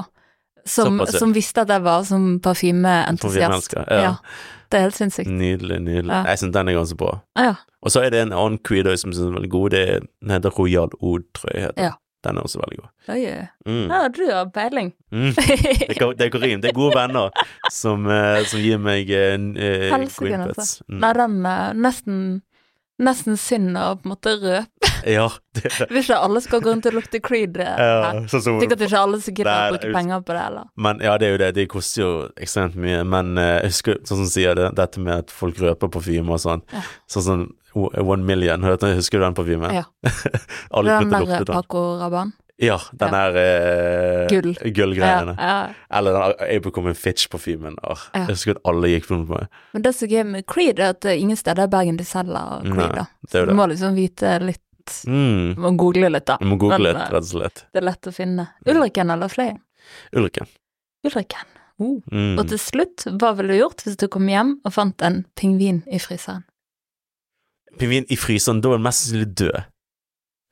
[SPEAKER 1] Som,
[SPEAKER 2] Såpass, ja.
[SPEAKER 1] som visste at jeg var som parfymeentusiast.
[SPEAKER 2] Parfymeelsker, ja. Mm.
[SPEAKER 1] Det er helt sinnssykt.
[SPEAKER 2] Nydelig, nydelig.
[SPEAKER 1] Ja.
[SPEAKER 2] Jeg syns den er ganske bra.
[SPEAKER 1] Ja.
[SPEAKER 2] Og så er det en annen Creed også som jeg synes er veldig god. Det er, den heter Royal Ode, tror jeg. heter.
[SPEAKER 1] Ja. Ah.
[SPEAKER 2] Den er også veldig god.
[SPEAKER 1] Oi, oi.
[SPEAKER 2] Mm.
[SPEAKER 1] Ja, du har peiling.
[SPEAKER 2] Mm. Det er, det er Karim. Det er gode venner som, eh, som gir meg eh, n- eh,
[SPEAKER 1] Helsike,
[SPEAKER 2] gode
[SPEAKER 1] altså.
[SPEAKER 2] inputs. Mm.
[SPEAKER 1] Nei, den er nesten Nesten synd å på en måte røpe.
[SPEAKER 2] Ja, det,
[SPEAKER 1] Hvis ikke alle skal gå rundt og lukte Creed. eh,
[SPEAKER 2] ja,
[SPEAKER 1] her.
[SPEAKER 2] sånn som,
[SPEAKER 1] Sikkert ikke alle som gidder
[SPEAKER 2] Nei,
[SPEAKER 1] å
[SPEAKER 2] det er
[SPEAKER 1] bruke
[SPEAKER 2] jo-
[SPEAKER 1] penger på det, eller.
[SPEAKER 2] men ja, det er jo det. De koster jo ekstremt mye. Men eh, jeg husker sånn som sier det, dette med at folk røper parfyme og sånn.
[SPEAKER 1] Ja.
[SPEAKER 2] Sånn som O- One Million. Hørte- Husker du den parfymen?
[SPEAKER 1] Ja.
[SPEAKER 2] Alle
[SPEAKER 1] Den
[SPEAKER 2] begynte å
[SPEAKER 1] der
[SPEAKER 2] lukte den.
[SPEAKER 1] Paco Rabanne.
[SPEAKER 2] Ja, den der eh,
[SPEAKER 1] Gull.
[SPEAKER 2] gullgreiene.
[SPEAKER 1] Ja, ja.
[SPEAKER 2] Eller den April Common Fitch-parfymen. Åh,
[SPEAKER 1] Ja.
[SPEAKER 2] Jeg husker at alle gikk rundt med
[SPEAKER 1] Men det som er gøy med Creed, er at det er ingen steder i Bergen de selger Creed.
[SPEAKER 2] Nei,
[SPEAKER 1] da.
[SPEAKER 2] det er jo
[SPEAKER 1] Du
[SPEAKER 2] det.
[SPEAKER 1] må liksom vite litt
[SPEAKER 2] Mm.
[SPEAKER 1] Du må google litt, da.
[SPEAKER 2] Jeg må google
[SPEAKER 1] Men,
[SPEAKER 2] litt,
[SPEAKER 1] eh,
[SPEAKER 2] rett og slett.
[SPEAKER 1] Det er lett å finne.
[SPEAKER 2] Mm.
[SPEAKER 1] Ulriken eller Fløyen?
[SPEAKER 2] Ulriken.
[SPEAKER 1] Ulriken. Oh.
[SPEAKER 2] Mm.
[SPEAKER 1] Og til slutt, hva ville du gjort hvis du kom hjem og fant en pingvin i fryseren?
[SPEAKER 2] Pingvin i fryseren, da er den mest sannsynlig død.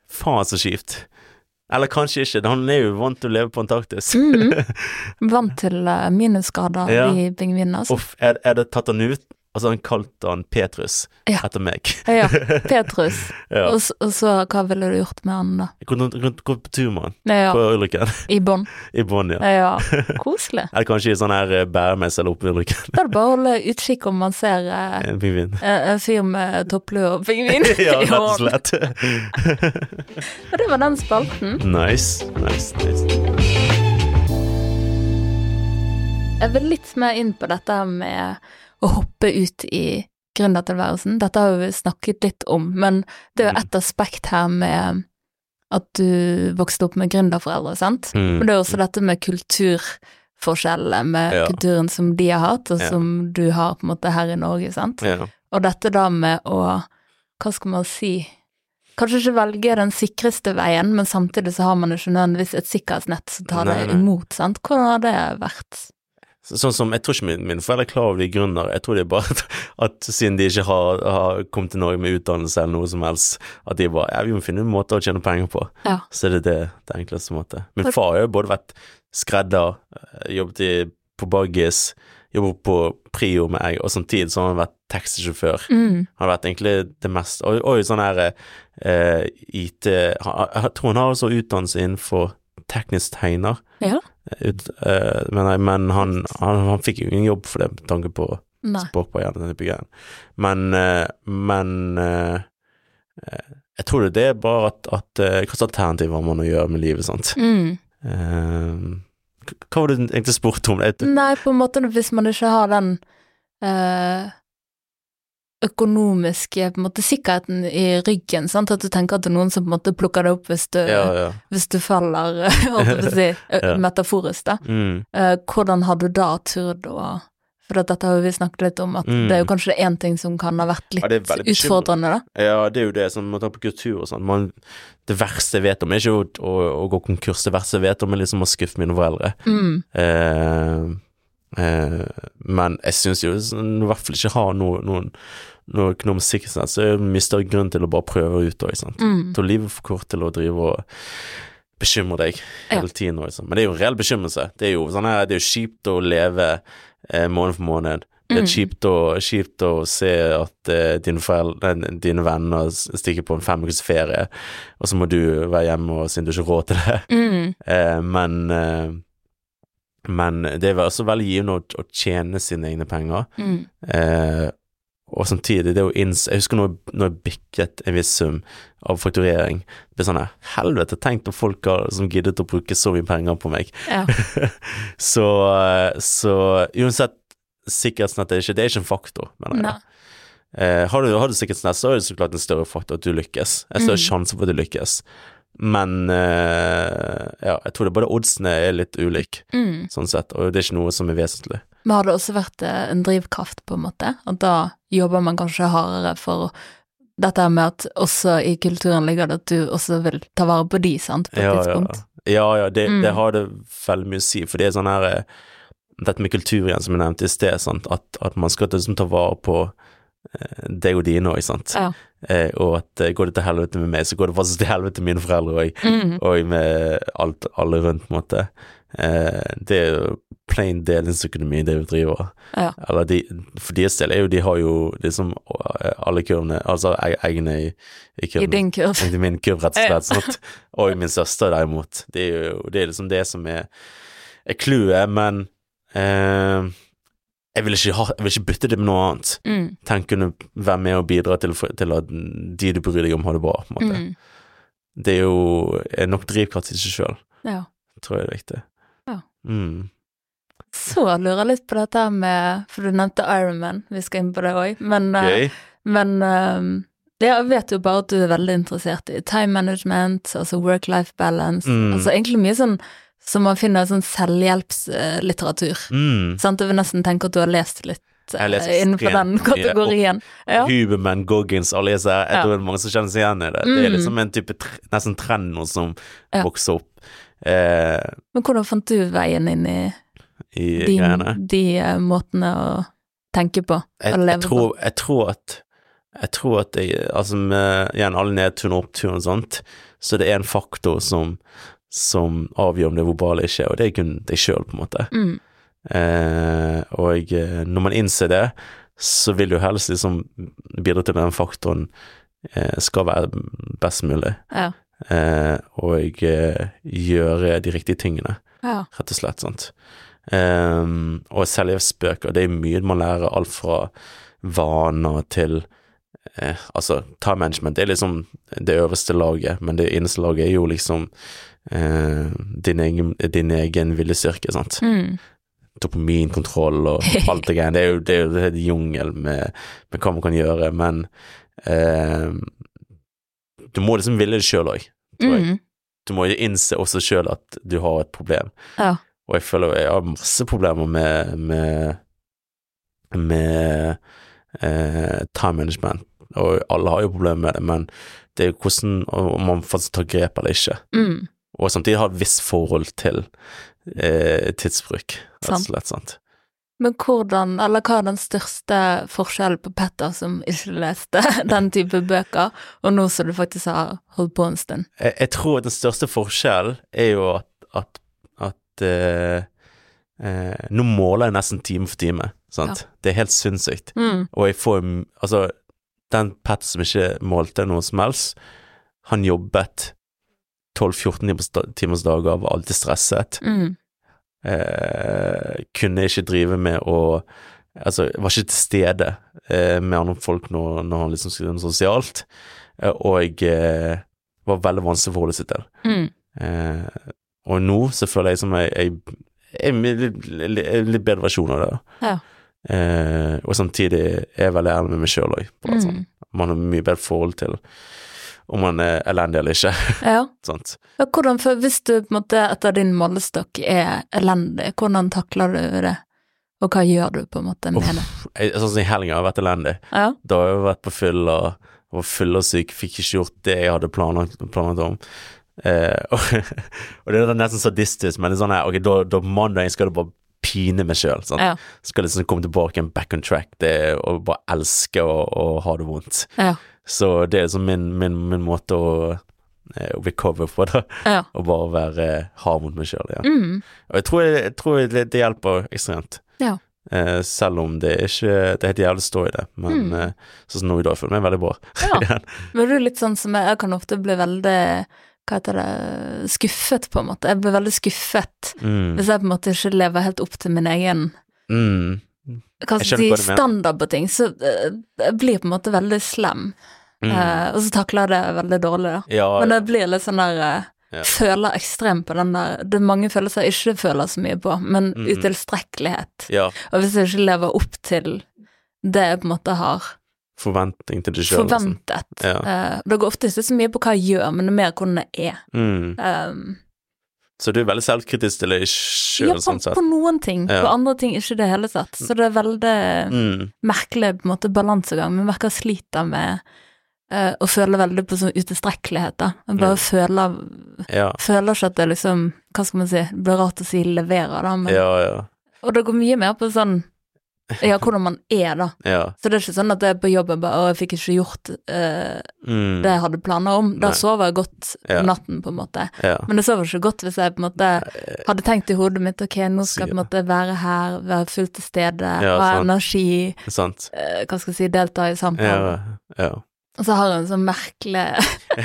[SPEAKER 2] Faen, så kjipt. Eller kanskje ikke, han er jo vant til å leve på Antarktis.
[SPEAKER 1] Mhm. Vant til eh, minusgrader,
[SPEAKER 2] Ja.
[SPEAKER 1] de pingvinene, altså.
[SPEAKER 2] Uff, er, er det tatt han ut? Altså, han kalte han Petrus
[SPEAKER 1] Ja.
[SPEAKER 2] etter meg.
[SPEAKER 1] Ja, Petrus.
[SPEAKER 2] Ja.
[SPEAKER 1] Og, s- og så, hva ville du gjort med han, da?
[SPEAKER 2] Jeg kunne rundt gå på tur med han,
[SPEAKER 1] Nei, ja,
[SPEAKER 2] på Ulriken,
[SPEAKER 1] I bånd.
[SPEAKER 2] i bånn, ja.
[SPEAKER 1] Ja, koselig.
[SPEAKER 2] Eller kanskje i sånn her eh, bæremeis eller oppe i Ulriken,
[SPEAKER 1] Da er det bare å holde utkikk om man ser eh,
[SPEAKER 2] en pingvin.
[SPEAKER 1] eh, en fyr med topplue og pingvin.
[SPEAKER 2] Ja, rett og
[SPEAKER 1] Ja.
[SPEAKER 2] slett.
[SPEAKER 1] Og det var den spalten.
[SPEAKER 2] nice, nice, nice.
[SPEAKER 1] Jeg vil litt mer inn på dette her med å hoppe ut i gründertilværelsen. Dette har vi snakket litt om, men det er jo et aspekt her med at du vokste opp med gründerforeldre, sant?
[SPEAKER 2] Mm.
[SPEAKER 1] Men det er også dette med kulturforskjellene, med
[SPEAKER 2] Ja.
[SPEAKER 1] kulturen som de har hatt, og
[SPEAKER 2] Ja.
[SPEAKER 1] som du har på en måte her i Norge, sant?
[SPEAKER 2] Ja.
[SPEAKER 1] Og dette da med å, hva skal man si, kanskje ikke velge den sikreste veien, men samtidig så har man ikke nødvendigvis et sikkerhetsnett som tar
[SPEAKER 2] Nei,
[SPEAKER 1] det
[SPEAKER 2] nei.
[SPEAKER 1] imot, sant? Hvordan har det vært?
[SPEAKER 2] Så- Sånn som, Jeg tror ikke mine, mine foreldre er klar over de gründere. Jeg tror det er bare at, at siden de ikke har, har kommet til Norge med utdannelse eller noe som helst, at de bare ja, vi må finne en måte å tjene penger på.
[SPEAKER 1] Ja.
[SPEAKER 2] Så er det det, det enkleste måte. Min
[SPEAKER 1] Har-
[SPEAKER 2] far har jo både vært skredder, eh, jobbet i, på Baggis, jobbet på Prio med egg, og samtidig så har han vært taxisjåfør.
[SPEAKER 1] Mm.
[SPEAKER 2] Han har vært egentlig det mest Og, og i sånn her eh, IT han, Jeg tror han har også utdannelse innenfor teknisk tegner.
[SPEAKER 1] Ja.
[SPEAKER 2] Ut, eh, men nei, men han, han, han fikk jo ingen jobb for det, med tanke på
[SPEAKER 1] Nei.
[SPEAKER 2] språkbarrieren. og den type greier. Men, eh, men eh, eh, jeg tror det er bare at, at eh, Hva slags alternativ har man å gjøre med livet, sant?
[SPEAKER 1] Mm.
[SPEAKER 2] Eh, k- hva var det du egentlig spurte om? Jeg,
[SPEAKER 1] Nei, på en måte hvis man ikke har den eh, økonomiske på en måte, sikkerheten i ryggen, sant? at du tenker at det er noen som på en måte plukker deg opp hvis du,
[SPEAKER 2] ja, ja.
[SPEAKER 1] hvis du faller, holdt jeg på å si, eh,
[SPEAKER 2] Ja.
[SPEAKER 1] metaforisk, da.
[SPEAKER 2] Mm,
[SPEAKER 1] Eh, hvordan har du da turt å For at dette har jo vi snakket litt om, at
[SPEAKER 2] Mm.
[SPEAKER 1] det er jo kanskje én ting som kan ha vært litt
[SPEAKER 2] Ja, det er veldig bekymrende.
[SPEAKER 1] utfordrende, da.
[SPEAKER 2] ja, det er jo det. Sånn, man tar på kultur og sånn. Man, det verste jeg vet om, er ikke å, å, å gå konkurs. Det verste jeg vet om, er liksom å skuffe mine foreldre.
[SPEAKER 1] Mm.
[SPEAKER 2] Eh, Eh, men jeg syns jo sånn, i hvert fall ikke har noe, noen, noe økonomisk sikkerhetsnett, så er det mye større grunn til å bare prøve ut òg, sant.
[SPEAKER 1] Mm.
[SPEAKER 2] Så livet er for kort til å drive og bekymre deg hele tiden. Også. Men det er jo en reell bekymrelse. Det er jo, sånn her, det er jo kjipt å leve eh, måned for måned. Det er
[SPEAKER 1] Mm.
[SPEAKER 2] kjipt, å, kjipt å se at eh, dine, foreldre, nei, dine venner s- stikker på en fem ukers ferie, og så må du være hjemme og siden du ikke har råd til det.
[SPEAKER 1] Mm.
[SPEAKER 2] Eh, men eh, men det er også veldig givende å, å tjene sine egne penger.
[SPEAKER 1] Mm.
[SPEAKER 2] Eh, og samtidig, det å innse Jeg husker når, når jeg bikket en viss sum av fakturering. Det ble sånn her, Helvete, tenk om folk har- som giddet å bruke så mye penger på meg.
[SPEAKER 1] Ja.
[SPEAKER 2] så, eh, så uansett, sikkerhetsnett er ikke, det er ikke en faktor, mener jeg. da.
[SPEAKER 1] Nei.
[SPEAKER 2] Eh, har, du, har du sikkerhetsnett, så er det så klart en større faktor at du lykkes. En større
[SPEAKER 1] Mm.
[SPEAKER 2] sjanse for at du lykkes. Men eh, ja, jeg tror det bare oddsene er litt ulike,
[SPEAKER 1] Mm.
[SPEAKER 2] sånn sett, og det er ikke noe som er vesentlig.
[SPEAKER 1] Men har det også vært eh, en drivkraft, på en måte? At da jobber man kanskje hardere for dette her med at også i kulturen ligger det at du også vil ta vare på de, sant, på et tidspunkt?
[SPEAKER 2] Ja, ja, ja det,
[SPEAKER 1] Mm.
[SPEAKER 2] det har det veldig mye å si, for det er sånn her eh, Dette med kultur igjen, som jeg nevnte i sted, sant? At, at man skal liksom ta vare på eh, deg og dine òg, sant.
[SPEAKER 1] Ja.
[SPEAKER 2] Eh, og at eh, går det til helvete med meg, så går det faktisk til helvete med mine foreldre òg.
[SPEAKER 1] Mm.
[SPEAKER 2] Og med alt, alle rundt, på en måte. Eh, det er jo plain delingsøkonomi det vi driver.
[SPEAKER 1] Ja.
[SPEAKER 2] Eller de, for deres del er jo, de har jo liksom eh, alle kurvene, altså e- egne i, i
[SPEAKER 1] I
[SPEAKER 2] kurvene.
[SPEAKER 1] din kurv.
[SPEAKER 2] Tenkte min kurv, rett og
[SPEAKER 1] Ja.
[SPEAKER 2] slett. Sant? Og min søster, derimot. Det er jo det er liksom det som er er clouet, men eh, jeg, vil ikke ha, jeg vil ikke bytte det med noe annet.
[SPEAKER 1] Mm.
[SPEAKER 2] Tenk kunne være med og bidra til, for- til at de du bryr deg om, har det bra. På en måte.
[SPEAKER 1] Mm.
[SPEAKER 2] Det er jo er nok drivkraft i seg sjøl,
[SPEAKER 1] Ja.
[SPEAKER 2] tror jeg det er viktig.
[SPEAKER 1] Ja.
[SPEAKER 2] Mm.
[SPEAKER 1] Så lurer jeg litt på dette her med For du nevnte Ironman, vi skal inn på det òg. Men, eh, men eh, ja, jeg vet jo bare at du er veldig interessert i time management, altså work-life balance.
[SPEAKER 2] Mm.
[SPEAKER 1] Altså egentlig mye sånn som man finner i sånn selvhjelpslitteratur.
[SPEAKER 2] Mm.
[SPEAKER 1] Sant, jeg vil nesten tenke at du har lest litt eh,
[SPEAKER 2] Jeg leser
[SPEAKER 1] innenfor
[SPEAKER 2] ekstremt
[SPEAKER 1] den
[SPEAKER 2] mye,
[SPEAKER 1] kategorien. Ja.
[SPEAKER 2] Huberman, Goggins, alle disse her. Jeg
[SPEAKER 1] Ja.
[SPEAKER 2] tror det er mange som kjenner seg igjen i det. Det er
[SPEAKER 1] Mm.
[SPEAKER 2] liksom en type tr nesten trend nå som
[SPEAKER 1] Ja.
[SPEAKER 2] vokser opp eh,
[SPEAKER 1] Men hvordan fant du veien inn i
[SPEAKER 2] i
[SPEAKER 1] de,
[SPEAKER 2] greiene.
[SPEAKER 1] de eh, måtene å tenke på
[SPEAKER 2] jeg,
[SPEAKER 1] og
[SPEAKER 2] jeg,
[SPEAKER 1] leve på?
[SPEAKER 2] tror, jeg tror at jeg tror at jeg, altså med igjen alle nedturen og oppturen og sånt, så det er en faktor som, som avgjør om det er verbal eller ikke, og det er kun deg sjøl, på en måte.
[SPEAKER 1] Mm.
[SPEAKER 2] Eh, og eh, når man innser det, så vil du helst liksom bidra til at den faktoren eh, skal være best mulig,
[SPEAKER 1] Ja.
[SPEAKER 2] eh, og eh, gjøre de riktige tingene
[SPEAKER 1] ja.
[SPEAKER 2] rett og slett. Sant? Ehm, og selvhjelpsbøker, det er mye man lærer, alt fra vaner til eh, Altså, time management er liksom det øverste laget, men det innerste laget er jo liksom eh, din, egen, din egen viljestyrke, sant.
[SPEAKER 1] Mm.
[SPEAKER 2] Dopaminkontroll og alt det greiene. Det er jo det er jo en jungel med, med hva man kan gjøre, men ehm, du må liksom ville det sjøl òg. tror jeg.
[SPEAKER 1] Mm.
[SPEAKER 2] Du må jo innse også sjøl at du har et problem.
[SPEAKER 1] Ja.
[SPEAKER 2] Og jeg føler jeg har masse problemer med med, med eh, time management, og alle har jo problemer med det, men det er jo hvordan om man faktisk tar grep eller ikke.
[SPEAKER 1] Mm.
[SPEAKER 2] Og samtidig ha et visst forhold til eh, tidsbruk, rett og
[SPEAKER 1] Sant.
[SPEAKER 2] slett. sant?
[SPEAKER 1] Men hvordan, eller hva er den største forskjellen på Petter som ikke leste den type bøker, og nå som du faktisk har holdt på en stund?
[SPEAKER 2] Jeg, jeg tror at den største forskjellen er jo at, at, at eh, eh, Nå måler jeg nesten time for time, sant? Det er helt sinnssykt.
[SPEAKER 1] Mm.
[SPEAKER 2] Og jeg får Altså, den Pat som ikke målte noe som helst, han jobbet 12-14 timers, timers dager, var alltid stresset.
[SPEAKER 1] Mm.
[SPEAKER 2] Eh, kunne ikke drive med å Altså, var ikke til stede eh, med andre folk når, når han liksom skulle gjøre noe sosialt. Eh, og eh, var veldig vanskelig å forholde seg til.
[SPEAKER 1] Mm.
[SPEAKER 2] Eh, og nå så føler jeg som jeg, jeg, jeg er en litt, litt, litt bedre versjon av det. da.
[SPEAKER 1] Ja.
[SPEAKER 2] Eh, og samtidig er jeg veldig ærlig med meg sjøl òg.
[SPEAKER 1] Mm.
[SPEAKER 2] Man har mye bedre forhold til om man er elendig eller ikke.
[SPEAKER 1] Ja.
[SPEAKER 2] sant?
[SPEAKER 1] Ja, Hvordan, for hvis du på en måte etter din målestokk er elendig, hvordan takler du det? Og hva gjør du på en måte med det?
[SPEAKER 2] Jeg, sånn som I helgen har jeg vært elendig.
[SPEAKER 1] Ja.
[SPEAKER 2] Da har jeg vært på fylla, var full og syk, fikk ikke gjort det jeg hadde planlagt, planlagt om. Eh, og, og det er nesten sadistisk, men det er sånn her, ok, da, da mandagen skal du bare pine meg sjøl. sant?
[SPEAKER 1] Ja.
[SPEAKER 2] Skal liksom komme tilbake igjen back on track det er å bare elske å, å ha det vondt.
[SPEAKER 1] Ja.
[SPEAKER 2] Så det er liksom min, min, min måte å eh, recover på, da.
[SPEAKER 1] ja.
[SPEAKER 2] Å bare være hard mot meg sjøl. Ja.
[SPEAKER 1] Mm.
[SPEAKER 2] Og jeg tror, jeg tror det, det hjelper ekstremt.
[SPEAKER 1] Ja.
[SPEAKER 2] Eh, selv om det er ikke Det er helt jævlig stå i det, men
[SPEAKER 1] Mm.
[SPEAKER 2] eh, sånn som nå i dag føler jeg meg veldig bra.
[SPEAKER 1] ja.
[SPEAKER 2] igjen.
[SPEAKER 1] Men du er litt sånn som jeg, jeg kan ofte bli veldig hva heter det, skuffet, på en måte. Jeg blir veldig skuffet
[SPEAKER 2] Mm.
[SPEAKER 1] hvis jeg på en måte ikke lever helt opp til min egen
[SPEAKER 2] Mm.
[SPEAKER 1] hva
[SPEAKER 2] Jeg
[SPEAKER 1] skal
[SPEAKER 2] skjønner
[SPEAKER 1] jeg
[SPEAKER 2] hva
[SPEAKER 1] si,
[SPEAKER 2] du mener.
[SPEAKER 1] standard på ting. Så eh, jeg blir på en måte veldig slem,
[SPEAKER 2] Mm.
[SPEAKER 1] Eh, og så takler jeg det veldig dårlig, da.
[SPEAKER 2] Ja,
[SPEAKER 1] Men det blir litt sånn der eh,
[SPEAKER 2] Ja.
[SPEAKER 1] Føler ekstremt på den der Det er mange følelser jeg ikke føler så mye på, men
[SPEAKER 2] Mm.
[SPEAKER 1] utilstrekkelighet.
[SPEAKER 2] ja.
[SPEAKER 1] Og hvis jeg ikke lever opp til det jeg på en måte har
[SPEAKER 2] Forventning til deg sjøl.
[SPEAKER 1] forventet
[SPEAKER 2] Ja.
[SPEAKER 1] eh, Det går ofte ikke så mye på hva jeg gjør, men det er mer hvordan jeg er.
[SPEAKER 2] Mm.
[SPEAKER 1] Um,
[SPEAKER 2] Så du er veldig selvkritisk til deg
[SPEAKER 1] ja,
[SPEAKER 2] sjøl,
[SPEAKER 1] på,
[SPEAKER 2] sånn sett.
[SPEAKER 1] på noen ting.
[SPEAKER 2] Ja.
[SPEAKER 1] På andre ting ikke i det hele tatt. Så det er veldig
[SPEAKER 2] Mm.
[SPEAKER 1] merkelig på en måte balansegang. men Jeg merker jeg sliter med eh, å føle veldig på sånn utilstrekkelighet, da. Jeg bare
[SPEAKER 2] Ja.
[SPEAKER 1] føler,
[SPEAKER 2] Ja,
[SPEAKER 1] føler ikke at det liksom Hva skal man si? Det blir rart å si leverer, da, men
[SPEAKER 2] ja, ja.
[SPEAKER 1] Og det går mye mer på sånn Ja, hvordan man er, da.
[SPEAKER 2] ja.
[SPEAKER 1] Så det er ikke sånn at jeg er på jobb og bare Å, jeg fikk ikke gjort eh,
[SPEAKER 2] Mm.
[SPEAKER 1] det jeg hadde planer om. Da
[SPEAKER 2] Nei.
[SPEAKER 1] sover jeg godt
[SPEAKER 2] Ja.
[SPEAKER 1] natten, på en måte.
[SPEAKER 2] ja.
[SPEAKER 1] Men jeg sover ikke godt hvis jeg på en måte
[SPEAKER 2] eh,
[SPEAKER 1] hadde tenkt i hodet mitt ok, nå skal jeg på en måte være her, være fullt til stede,
[SPEAKER 2] Ja,
[SPEAKER 1] ha
[SPEAKER 2] sant.
[SPEAKER 1] energi,
[SPEAKER 2] Sant.
[SPEAKER 1] eh, hva skal jeg si, delta i samtalen.
[SPEAKER 2] Ja, ja.
[SPEAKER 1] Og så har jeg en sånn merkelig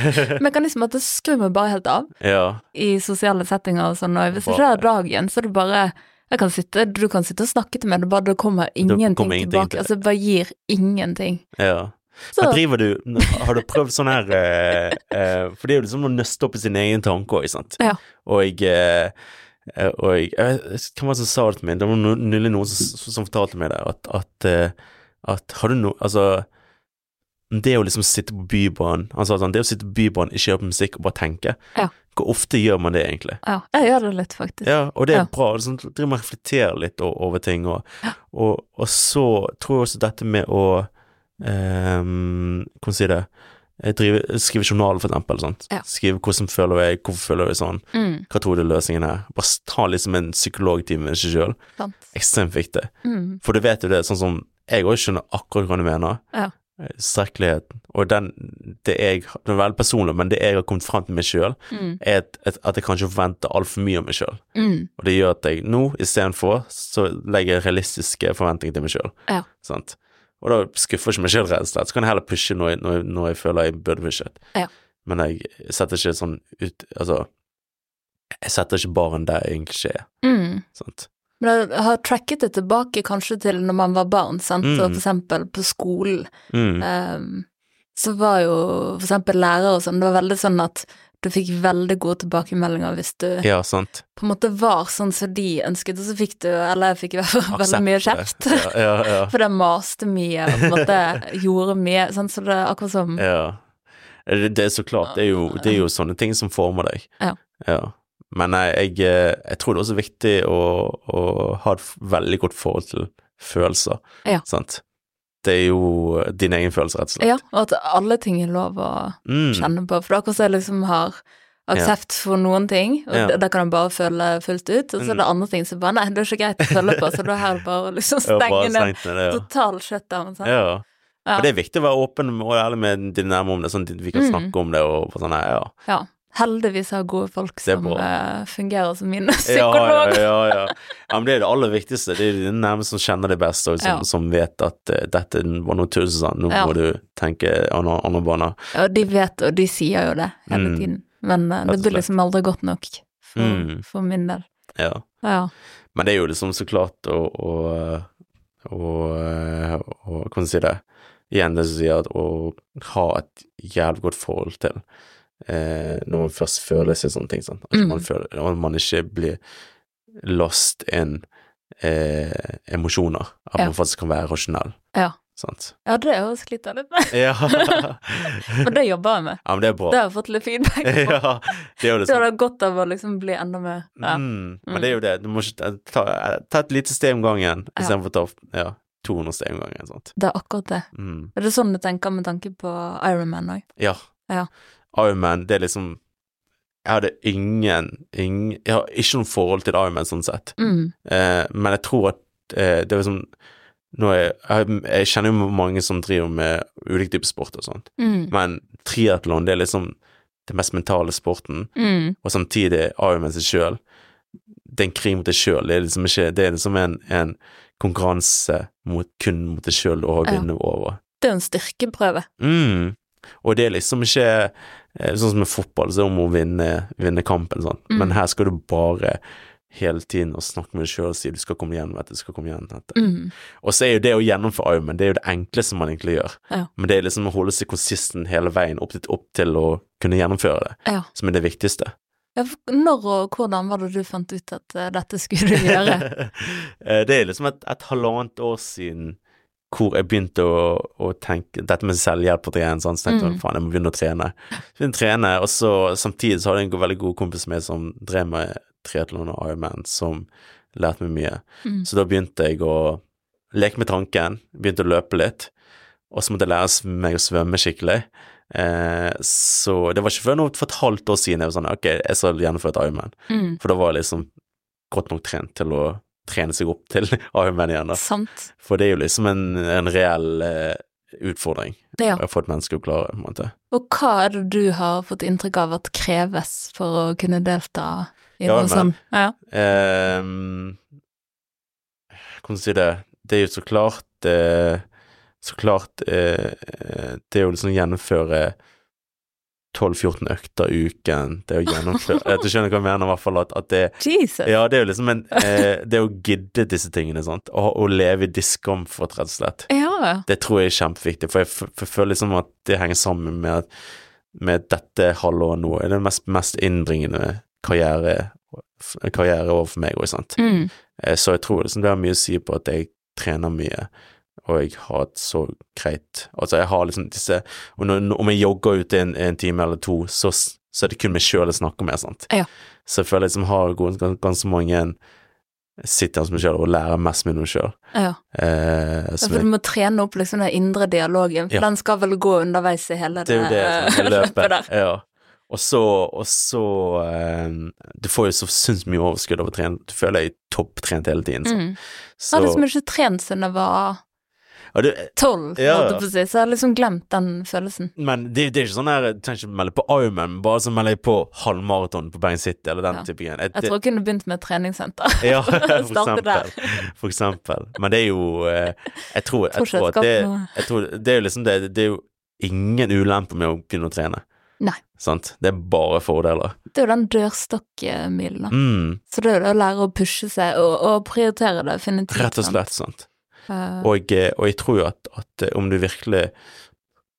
[SPEAKER 1] mekanisme at det skrur meg bare helt av
[SPEAKER 2] ja.
[SPEAKER 1] i sosiale settinger og sånn, og hvis jeg ikke
[SPEAKER 2] Bare-
[SPEAKER 1] har dagen, så er det bare jeg kan sitte, Du kan sitte og snakke til meg, det er bare det kommer ingenting
[SPEAKER 2] kommer ingenting
[SPEAKER 1] tilbake.
[SPEAKER 2] til-
[SPEAKER 1] Altså, jeg bare gir ingenting.
[SPEAKER 2] ja.
[SPEAKER 1] Så
[SPEAKER 2] Men driver du Har du prøvd sånn her eh, eh, For det er jo liksom å nøste opp i sin egen tanke òg, sant.
[SPEAKER 1] Ja.
[SPEAKER 2] Og eh, eh, og jeg, jeg, vet- hvem var det som sa det til meg? Det var no- nylig noen som, som- som fortalte meg det, at, at, eh, at har du noe Altså, det å liksom sitte på bybanen Han sa sånn, det å sitte på bybanen, ikke høre på musikk og bare tenke,
[SPEAKER 1] Ja.
[SPEAKER 2] hvor ofte gjør man det egentlig?
[SPEAKER 1] ja, jeg gjør det litt, faktisk.
[SPEAKER 2] Ja, og det er
[SPEAKER 1] Ja.
[SPEAKER 2] bra. Liksom, driver med å reflektere litt o- over ting. Og, og, og så tror jeg også dette med å ehm, Hvordan si det Eh, drive, Skrive journal, for eksempel. Sant?
[SPEAKER 1] Ja.
[SPEAKER 2] Skrive hvordan føler jeg, hvorfor føler jeg sånn,
[SPEAKER 1] Mm,
[SPEAKER 2] hva tror du løsningen er? Bare s- ta liksom en psykologtime med seg sjøl.
[SPEAKER 1] sant.
[SPEAKER 2] Ekstremt viktig.
[SPEAKER 1] Mm,
[SPEAKER 2] For du vet jo det, sånn som Jeg òg skjønner akkurat hva du mener.
[SPEAKER 1] Ja.
[SPEAKER 2] Eh, Sterkeligheten. Og den det jeg, den er veldig personlig, men det jeg har kommet fram til meg sjøl,
[SPEAKER 1] mm,
[SPEAKER 2] er at, at at jeg kanskje forventer altfor mye av meg sjøl.
[SPEAKER 1] mm.
[SPEAKER 2] Og det gjør at jeg nå istedenfor så legger jeg realistiske forventninger til meg sjøl.
[SPEAKER 1] Ja.
[SPEAKER 2] Sant? Og da skuffer jeg ikke meg sjøl, rett og slett. Så kan jeg heller pushe når jeg, når jeg, når jeg føler jeg burde pushet.
[SPEAKER 1] Ja.
[SPEAKER 2] Men jeg setter ikke sånn ut Altså, jeg setter ikke baren der jeg egentlig ikke er.
[SPEAKER 1] Mm.
[SPEAKER 2] Sant?
[SPEAKER 1] Men jeg har tracket det tilbake kanskje til når man var barn, sant,
[SPEAKER 2] Mm.
[SPEAKER 1] og for eksempel på skolen,
[SPEAKER 2] Mm.
[SPEAKER 1] ehm, så var jo for eksempel lærere og sånn, det var veldig sånn at du fikk veldig gode tilbakemeldinger hvis du
[SPEAKER 2] Ja, sant.
[SPEAKER 1] på en måte var sånn som de ønsket, og så fikk du, eller jeg fikk i hvert fall veldig
[SPEAKER 2] Aksept
[SPEAKER 1] mye
[SPEAKER 2] for det.
[SPEAKER 1] kjeft,
[SPEAKER 2] Ja, ja, ja.
[SPEAKER 1] for det maste mye, og på en måte gjorde mye, sant, så det er akkurat som,
[SPEAKER 2] Ja. Det, det er så klart, det er, jo, det er jo sånne ting som former deg.
[SPEAKER 1] Ja.
[SPEAKER 2] Men jeg, jeg, eh, jeg tror det er også viktig å, å ha et f- veldig godt forhold til følelser.
[SPEAKER 1] Ja.
[SPEAKER 2] Sant? Det er jo eh, din egen følelse, rett og slett.
[SPEAKER 1] ja, og at alle ting er lov å
[SPEAKER 2] Mm.
[SPEAKER 1] kjenne på. For det er akkurat som jeg liksom har aksept for noen ting, og
[SPEAKER 2] Ja. Mm.
[SPEAKER 1] det, det kan jeg bare føle fullt ut. Og så er det andre ting som bare Nei, det er ikke greit å føle på, så da er det bare å liksom
[SPEAKER 2] Jeg
[SPEAKER 1] stenge
[SPEAKER 2] har bare
[SPEAKER 1] ned.
[SPEAKER 2] stengt ned det, ja.
[SPEAKER 1] Total shutdown. sånn. sant?
[SPEAKER 2] Ja.
[SPEAKER 1] Ja.
[SPEAKER 2] Og det er viktig å være åpen og ærlig med dine nærme om det, sånn at vi kan
[SPEAKER 1] Mm.
[SPEAKER 2] snakke om det og på sånn her, ja.
[SPEAKER 1] Ja. Heldigvis har jeg gode folk
[SPEAKER 2] Det er
[SPEAKER 1] som
[SPEAKER 2] bra.
[SPEAKER 1] eh, fungerer som mine
[SPEAKER 2] Ja,
[SPEAKER 1] psykologer.
[SPEAKER 2] ja, ja, ja. ja, men det er det aller viktigste. Det er de nærmeste som kjenner deg best, og som,
[SPEAKER 1] Ja.
[SPEAKER 2] som vet at eh, dette var noe tusen sant. Nå
[SPEAKER 1] Ja.
[SPEAKER 2] må du tenke andre, andre baner.
[SPEAKER 1] Og de vet, og de sier jo det hele
[SPEAKER 2] Mm.
[SPEAKER 1] tiden. Men eh,
[SPEAKER 2] Rett
[SPEAKER 1] det
[SPEAKER 2] og
[SPEAKER 1] blir
[SPEAKER 2] slett.
[SPEAKER 1] liksom aldri godt nok for,
[SPEAKER 2] Mm.
[SPEAKER 1] for min del.
[SPEAKER 2] Ja.
[SPEAKER 1] Ja.
[SPEAKER 2] Men det er jo liksom så klart å å, å, eh, å Hva skal man si det? Igjen det som sier at å ha et jævlig godt forhold til eh, når man først føler seg sånne ting, sant. At
[SPEAKER 1] Mm.
[SPEAKER 2] man, føler, at man ikke blir lost in eh, emosjoner. At
[SPEAKER 1] Ja.
[SPEAKER 2] man faktisk kan være rasjonell.
[SPEAKER 1] Ja.
[SPEAKER 2] Sant.
[SPEAKER 1] ja, det har jeg slitt litt med,
[SPEAKER 2] Ja.
[SPEAKER 1] men det jobber jeg med.
[SPEAKER 2] ja, men det er
[SPEAKER 1] Det
[SPEAKER 2] bra.
[SPEAKER 1] har jeg fått litt feedback på.
[SPEAKER 2] ja, det er jo det
[SPEAKER 1] Det
[SPEAKER 2] som
[SPEAKER 1] hadde vært godt av å liksom bli enda mer ja.
[SPEAKER 2] mm, Men det er jo det. Du må ikke ta, ta, ta et lite steg om gangen
[SPEAKER 1] Ja.
[SPEAKER 2] istedenfor å ta ja, 200 steg om gangen. Sant?
[SPEAKER 1] Det er akkurat det.
[SPEAKER 2] Mm.
[SPEAKER 1] Er det sånn du tenker med tanke på Ironman òg?
[SPEAKER 2] Ja.
[SPEAKER 1] Ja.
[SPEAKER 2] Ironman, det er liksom Jeg hadde ingen, ingen Jeg har ikke noe forhold til Ironman sånn sett,
[SPEAKER 1] Mm.
[SPEAKER 2] eh, men jeg tror at eh, det er sånn nå er, jeg, jeg kjenner jo mange som driver med ulike typer sport og sånt,
[SPEAKER 1] Mm.
[SPEAKER 2] men triatlon det er liksom den mest mentale sporten,
[SPEAKER 1] Mm.
[SPEAKER 2] og samtidig Ironman seg sjøl. Det er en krig mot deg sjøl, det er liksom ikke Det er liksom en, en konkurranse mot, kun mot deg sjøl å
[SPEAKER 1] Ja.
[SPEAKER 2] vinne over.
[SPEAKER 1] Det er jo en styrkeprøve.
[SPEAKER 2] Mm. Og det er liksom ikke eh, sånn som med fotball, så er det om å vinne, vinne kampen, sånn.
[SPEAKER 1] Mm.
[SPEAKER 2] Men her skal du bare hele tiden og snakke med deg sjøl og si du skal komme gjennom dette, du skal komme gjennom dette.
[SPEAKER 1] Mm.
[SPEAKER 2] Og så er jo det å gjennomføre Ironman, det er jo det enkleste man egentlig gjør.
[SPEAKER 1] Ja.
[SPEAKER 2] Men det er liksom å holde seg konsistent hele veien opp til, opp til å kunne gjennomføre det,
[SPEAKER 1] Ja.
[SPEAKER 2] som er det viktigste.
[SPEAKER 1] Ja, for Når og hvordan var det du fant ut at eh, dette skulle du gjøre?
[SPEAKER 2] Eh, det er liksom et, et halvannet år siden hvor jeg begynte å, å tenke dette med selvhjelp og trene, sånn, så tenkte jeg
[SPEAKER 1] Mm.
[SPEAKER 2] faen, jeg må begynne å trene. Så begynte jeg å trene, og så samtidig så hadde jeg en veldig god kompis med som drev med triatlon og Ironman, som lærte meg mye.
[SPEAKER 1] Mm.
[SPEAKER 2] Så da begynte jeg å leke med tanken, begynte å løpe litt, og så måtte jeg lære s- meg å svømme skikkelig. Eh, så det var ikke før nå for et halvt år siden jeg var sånn, ok, jeg skal gjennomføre et Ironman.
[SPEAKER 1] Mm.
[SPEAKER 2] For da var jeg liksom godt nok trent til å trene seg opp til Ironman igjen, da.
[SPEAKER 1] Sant.
[SPEAKER 2] For det er jo liksom en, en reell eh, utfordring
[SPEAKER 1] Ja.
[SPEAKER 2] å få et menneske å klare, på en måte.
[SPEAKER 1] Og hva er det du har fått inntrykk av at kreves for å kunne delta i
[SPEAKER 2] Ja,
[SPEAKER 1] noe
[SPEAKER 2] men-
[SPEAKER 1] sånt? Ja.
[SPEAKER 2] Ehm, hvordan skal jeg si det Det er jo så klart eh, Så klart eh, eh, Det å liksom gjennomføre 12-14 økter i uken Det å gjennomføre eh, Du skjønner hva jeg mener, i hvert fall at, at det
[SPEAKER 1] Jesus.
[SPEAKER 2] Ja, det er jo liksom en eh, Det å gidde disse tingene, sant. Å, å leve i diskomfort, rett og slett.
[SPEAKER 1] Ja.
[SPEAKER 2] Det tror jeg er kjempeviktig, for jeg f f føler liksom at det henger sammen med at med dette halvåret nå er det mest, mest innbringende karriere, f- karriere overfor meg òg, sant.
[SPEAKER 1] Mm.
[SPEAKER 2] Eh, Så jeg tror liksom det har mye å si på at jeg trener mye, og jeg har et så greit Altså, jeg har liksom disse og når, når- Om jeg jogger ute en, en time eller to, så, s- så er det kun meg sjøl jeg snakker med, sant.
[SPEAKER 1] Ja.
[SPEAKER 2] Så jeg føler jeg liksom har gans- gans- ganske mange sitter hos meg sjøl og lærer mest med meg sjøl.
[SPEAKER 1] ja.
[SPEAKER 2] Eh,
[SPEAKER 1] Ja,
[SPEAKER 2] som
[SPEAKER 1] for du må trene opp liksom den indre dialogen, for
[SPEAKER 2] Ja.
[SPEAKER 1] den skal vel gå underveis i hele
[SPEAKER 2] Det er jo det som er løpet.
[SPEAKER 1] der.
[SPEAKER 2] Ja. Og så, og så eh, Du får jo så sinnssykt mye overskudd av å trene. Du føler deg topptrent hele tiden. sant?
[SPEAKER 1] Mm. Jeg
[SPEAKER 2] Så,
[SPEAKER 1] har liksom ikke trent siden jeg var
[SPEAKER 2] Ja, du,
[SPEAKER 1] tolv,
[SPEAKER 2] Ja.
[SPEAKER 1] holdt jeg på å si, så jeg har liksom glemt den følelsen.
[SPEAKER 2] men det, det er ikke sånn her Du trenger ikke melde på Ironman, men bare så melder jeg på halvmaraton på Bergen City, eller den
[SPEAKER 1] Ja.
[SPEAKER 2] type greier.
[SPEAKER 1] Jeg tror jeg kunne begynt med et treningssenter.
[SPEAKER 2] ja, for
[SPEAKER 1] Starte der.
[SPEAKER 2] eksempel, for eksempel. Men det er jo eh, Jeg tror, jeg
[SPEAKER 1] Fortsett,
[SPEAKER 2] tror at det,
[SPEAKER 1] skap noe.
[SPEAKER 2] jeg tror, det er jo liksom det Det er jo ingen ulemper med å begynne å trene.
[SPEAKER 1] Nei.
[SPEAKER 2] Sant? Det er bare fordeler.
[SPEAKER 1] Det er jo den dørstokkmilen, da.
[SPEAKER 2] Mm,
[SPEAKER 1] Så det er jo det å lære å pushe seg og, og prioritere sånn. det, finne tid
[SPEAKER 2] rett og
[SPEAKER 1] til det.
[SPEAKER 2] slett, sant.
[SPEAKER 1] Eh,
[SPEAKER 2] Og, eh, og jeg tror jo at, at eh, om du virkelig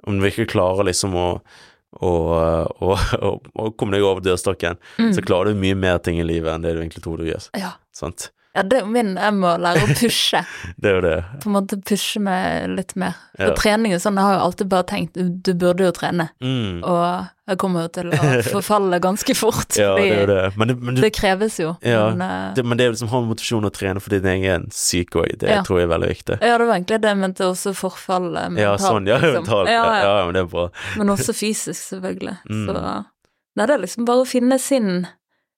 [SPEAKER 2] Om du virkelig klarer liksom å å, eh, å, å, å komme deg over dørstokken,
[SPEAKER 1] Mm.
[SPEAKER 2] så klarer du mye mer ting i livet enn det du egentlig tror du gjør.
[SPEAKER 1] ja.
[SPEAKER 2] Sant?
[SPEAKER 1] ja, det er jo min Jeg må lære å pushe.
[SPEAKER 2] Det er jo det.
[SPEAKER 1] På en måte pushe meg litt mer. For
[SPEAKER 2] Ja.
[SPEAKER 1] trening er sånn, jeg har jo alltid bare tenkt du, du burde jo trene,
[SPEAKER 2] Mm.
[SPEAKER 1] og jeg kommer jo til å forfalle ganske fort.
[SPEAKER 2] Ja, det er jo
[SPEAKER 1] fordi
[SPEAKER 2] det. Men, det- men, du,
[SPEAKER 1] det kreves jo.
[SPEAKER 2] Ja,
[SPEAKER 1] men, eh,
[SPEAKER 2] det, men det er jo liksom å ha motivasjon å trene for din egen syke òg. Det
[SPEAKER 1] Ja.
[SPEAKER 2] tror jeg er veldig viktig.
[SPEAKER 1] ja, det var egentlig det jeg mente, også forfall eh, mentalt.
[SPEAKER 2] Ja, sånn. Ja,
[SPEAKER 1] liksom.
[SPEAKER 2] mentalt. Ja,
[SPEAKER 1] Ja, ja.
[SPEAKER 2] ja, men det er bra.
[SPEAKER 1] Men også fysisk, selvfølgelig.
[SPEAKER 2] Mm.
[SPEAKER 1] Så nei, det er liksom bare å finne sin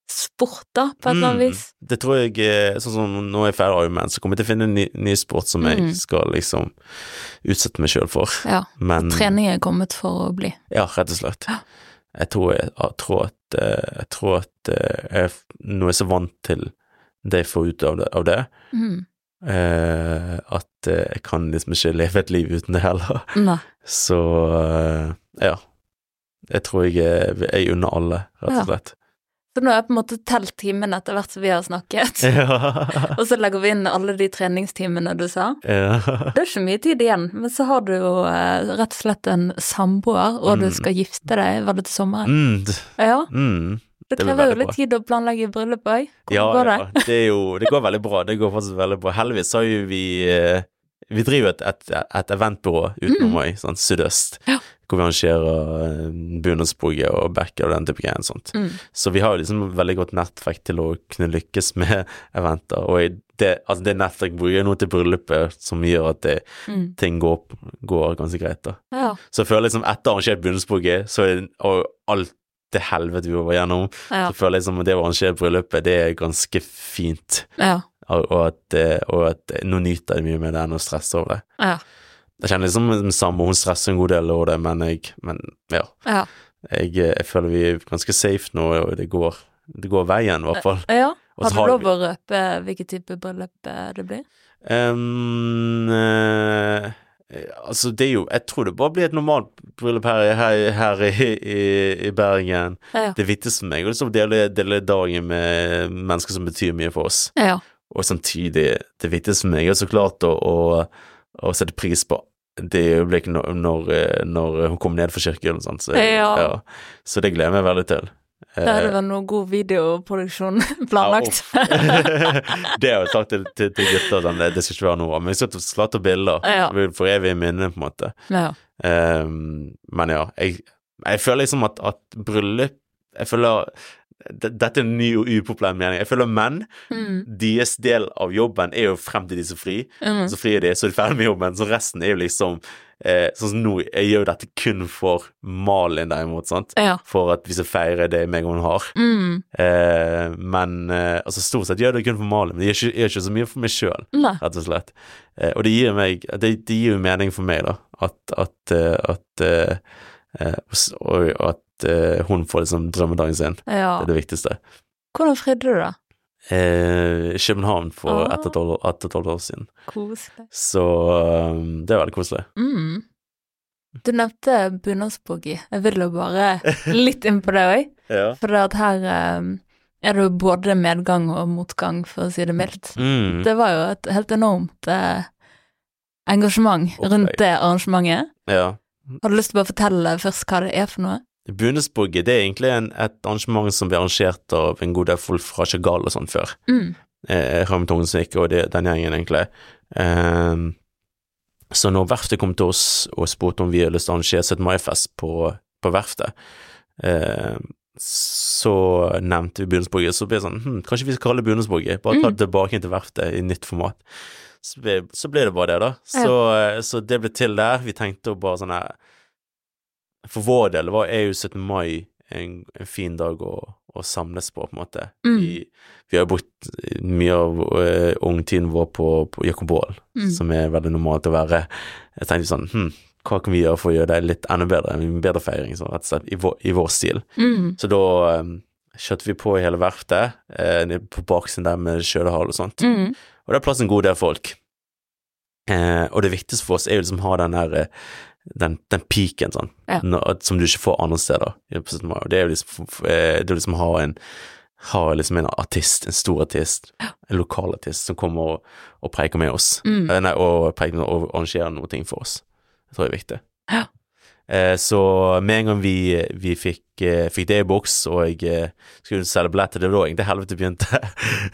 [SPEAKER 1] sport, da, på et eller annet
[SPEAKER 2] Mm.
[SPEAKER 1] vis.
[SPEAKER 2] Det tror jeg eh, Sånn som nå er jeg ferdig argument, så kommer jeg til å finne en ny, ny sport som
[SPEAKER 1] Mm.
[SPEAKER 2] jeg skal liksom utsette meg sjøl for.
[SPEAKER 1] Ja.
[SPEAKER 2] Men
[SPEAKER 1] Trening er kommet for å bli.
[SPEAKER 2] Ja, rett og slett.
[SPEAKER 1] Ja.
[SPEAKER 2] Jeg tror, jeg, jeg tror at, eh, jeg, tror at eh, jeg f- nå er så vant til det jeg får ut av det, av det
[SPEAKER 1] Mm.
[SPEAKER 2] eh, at eh, jeg kan liksom ikke leve et liv uten det heller.
[SPEAKER 1] Nei.
[SPEAKER 2] Så eh, ja. Jeg tror jeg, er- jeg unner alle, rett
[SPEAKER 1] Ja.
[SPEAKER 2] og slett.
[SPEAKER 1] Så nå har jeg på en måte telt timen etter hvert som vi har snakket,
[SPEAKER 2] Ja.
[SPEAKER 1] og så legger vi inn alle de treningstimene du sa.
[SPEAKER 2] ja.
[SPEAKER 1] Det er ikke mye tid igjen, men så har du jo eh, rett og slett en samboer, og du
[SPEAKER 2] Mm.
[SPEAKER 1] skal gifte deg, var det til sommeren?
[SPEAKER 2] Mm, d-
[SPEAKER 1] Ja,
[SPEAKER 2] mm.
[SPEAKER 1] det
[SPEAKER 2] Det blir
[SPEAKER 1] krever jo
[SPEAKER 2] veldig
[SPEAKER 1] litt
[SPEAKER 2] bra.
[SPEAKER 1] tid å planlegge bryllup òg. Hvordan
[SPEAKER 2] Ja,
[SPEAKER 1] går det?
[SPEAKER 2] ja. Det, er jo, det går veldig bra. Det går faktisk veldig bra. Heldigvis har jo vi eh, Vi driver et, et, et eventbyrå utenom meg, sånn sydøst,
[SPEAKER 1] Mm. Ja.
[SPEAKER 2] hvor vi arrangerer eh, bunadsboge og backer og den type greier. Sånt.
[SPEAKER 1] Mm.
[SPEAKER 2] Så vi har jo liksom veldig godt nettverk til å kunne lykkes med eventer. Og i det, altså det nettverket bruker jeg nå til bryllupet, som gjør at det,
[SPEAKER 1] Mm.
[SPEAKER 2] ting går, går ganske greit. da
[SPEAKER 1] Ja.
[SPEAKER 2] så jeg føler liksom etter å ha arrangert Bunnelsboget, så er det- og alt det helvete vi var gjennom,
[SPEAKER 1] Ja.
[SPEAKER 2] så føler jeg som det å arrangere bryllupet, det er ganske fint.
[SPEAKER 1] Ja.
[SPEAKER 2] Og og at, eh, og at eh, nå nyter jeg mye med det enn å stresse over det.
[SPEAKER 1] Ja.
[SPEAKER 2] Jeg kjenner liksom som samboer, hun stresser en god del over det, men jeg, men, ja,
[SPEAKER 1] Ja.
[SPEAKER 2] jeg, eh, jeg føler vi er ganske safe nå, og det går, det går veien i hvert fall.
[SPEAKER 1] ja.
[SPEAKER 2] Og
[SPEAKER 1] Har
[SPEAKER 2] så
[SPEAKER 1] du
[SPEAKER 2] har
[SPEAKER 1] lov
[SPEAKER 2] vi-
[SPEAKER 1] å røpe hvilken type bryllup eh, det blir?
[SPEAKER 2] Ehm, eh, altså, det er jo Jeg tror det bare blir et normalt bryllup her, i- her, her i, i, i Bergen.
[SPEAKER 1] Ja.
[SPEAKER 2] Det viktigste for meg er liksom å dele, dele dagen med mennesker som betyr mye for oss.
[SPEAKER 1] Ja.
[SPEAKER 2] Og samtidig, det viktigste for meg er så klart å, å, å sette pris på det øyeblikket når, når, eh, når hun kom ned fra kirken. og sånt, Så,
[SPEAKER 1] Ja.
[SPEAKER 2] så det gleder jeg meg veldig til.
[SPEAKER 1] Det hadde
[SPEAKER 2] Eh,
[SPEAKER 1] vært noe god videoproduksjon planlagt.
[SPEAKER 2] det har jeg sagt til, til, til gutter, sånn, det, det skal ikke være noe av. Men jeg skal slå til bilder.
[SPEAKER 1] Ja.
[SPEAKER 2] Det vil For evig minne, på en måte.
[SPEAKER 1] Ja.
[SPEAKER 2] Ehm, men ja, jeg, jeg føler liksom at, at bryllup Jeg føler d- Dette er en ny og upopulær mening. Jeg føler menn,
[SPEAKER 1] Mm.
[SPEAKER 2] deres del av jobben er jo frem til de er så fri.
[SPEAKER 1] Mm.
[SPEAKER 2] Så fri er de, så er de ferdig med jobben. Så resten er jo liksom eh, Sånn som nå, jeg gjør jo dette kun for Malin, derimot, sant.
[SPEAKER 1] Ja.
[SPEAKER 2] For at vi skal feire det meg og hun har.
[SPEAKER 1] Mm.
[SPEAKER 2] Eh, men eh, altså stort sett gjør jeg det kun for Malin, men det gjør ikke, gjør ikke så mye for meg sjøl,
[SPEAKER 1] Nei.
[SPEAKER 2] rett og slett. Eh, og det gir meg det, det gir jo mening for meg, da, at, at, eh, at, eh, eh, og s- og at eh, hun får liksom drømmedagen sin.
[SPEAKER 1] Ja.
[SPEAKER 2] Det er det viktigste.
[SPEAKER 1] Hvordan fridde du, da?
[SPEAKER 2] Eh, København for
[SPEAKER 1] Ah.
[SPEAKER 2] ett og tolv- ett og tolv år siden.
[SPEAKER 1] Koselig.
[SPEAKER 2] Så eh, det er veldig koselig.
[SPEAKER 1] Mm. Du nevnte bunadsboogie. Jeg vil jo bare litt inn på det òg.
[SPEAKER 2] Ja.
[SPEAKER 1] For det at her eh, er det jo både medgang og motgang, for å si det mildt.
[SPEAKER 2] Mm.
[SPEAKER 1] Det var jo et helt enormt eh, engasjement rundt det arrangementet.
[SPEAKER 2] ja.
[SPEAKER 1] Har du lyst til å bare fortelle først hva det er for noe?
[SPEAKER 2] Bunesbugge, det er egentlig en, et arrangement som ble arrangert av en god del folk fra Chagall og sånn før.
[SPEAKER 1] Mm.
[SPEAKER 2] eh, Ragnhild Tungsvik og det, den gjengen, egentlig. Ehm, så når verftet kom til oss og spurte om vi hadde lyst til å arrangere 17. mai-fest på, på verftet, ehm, så nevnte vi Bunadsborget, så ble det sånn hm, Kanskje vi skal kalle det Bunadsborget? Bare ta det tilbake inn til verftet i nytt format. Så ble, så ble det bare det, da. Så, eh, så det ble til der. Vi tenkte å bare sånn her For vår del var er jo 17. mai en, en fin dag å, å samles på, på en måte.
[SPEAKER 1] Mm.
[SPEAKER 2] Vi, vi har brukt mye av eh, ungtiden vår på, på Jakobol,
[SPEAKER 1] Mm.
[SPEAKER 2] som er veldig normalt å være. Jeg tenkte sånn hm, hva kan vi gjøre for å gjøre det litt enda bedre, en bedre feiring, sånn, rett og slett, i vår, i vår stil.
[SPEAKER 1] Mm.
[SPEAKER 2] Så da um, kjørte vi på i hele verftet, eh, ned på baksiden der med kjølehall og sånt.
[SPEAKER 1] Mm.
[SPEAKER 2] Og det er plass til en god del folk. Eh, og det viktigste for oss er jo liksom å ha den der eh, den, den piken, sånn,
[SPEAKER 1] Ja.
[SPEAKER 2] nå- at- som du ikke får andre steder. i løpet av 17. mai. Og Det er jo liksom, f- eh, det er liksom å ha en ha liksom en artist, en stor artist, en lokal artist, som kommer og, og preker med oss.
[SPEAKER 1] Mm.
[SPEAKER 2] Eh, Nei, og preker med og arrangerer noe ting for oss. Det tror jeg er viktig.
[SPEAKER 1] Ja.
[SPEAKER 2] Eh, så med en gang vi, vi fikk, eh, fikk det i boks, og jeg eh, skulle selge billetter, det var da egentlig helvete begynte.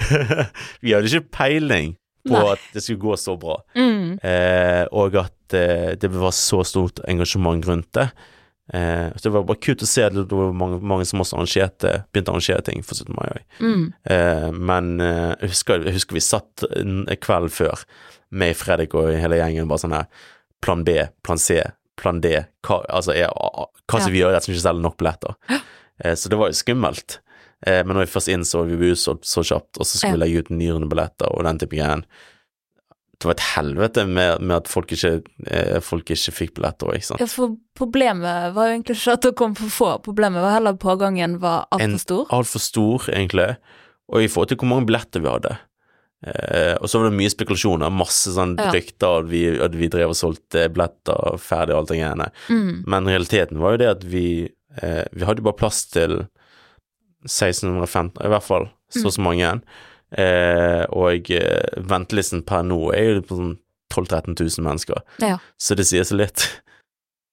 [SPEAKER 2] vi hadde ikke peiling på
[SPEAKER 1] Nei.
[SPEAKER 2] at det skulle gå så bra.
[SPEAKER 1] Mm.
[SPEAKER 2] Eh, og at eh, det var så stort engasjement rundt det. Eh, så det var bare kult å se at det var mange, mange som også arrangerte, begynte å arrangere ting for 17. mai òg.
[SPEAKER 1] Mm.
[SPEAKER 2] Eh, men eh, jeg, husker, jeg husker vi satt en kveld før med Fredrik og hele gjengen bare sånn her Plan B, plan C, plan D. Hva, altså, er, hva skal vi gjøre dersom vi ikke selger nok billetter? Eh, så det var jo skummelt. Eh, men når vi først innså at vi ble utsolgt så kjapt, og så skulle vi legge ut 900 billetter og den type greien Det var et helvete med, med at folk ikke, eh, folk ikke fikk billetter òg, ikke sant.
[SPEAKER 1] Ja, for problemet var jo egentlig ikke at det kom for få, problemet var heller at pågangen var
[SPEAKER 2] En-
[SPEAKER 1] altfor stor.
[SPEAKER 2] altfor stor, egentlig, og i forhold til hvor mange billetter vi hadde. Eh, og så var det mye spekulasjoner, masse sånn
[SPEAKER 1] Ja.
[SPEAKER 2] rykter at vi, at vi drev og solgte billetter ferdig og alt det greiene.
[SPEAKER 1] Mm.
[SPEAKER 2] Men realiteten var jo det at vi, eh, vi hadde jo bare plass til 1615, i hvert fall
[SPEAKER 1] Mm.
[SPEAKER 2] så og så mange. Eh, og eh, ventelisten per nå er jo på sånn 12 000-13 000 mennesker,
[SPEAKER 1] Ja.
[SPEAKER 2] så det sier så litt.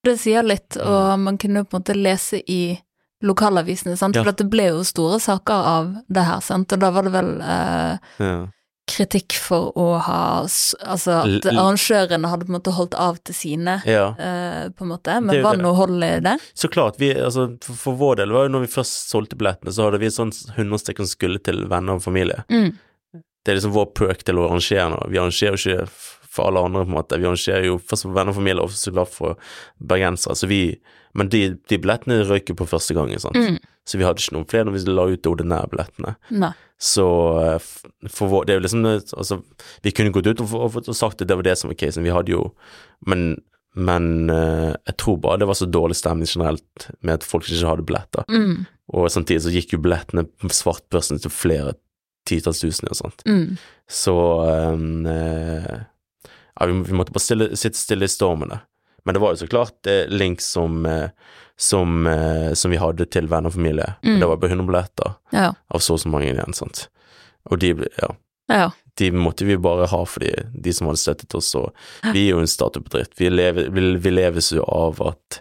[SPEAKER 1] Det sier litt, og man kunne jo på en måte lese i lokalavisene, sant?
[SPEAKER 2] Mm. Ja.
[SPEAKER 1] for at det ble jo store saker av det her, sant? og da var det vel eh,
[SPEAKER 2] Ja. kritikk
[SPEAKER 1] kritikk for å ha s- Altså at
[SPEAKER 2] L- l-
[SPEAKER 1] arrangørene hadde på en måte holdt av til sine,
[SPEAKER 2] ja.
[SPEAKER 1] eh, på en måte,
[SPEAKER 2] Det er
[SPEAKER 1] men
[SPEAKER 2] jo
[SPEAKER 1] var
[SPEAKER 2] det.
[SPEAKER 1] det noe hold i det?
[SPEAKER 2] Så klart, vi, altså, for, for vår del var jo når vi først solgte billettene, så hadde vi sånn 100 stykker som skulle til venner og familie.
[SPEAKER 1] Mm.
[SPEAKER 2] Det er liksom vår perk til å arrangere nå. Vi arrangerer jo ikke f- for alle andre, på en måte. Vi arrangerer jo først for venner og familie, og så klart for bergensere. Så vi, men de, de billettene røyk jo på første gangen, sant.
[SPEAKER 1] Mm.
[SPEAKER 2] Så vi hadde ikke noen flere når vi la ut de ordinære billettene.
[SPEAKER 1] Nei.
[SPEAKER 2] Så eh, f- for vår, det er jo liksom eh, altså, Vi kunne gått ut og, og, og sagt at det var det som var casen, vi hadde jo Men, men eh, jeg tror bare det var så dårlig stemning generelt med at folk ikke hadde billetter.
[SPEAKER 1] Mm.
[SPEAKER 2] Og samtidig så gikk jo billettene på svartbørsen til flere titalls tusen og sånt.
[SPEAKER 1] Mm.
[SPEAKER 2] Så eh, ja, vi, vi måtte bare stille, sitte stille i stormen der. Men det var jo så klart eh, link som, eh, som, eh, som vi hadde til venner og familie.
[SPEAKER 1] Mm.
[SPEAKER 2] Det var bare 100 billetter
[SPEAKER 1] Ja, ja.
[SPEAKER 2] av så og så mange igjen, sant. Og de, ble- ja,
[SPEAKER 1] Ja, ja.
[SPEAKER 2] de måtte vi bare ha fordi de som hadde støttet oss, og vi er jo en startup-bedrift. Vi, lever, vi, vi leves jo av at,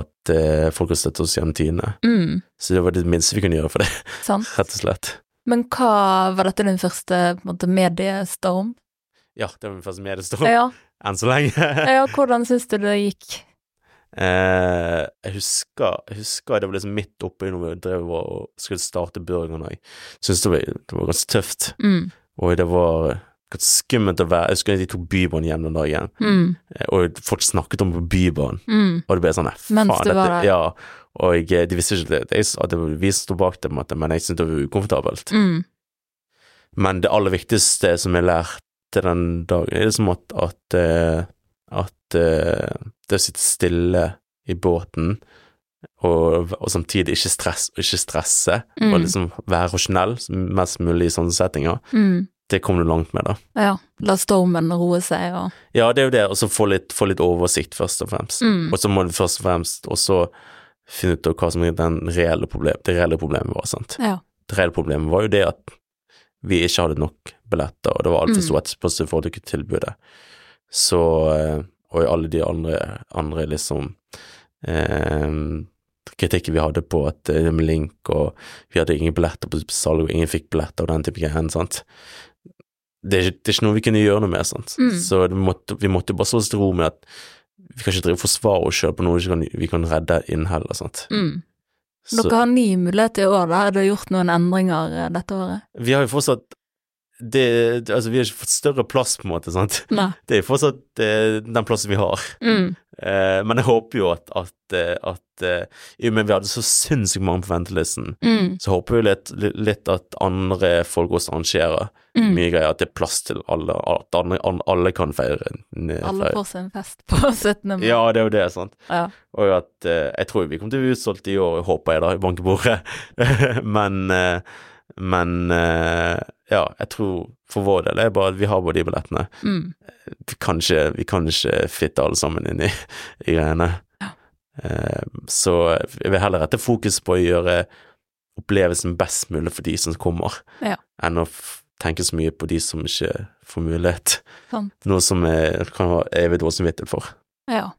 [SPEAKER 2] at eh, folk har støttet oss gjennom tidene.
[SPEAKER 1] Mm.
[SPEAKER 2] Så det var det minste vi kunne gjøre for det,
[SPEAKER 1] Sant.
[SPEAKER 2] rett og slett.
[SPEAKER 1] Men hva var dette din første på en måte, mediestorm?
[SPEAKER 2] Ja, det var min første mediestorm,
[SPEAKER 1] Ja,
[SPEAKER 2] enn så lenge.
[SPEAKER 1] ja, hvordan syns du det gikk?
[SPEAKER 2] Eh, jeg husker, jeg husker det var liksom midt oppe i når vi drev og skulle starte burgeren, og jeg syntes det, var- det var ganske tøft,
[SPEAKER 1] Mm.
[SPEAKER 2] og det var ganske skummelt å være, jeg husker de tok bybanen hjem den dagen,
[SPEAKER 1] Mm.
[SPEAKER 2] eh, og folk snakket om på bybanen,
[SPEAKER 1] Mm.
[SPEAKER 2] og det ble sånn, nei, faen,
[SPEAKER 1] Mens du var
[SPEAKER 2] dette-
[SPEAKER 1] der.
[SPEAKER 2] ja, og jeg, eh, de visste ikke det, jeg, sa at det var vi som stod bak det, på en måte, men jeg syntes det var ukomfortabelt.
[SPEAKER 1] Mm.
[SPEAKER 2] Men det aller viktigste som jeg lærte den dagen, er liksom at, at, eh, at eh, det å sitte stille i båten og, og samtidig ikke, stress, og ikke stresse,
[SPEAKER 1] Mm.
[SPEAKER 2] og liksom være rasjonell mest mulig i sånne settinger,
[SPEAKER 1] Mm.
[SPEAKER 2] det kom du langt med, da.
[SPEAKER 1] Ja, la stormen roe seg og
[SPEAKER 2] Ja, det er jo det, og så få litt, få litt oversikt, først og fremst.
[SPEAKER 1] Mm.
[SPEAKER 2] Og så må du først og fremst også finne ut av hva som er den reelle problem, det reelle problemet var, sant.
[SPEAKER 1] Ja.
[SPEAKER 2] det reelle problemet var jo det at vi ikke hadde nok billetter, og det var altfor
[SPEAKER 1] Mm.
[SPEAKER 2] stor etterspørsel for dette tilbudet. Så eh, Og alle de andre, andre liksom eh, kritikken vi hadde på at eh, det med Link og vi hadde ingen billetter på salg, og ingen fikk billetter og den type greier, sant. Det er, ikke, det er ikke noe vi kunne gjøre noe med, sant.
[SPEAKER 1] Mm.
[SPEAKER 2] Så det måtte, vi måtte bare slå oss til ro med at vi kan ikke drive og forsvare oss sjøl på noe vi ikke kan, vi kan redde inn heller, sant.
[SPEAKER 1] mm.
[SPEAKER 2] Så-
[SPEAKER 1] Dere har ny mulighet i år, da. Har dere gjort noen endringer eh, dette året?
[SPEAKER 2] Vi har jo fortsatt det, det- altså Vi har ikke fått større plass, på en måte. sant?
[SPEAKER 1] Nei.
[SPEAKER 2] Det er jo fortsatt eh, den plassen vi har.
[SPEAKER 1] Mm.
[SPEAKER 2] Eh, men jeg håper jo at, at, eh, at eh, I og med vi hadde så sinnssykt mange på ventelisten,
[SPEAKER 1] Mm.
[SPEAKER 2] så håper jeg jo litt, li- litt at andre folk også arrangerer
[SPEAKER 1] Mm.
[SPEAKER 2] mye greier. At det er plass til alle, at andre, an, alle kan feire. en- en
[SPEAKER 1] Alle
[SPEAKER 2] feire.
[SPEAKER 1] får seg en fest på 17. mai.
[SPEAKER 2] Ja, det er jo det, sant.
[SPEAKER 1] Ja.
[SPEAKER 2] Og at eh, jeg tror vi kommer til å bli utsolgt i år, håper jeg da, i bankebordet. men eh, men eh, ja, jeg tror for vår del er det bare at vi har bare de billettene.
[SPEAKER 1] Mm.
[SPEAKER 2] Vi kan ikke, vi kan ikke fitte alle sammen inn i, i greiene. Eh, så jeg vil heller rette fokus på å gjøre opplevelsen best mulig for de som kommer,
[SPEAKER 1] Ja.
[SPEAKER 2] enn å f tenke så mye på de som ikke får mulighet.
[SPEAKER 1] Sant.
[SPEAKER 2] Noe som jeg kan ha evig dårlig samvittighet for.
[SPEAKER 1] ja.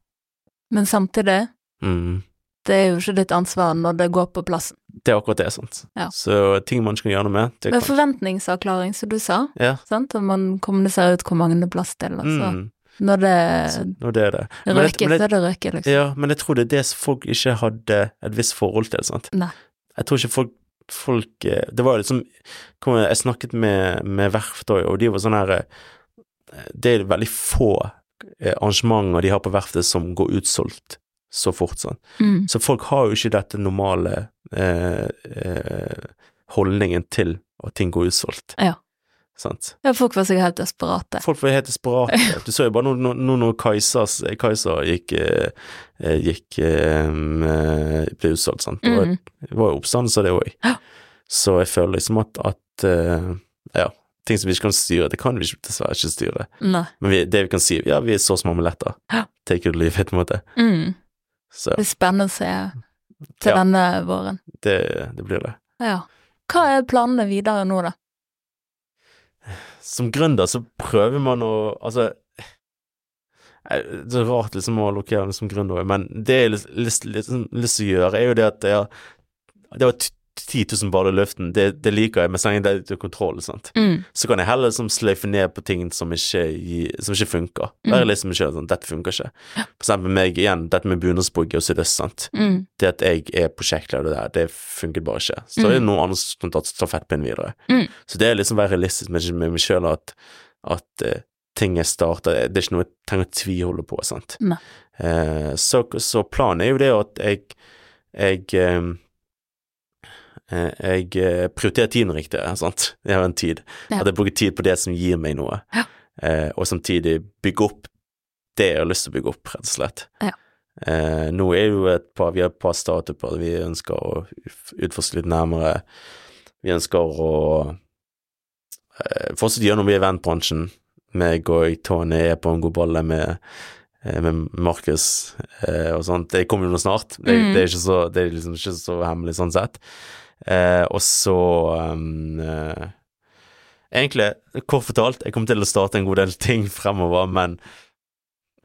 [SPEAKER 1] Men samtidig,
[SPEAKER 2] Mm.
[SPEAKER 1] det er jo ikke ditt ansvar når det går på plassen.
[SPEAKER 2] Det er akkurat det, sant.
[SPEAKER 1] Ja.
[SPEAKER 2] Så ting man ikke kan gjøre noe med. Det
[SPEAKER 1] Men
[SPEAKER 2] kan.
[SPEAKER 1] forventningsavklaring, som du sa,
[SPEAKER 2] Ja.
[SPEAKER 1] sant? og man kommuniserer ut hvor mange det er plass til. Altså.
[SPEAKER 2] Mm.
[SPEAKER 1] Når det
[SPEAKER 2] Så, og det er det. Men det-
[SPEAKER 1] røker,
[SPEAKER 2] men
[SPEAKER 1] så
[SPEAKER 2] det-
[SPEAKER 1] er det røker, liksom.
[SPEAKER 2] Ja, men jeg tror det er det som folk ikke hadde et visst forhold til, sant.
[SPEAKER 1] Nei.
[SPEAKER 2] Jeg tror ikke folk, folk eh, Det var liksom kom, Jeg snakket med, med verft òg, og de var sånn her eh, Det er veldig få eh, arrangementer de har på verftet som går utsolgt så fort, sant.
[SPEAKER 1] Mm.
[SPEAKER 2] Så folk har jo ikke dette normale eh, eh, holdningen til at ting går utsolgt.
[SPEAKER 1] Ja.
[SPEAKER 2] Sant?
[SPEAKER 1] ja, folk var sikkert helt desperate.
[SPEAKER 2] Folk var helt desperate. Du så jo bare nå nå- nå når Kajsas, Kajsa gikk, eh, eh, gikk eh, eh, ble utsolgt, sant. Det var,
[SPEAKER 1] Mm.
[SPEAKER 2] det var jo oppstandelse, det
[SPEAKER 1] Ja.
[SPEAKER 2] òg. Så jeg føler liksom at, at eh, ja, ting som vi ikke kan styre, det kan vi ikke, dessverre ikke styre.
[SPEAKER 1] Nei.
[SPEAKER 2] Men vi, det vi kan si, ja, vi er så små amuletter.
[SPEAKER 1] Ja.
[SPEAKER 2] Take it or leave it, på en måte.
[SPEAKER 1] Mm.
[SPEAKER 2] Så
[SPEAKER 1] Det blir spennende å se til
[SPEAKER 2] Ja.
[SPEAKER 1] denne våren.
[SPEAKER 2] det, det blir det.
[SPEAKER 1] Ja. Hva er planene videre nå, da?
[SPEAKER 2] som gründer så prøver man å Altså eh, Det er rart liksom å allokere det som gründer, men det jeg har lyst, lyst, liksom lyst til å gjøre, er jo det at jeg har Det var 10 000 baller i luften, det, det liker jeg, men så lenge det er ute av kontroll, sant.
[SPEAKER 1] Mm.
[SPEAKER 2] Så kan jeg heller liksom sløyfe ned på ting som ikke, gi- som ikke funker.
[SPEAKER 1] Mm.
[SPEAKER 2] Være liksom ikke sånn Dette funker ikke. For eksempel meg igjen, dette med Bunadsbugge og Sydøst, sant.
[SPEAKER 1] Mm.
[SPEAKER 2] Det at jeg er prosjektleder der, det funket bare ikke. Så det er noen andre som tar stafettpinnen videre.
[SPEAKER 1] Mm.
[SPEAKER 2] Så det er liksom å være realistisk med, med meg sjøl at, at eh, ting jeg starter. Det er ikke noe jeg trenger å tviholde på. sant?
[SPEAKER 1] Nei.
[SPEAKER 2] Eh, så, så planen er jo det at jeg jeg, eh, eh, jeg eh, prioriterer tiden riktig, sant. Jeg har en tid.
[SPEAKER 1] Ja.
[SPEAKER 2] At jeg bruker tid på det som gir meg noe,
[SPEAKER 1] Ja.
[SPEAKER 2] Eh, og samtidig bygge opp det jeg har lyst til å bygge opp, rett og slett.
[SPEAKER 1] Ja.
[SPEAKER 2] Eh, nå er jo et par, vi har et par startuper vi ønsker å utf- utforske litt nærmere. Vi ønsker å eh, fortsette gjennom i eventbransjen. Meg og Tony er på en god balle med, eh, med Markus eh, og sånt. Det kommer jo nå snart. Det,
[SPEAKER 1] Mm.
[SPEAKER 2] det, er ikke så, det er liksom ikke så hemmelig sånn sett. Eh, og så um, eh, Egentlig, kort fortalt, jeg kommer til å starte en god del ting fremover, men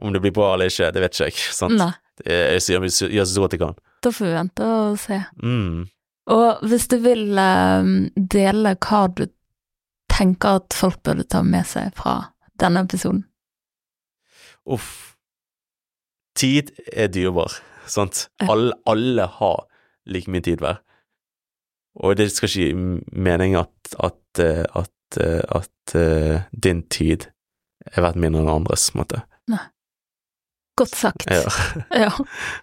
[SPEAKER 2] om det blir bra eller ikke, det vet ikke jeg. Sant?
[SPEAKER 1] Nei.
[SPEAKER 2] Jeg, jeg gjør så- gjør så godt jeg kan.
[SPEAKER 1] Da får vi vente og se.
[SPEAKER 2] Mm.
[SPEAKER 1] Og hvis du vil eh, dele hva du tenker at folk burde ta med seg fra denne episoden
[SPEAKER 2] Uff. Tid er dyrebar, sant?
[SPEAKER 1] Ja.
[SPEAKER 2] Alle, alle har like mye tid hver. Og det skal ikke gi m- mening at, at, eh, at, eh, at eh, din tid er verdt mindre enn andres, på en måte.
[SPEAKER 1] Godt sagt.
[SPEAKER 2] Ja,
[SPEAKER 1] Ja.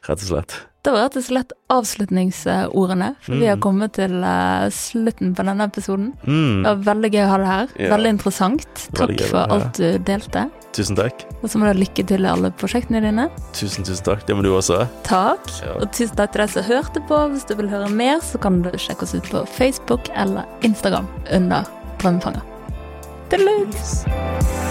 [SPEAKER 2] rett og slett.
[SPEAKER 1] Det var rett og slett avslutningsordene, for vi har
[SPEAKER 2] Mm.
[SPEAKER 1] kommet til eh, slutten på denne episoden.
[SPEAKER 2] Mm.
[SPEAKER 1] Det var veldig gøy å ha det her.
[SPEAKER 2] Ja.
[SPEAKER 1] Veldig interessant. Takk
[SPEAKER 2] Veldig gøy å
[SPEAKER 1] for
[SPEAKER 2] være her.
[SPEAKER 1] alt du delte.
[SPEAKER 2] Tusen takk.
[SPEAKER 1] Og så må du ha lykke til i alle prosjektene dine.
[SPEAKER 2] Tusen, tusen takk. Det må du også.
[SPEAKER 1] Takk.
[SPEAKER 2] Ja.
[SPEAKER 1] Og tusen takk til deg som hørte på. Hvis du vil høre mer, så kan du sjekke oss ut på Facebook eller Instagram under Drømmefanger. Til luks!